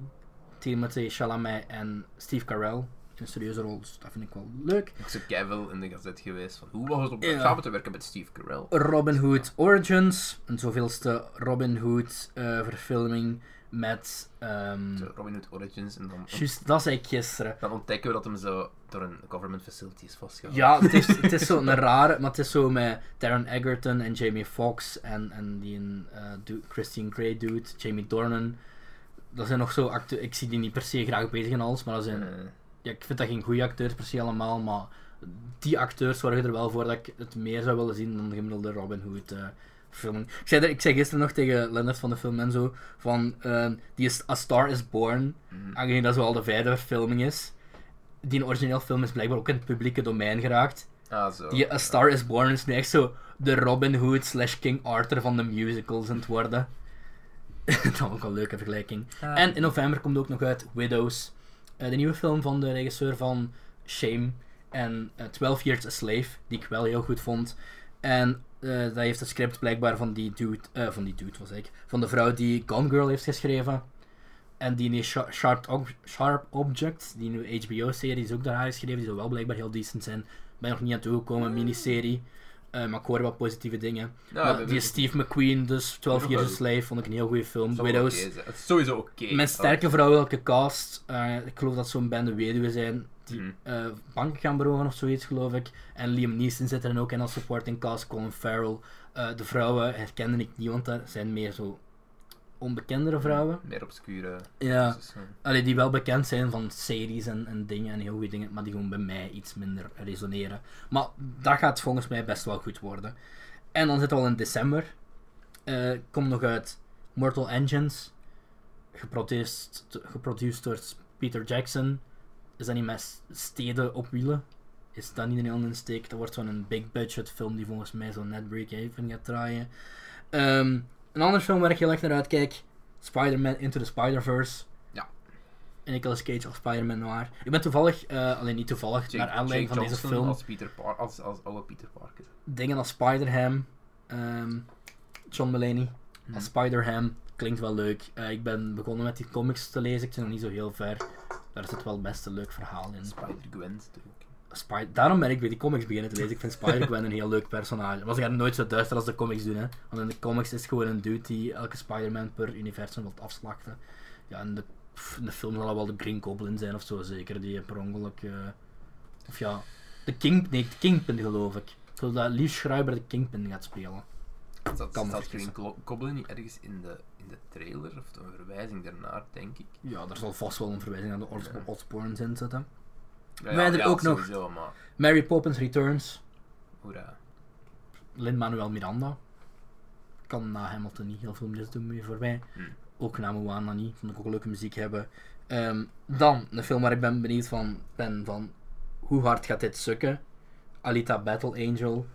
Speaker 1: Timothée Chalamet en Steve Carell in een serieuze rol. Dus dat vind ik wel leuk.
Speaker 2: Ik ben Kevin in de gazet geweest van hoe was het om
Speaker 1: Ja.
Speaker 2: samen te werken met Steve Carell.
Speaker 1: Robin Hood Origins, een zoveelste Robin Hood eh, verfilming met. ehm,
Speaker 2: Zo, Robin Hood Origins en dan,
Speaker 1: juist, dat zei ik gisteren.
Speaker 2: dan ontdekken we dat hem zo door een government facility is vastgehouden.
Speaker 1: Ja, het is, het is zo'n rare, maar het is zo met Taron Egerton en Jamie Foxx en, en die een, eh, du- Christine Grey dude, Jamie Dornan. Dat zijn nog zo acteurs, ik zie die niet per se graag bezig in alles, maar dat zijn,
Speaker 2: Eh,
Speaker 1: ja, ik vind dat geen goede acteurs per se allemaal, maar die acteurs zorgen er wel voor dat ik het meer zou willen zien dan de gemiddelde Robin Hood eh film. Ik zei, er- ik zei gisteren nog tegen Leonard van de film en zo, van eh, die is, A Star Is Born,
Speaker 2: mm.
Speaker 1: aangezien dat zo al de vijfde filming is. Die origineel film is blijkbaar ook in het publieke domein geraakt.
Speaker 2: ah, zo.
Speaker 1: Die A Star Is Born is nu echt zo de Robin Hood slash King Arthur van de musicals aan het worden. dat is ook een leuke vergelijking.
Speaker 2: Ah.
Speaker 1: En in november komt ook nog uit Widows. eh, de nieuwe film van de regisseur van Shame en eh, 12 Years a Slave, die ik wel heel goed vond. En eh dat heeft het script blijkbaar van die dude, eh, van die dude was ik, van de vrouw die Gone Girl heeft geschreven. En die nee, Sha- Sharp, Ob- Sharp Object, die nieuwe HBO-serie, is ook door haar geschreven. Die zal wel blijkbaar heel decent zijn. Ben nog niet aan toegekomen, miniserie. Eh, maar ik hoor wel positieve dingen.
Speaker 2: Mm. Ja,
Speaker 1: Maar
Speaker 2: we-
Speaker 1: die
Speaker 2: we-
Speaker 1: Steve McQueen, dus 12
Speaker 2: Nog
Speaker 1: Years a
Speaker 2: wel.
Speaker 1: Slave, vond ik een heel goede film.
Speaker 2: zal wel
Speaker 1: Widows,
Speaker 2: oké zijn. Het is sowieso oké. Oh.
Speaker 1: met sterke vrouwelijke cast. eh, ik geloof dat zo'n bende weduwen zijn die
Speaker 2: Mm.
Speaker 1: eh, banken gaan beroven of zoiets, geloof ik. En Liam Neeson zit er ook in als supporting cast. Colin Farrell. Eh, de vrouwen herkende ik niet, want dat zijn meer zo
Speaker 2: Mm.
Speaker 1: onbekendere vrouwen.
Speaker 2: Meer obscure.
Speaker 1: Ja,
Speaker 2: Dus, eh,
Speaker 1: allee, die wel bekend zijn van series en, en dingen en heel goede dingen, maar die gewoon bij mij iets minder resoneren. Maar dat gaat volgens mij best wel goed worden. En dan zitten we al in december. Eh komt nog uit Mortal Engines, geproduced, geproduced door Peter Jackson. Is dat niet met steden op wielen? Is dat niet een heel insteek? Dat wordt zo'n big budget film die volgens mij zo net break-even gaat draaien. Ehm, een ander film waar ik heel erg naar uitkijk: Spider-Man Into the Spider-Verse.
Speaker 2: Ja.
Speaker 1: En Nicolas Cage als Spider-Man noir. Ik ben toevallig, eh alleen niet toevallig,
Speaker 2: Jake-
Speaker 1: naar aanleiding
Speaker 2: Jake
Speaker 1: van
Speaker 2: Johnson
Speaker 1: deze film, Mm.
Speaker 2: Als, Peter Par als, als alle Peter Parker.
Speaker 1: dingen als Spider-Ham, ehm, John Mulaney als Spider-Ham, klinkt wel leuk. Eh, ik ben begonnen met die comics te lezen, ik ben nog niet zo heel ver. Daar zit wel best een leuk verhaal in.
Speaker 2: Spider-Gwen zit er ook in.
Speaker 1: Spy- Daarom ben ik weer die comics beginnen te lezen. Ik vind Spider-Gwen een heel leuk personage. Maar ze gaan nooit zo duister als de comics doen, hè. Want in de comics is het gewoon een dude die elke Spider-Man per universum wil afslachten. Ja, in de, pff, in de film zal dat wel de Green Goblin zijn of zo, zeker. Die per ongeluk... eh, of ja... De King... Nee, de Kingpin geloof ik. Ik geloof dat Lief Schreiber de Kingpin gaat spelen.
Speaker 2: Zat,
Speaker 1: Kan me
Speaker 2: zat
Speaker 1: vergissen.
Speaker 2: Green Glo- Goblin niet ergens in de, in de trailer of een verwijzing daarnaar, denk ik?
Speaker 1: Ja, daar zal vast wel een verwijzing naar de Os-
Speaker 2: Ja.
Speaker 1: Osborns in zitten.
Speaker 2: Ja, ja,
Speaker 1: Wij er
Speaker 2: ja,
Speaker 1: ook nog-
Speaker 2: sowieso, maar
Speaker 1: Mary Poppins Returns.
Speaker 2: hoera.
Speaker 1: Lin-Manuel Miranda. Kan na Hamilton niet heel veel meer doen meer voor mij.
Speaker 2: Hmm.
Speaker 1: Ook na Moana niet. Vond ik ook leuke muziek hebben. Ehm, dan, een film waar ik ben benieuwd van ben van hoe hard gaat dit sukken. Alita Battle Angel.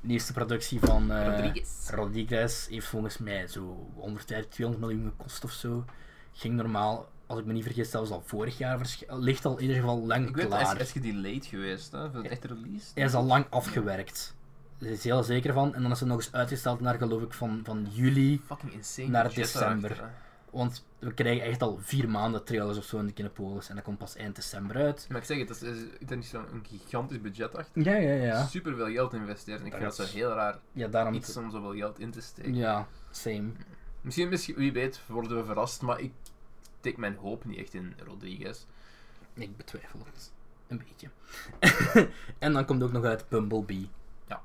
Speaker 1: Nieuwste productie van eh,
Speaker 2: Rodriguez.
Speaker 1: Rodriguez heeft volgens mij zo 150, 200 miljoen gekost of zo. Ging normaal, als ik me niet vergis, zelfs al vorig jaar. versch- Ligt al in ieder geval lang
Speaker 2: Ik weet, hij is,
Speaker 1: klaar.
Speaker 2: hij is gedelayed geweest, hè, voor een echte release.
Speaker 1: Hij is al lang afgewerkt. Daar is hij heel zeker van. En dan is het nog eens uitgesteld naar, geloof ik, van, van juli
Speaker 2: Fucking insane.
Speaker 1: Naar
Speaker 2: budget
Speaker 1: december.
Speaker 2: daarachter, hè.
Speaker 1: Want we krijgen echt al vier maanden trailers of zo in de Kinepolis. En dat komt pas eind december uit.
Speaker 2: Maar ik zeg het, dat is, is er niet zo'n gigantisch budget achter?
Speaker 1: Ja, ja, ja.
Speaker 2: Super veel geld investeren. Ik
Speaker 1: Dat
Speaker 2: vind dat
Speaker 1: is-
Speaker 2: zo heel raar
Speaker 1: Ja, daarom...
Speaker 2: iets om zoveel geld in te steken.
Speaker 1: Ja, same.
Speaker 2: Misschien, misschien, wie weet, worden we verrast, maar ik steek mijn hoop niet echt in Rodriguez.
Speaker 1: Ik betwijfel het. Een beetje. en dan komt ook nog uit Bumblebee.
Speaker 2: Ja.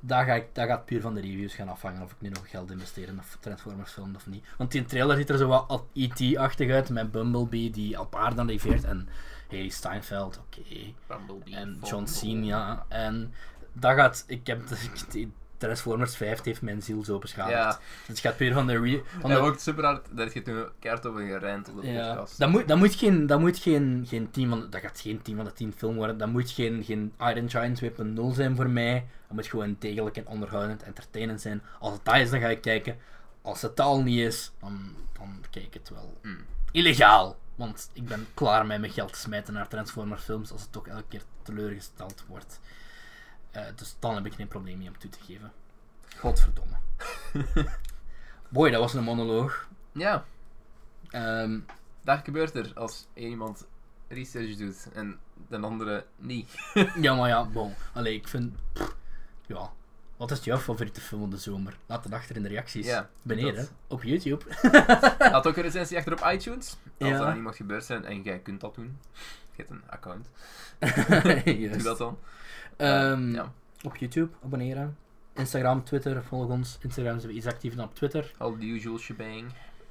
Speaker 1: Daar, ga ik, daar gaat puur van de reviews gaan afhangen of ik nu nog geld investeer in of Transformers film of niet. Want die trailer ziet er zo wat al E.T.-achtig uit met Bumblebee die op aarde arriveert en Haley Steinfeld, oké.
Speaker 2: Bumblebee.
Speaker 1: En
Speaker 2: Volvo.
Speaker 1: John Cena. ja. En dat gaat... Ik heb... die Transformers 5 heeft mijn ziel zo beschadigd.
Speaker 2: Ja.
Speaker 1: Dus het gaat puur van de... Re van
Speaker 2: Hij
Speaker 1: de
Speaker 2: wordt super hard, daar heb je toen keihard over gerend op de
Speaker 1: ja,
Speaker 2: podcast.
Speaker 1: dat moet, dat moet, geen, dat moet geen, geen team van, dat gaat geen team van de 10 film worden. Dat moet geen, geen Iron Giant 2.0 zijn voor mij. Dat moet gewoon degelijk en onderhoudend, entertainend zijn. Als het dat is, dan ga ik kijken. Als het dat al niet is, dan, dan kijk ik het wel.
Speaker 2: Mm.
Speaker 1: Illegaal! Want ik ben klaar met mijn geld te smijten naar Transformer films als het toch elke keer teleurgesteld wordt. Eh, dus dan heb ik geen probleem mee om toe te geven. Godverdomme. Boy, dat was een monoloog.
Speaker 2: Ja,
Speaker 1: Ehm,
Speaker 2: daar gebeurt er als één iemand research doet en de andere niet.
Speaker 1: Ja, maar ja, bon. Allee, ik vind... pff, ja. Wat is jouw favoriete film van de zomer? Laat het achter in de reacties.
Speaker 2: Ja,
Speaker 1: Beneden,
Speaker 2: dat.
Speaker 1: op YouTube.
Speaker 2: Laat ook een recensie achter op iTunes, als
Speaker 1: Ja.
Speaker 2: er aan iemand gebeurd zijn en jij kunt dat doen. Je hebt een account, doe
Speaker 1: Juist.
Speaker 2: dat dan. Eh,
Speaker 1: Ehm,
Speaker 2: Ja,
Speaker 1: Op YouTube, abonneren. Instagram, Twitter, volg ons. Instagram zijn we iets actiever dan op Twitter.
Speaker 2: all the usual shebang.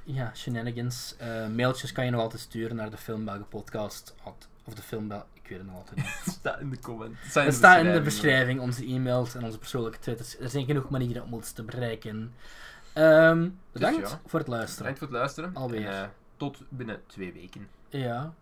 Speaker 1: Ja, shenanigans. Eh, mailtjes kan je nog altijd sturen naar de Filmbelgen podcast. at- Of de Filmbel... Ik weet het nog altijd niet.
Speaker 2: Het staat in de comments. Het
Speaker 1: Het staat in de beschrijving, onze e-mails en onze persoonlijke twitters. Er zijn genoeg manieren om ons te bereiken. Ehm, bedankt
Speaker 2: Dus ja.
Speaker 1: voor het luisteren.
Speaker 2: Bedankt voor het luisteren.
Speaker 1: Alweer.
Speaker 2: En, eh, tot binnen twee weken.
Speaker 1: Ja.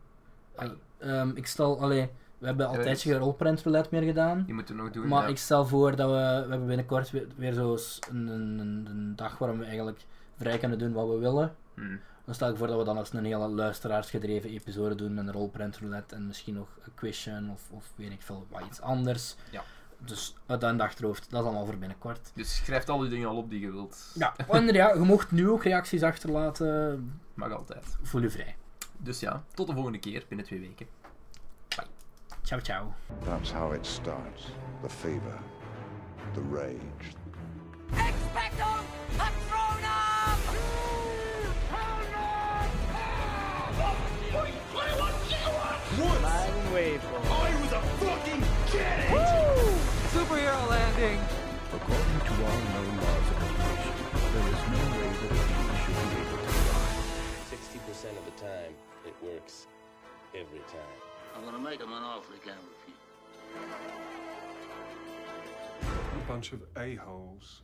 Speaker 2: Ah.
Speaker 1: Ehm, ik stel, allee, we hebben al
Speaker 2: Eh,
Speaker 1: tijdje geen rolprentroulette meer gedaan.
Speaker 2: Die moeten we nog doen.
Speaker 1: Maar
Speaker 2: ja.
Speaker 1: ik stel voor dat we, we hebben binnenkort weer, weer zo eens een, een, een- een dag waarom we eigenlijk vrij kunnen doen wat we willen.
Speaker 2: Hmm.
Speaker 1: Dan stel ik voor dat we dan eens een hele luisteraarsgedreven episode doen met een rolprentroulette en misschien nog een quizje of, of weet ik veel, wat iets anders.
Speaker 2: Ja.
Speaker 1: Dus uit dat in het achterhoofd, dat is allemaal voor binnenkort.
Speaker 2: Dus schrijf al die dingen al op die je wilt.
Speaker 1: Ja, en ja, je mocht nu ook reacties achterlaten.
Speaker 2: Mag altijd.
Speaker 1: Voel je vrij.
Speaker 2: Dus ja, tot de volgende keer binnen twee weken.
Speaker 1: Ciao, ciao.
Speaker 3: That's how it starts. The fever, the rage,
Speaker 4: Expecto Patronum!
Speaker 3: According to all known laws of creation, there is no way that a being should be able to fly.
Speaker 5: 60% of the time, it works every time.
Speaker 6: I'm gonna make him an offer he can't refuse.
Speaker 7: A bunch of a-holes.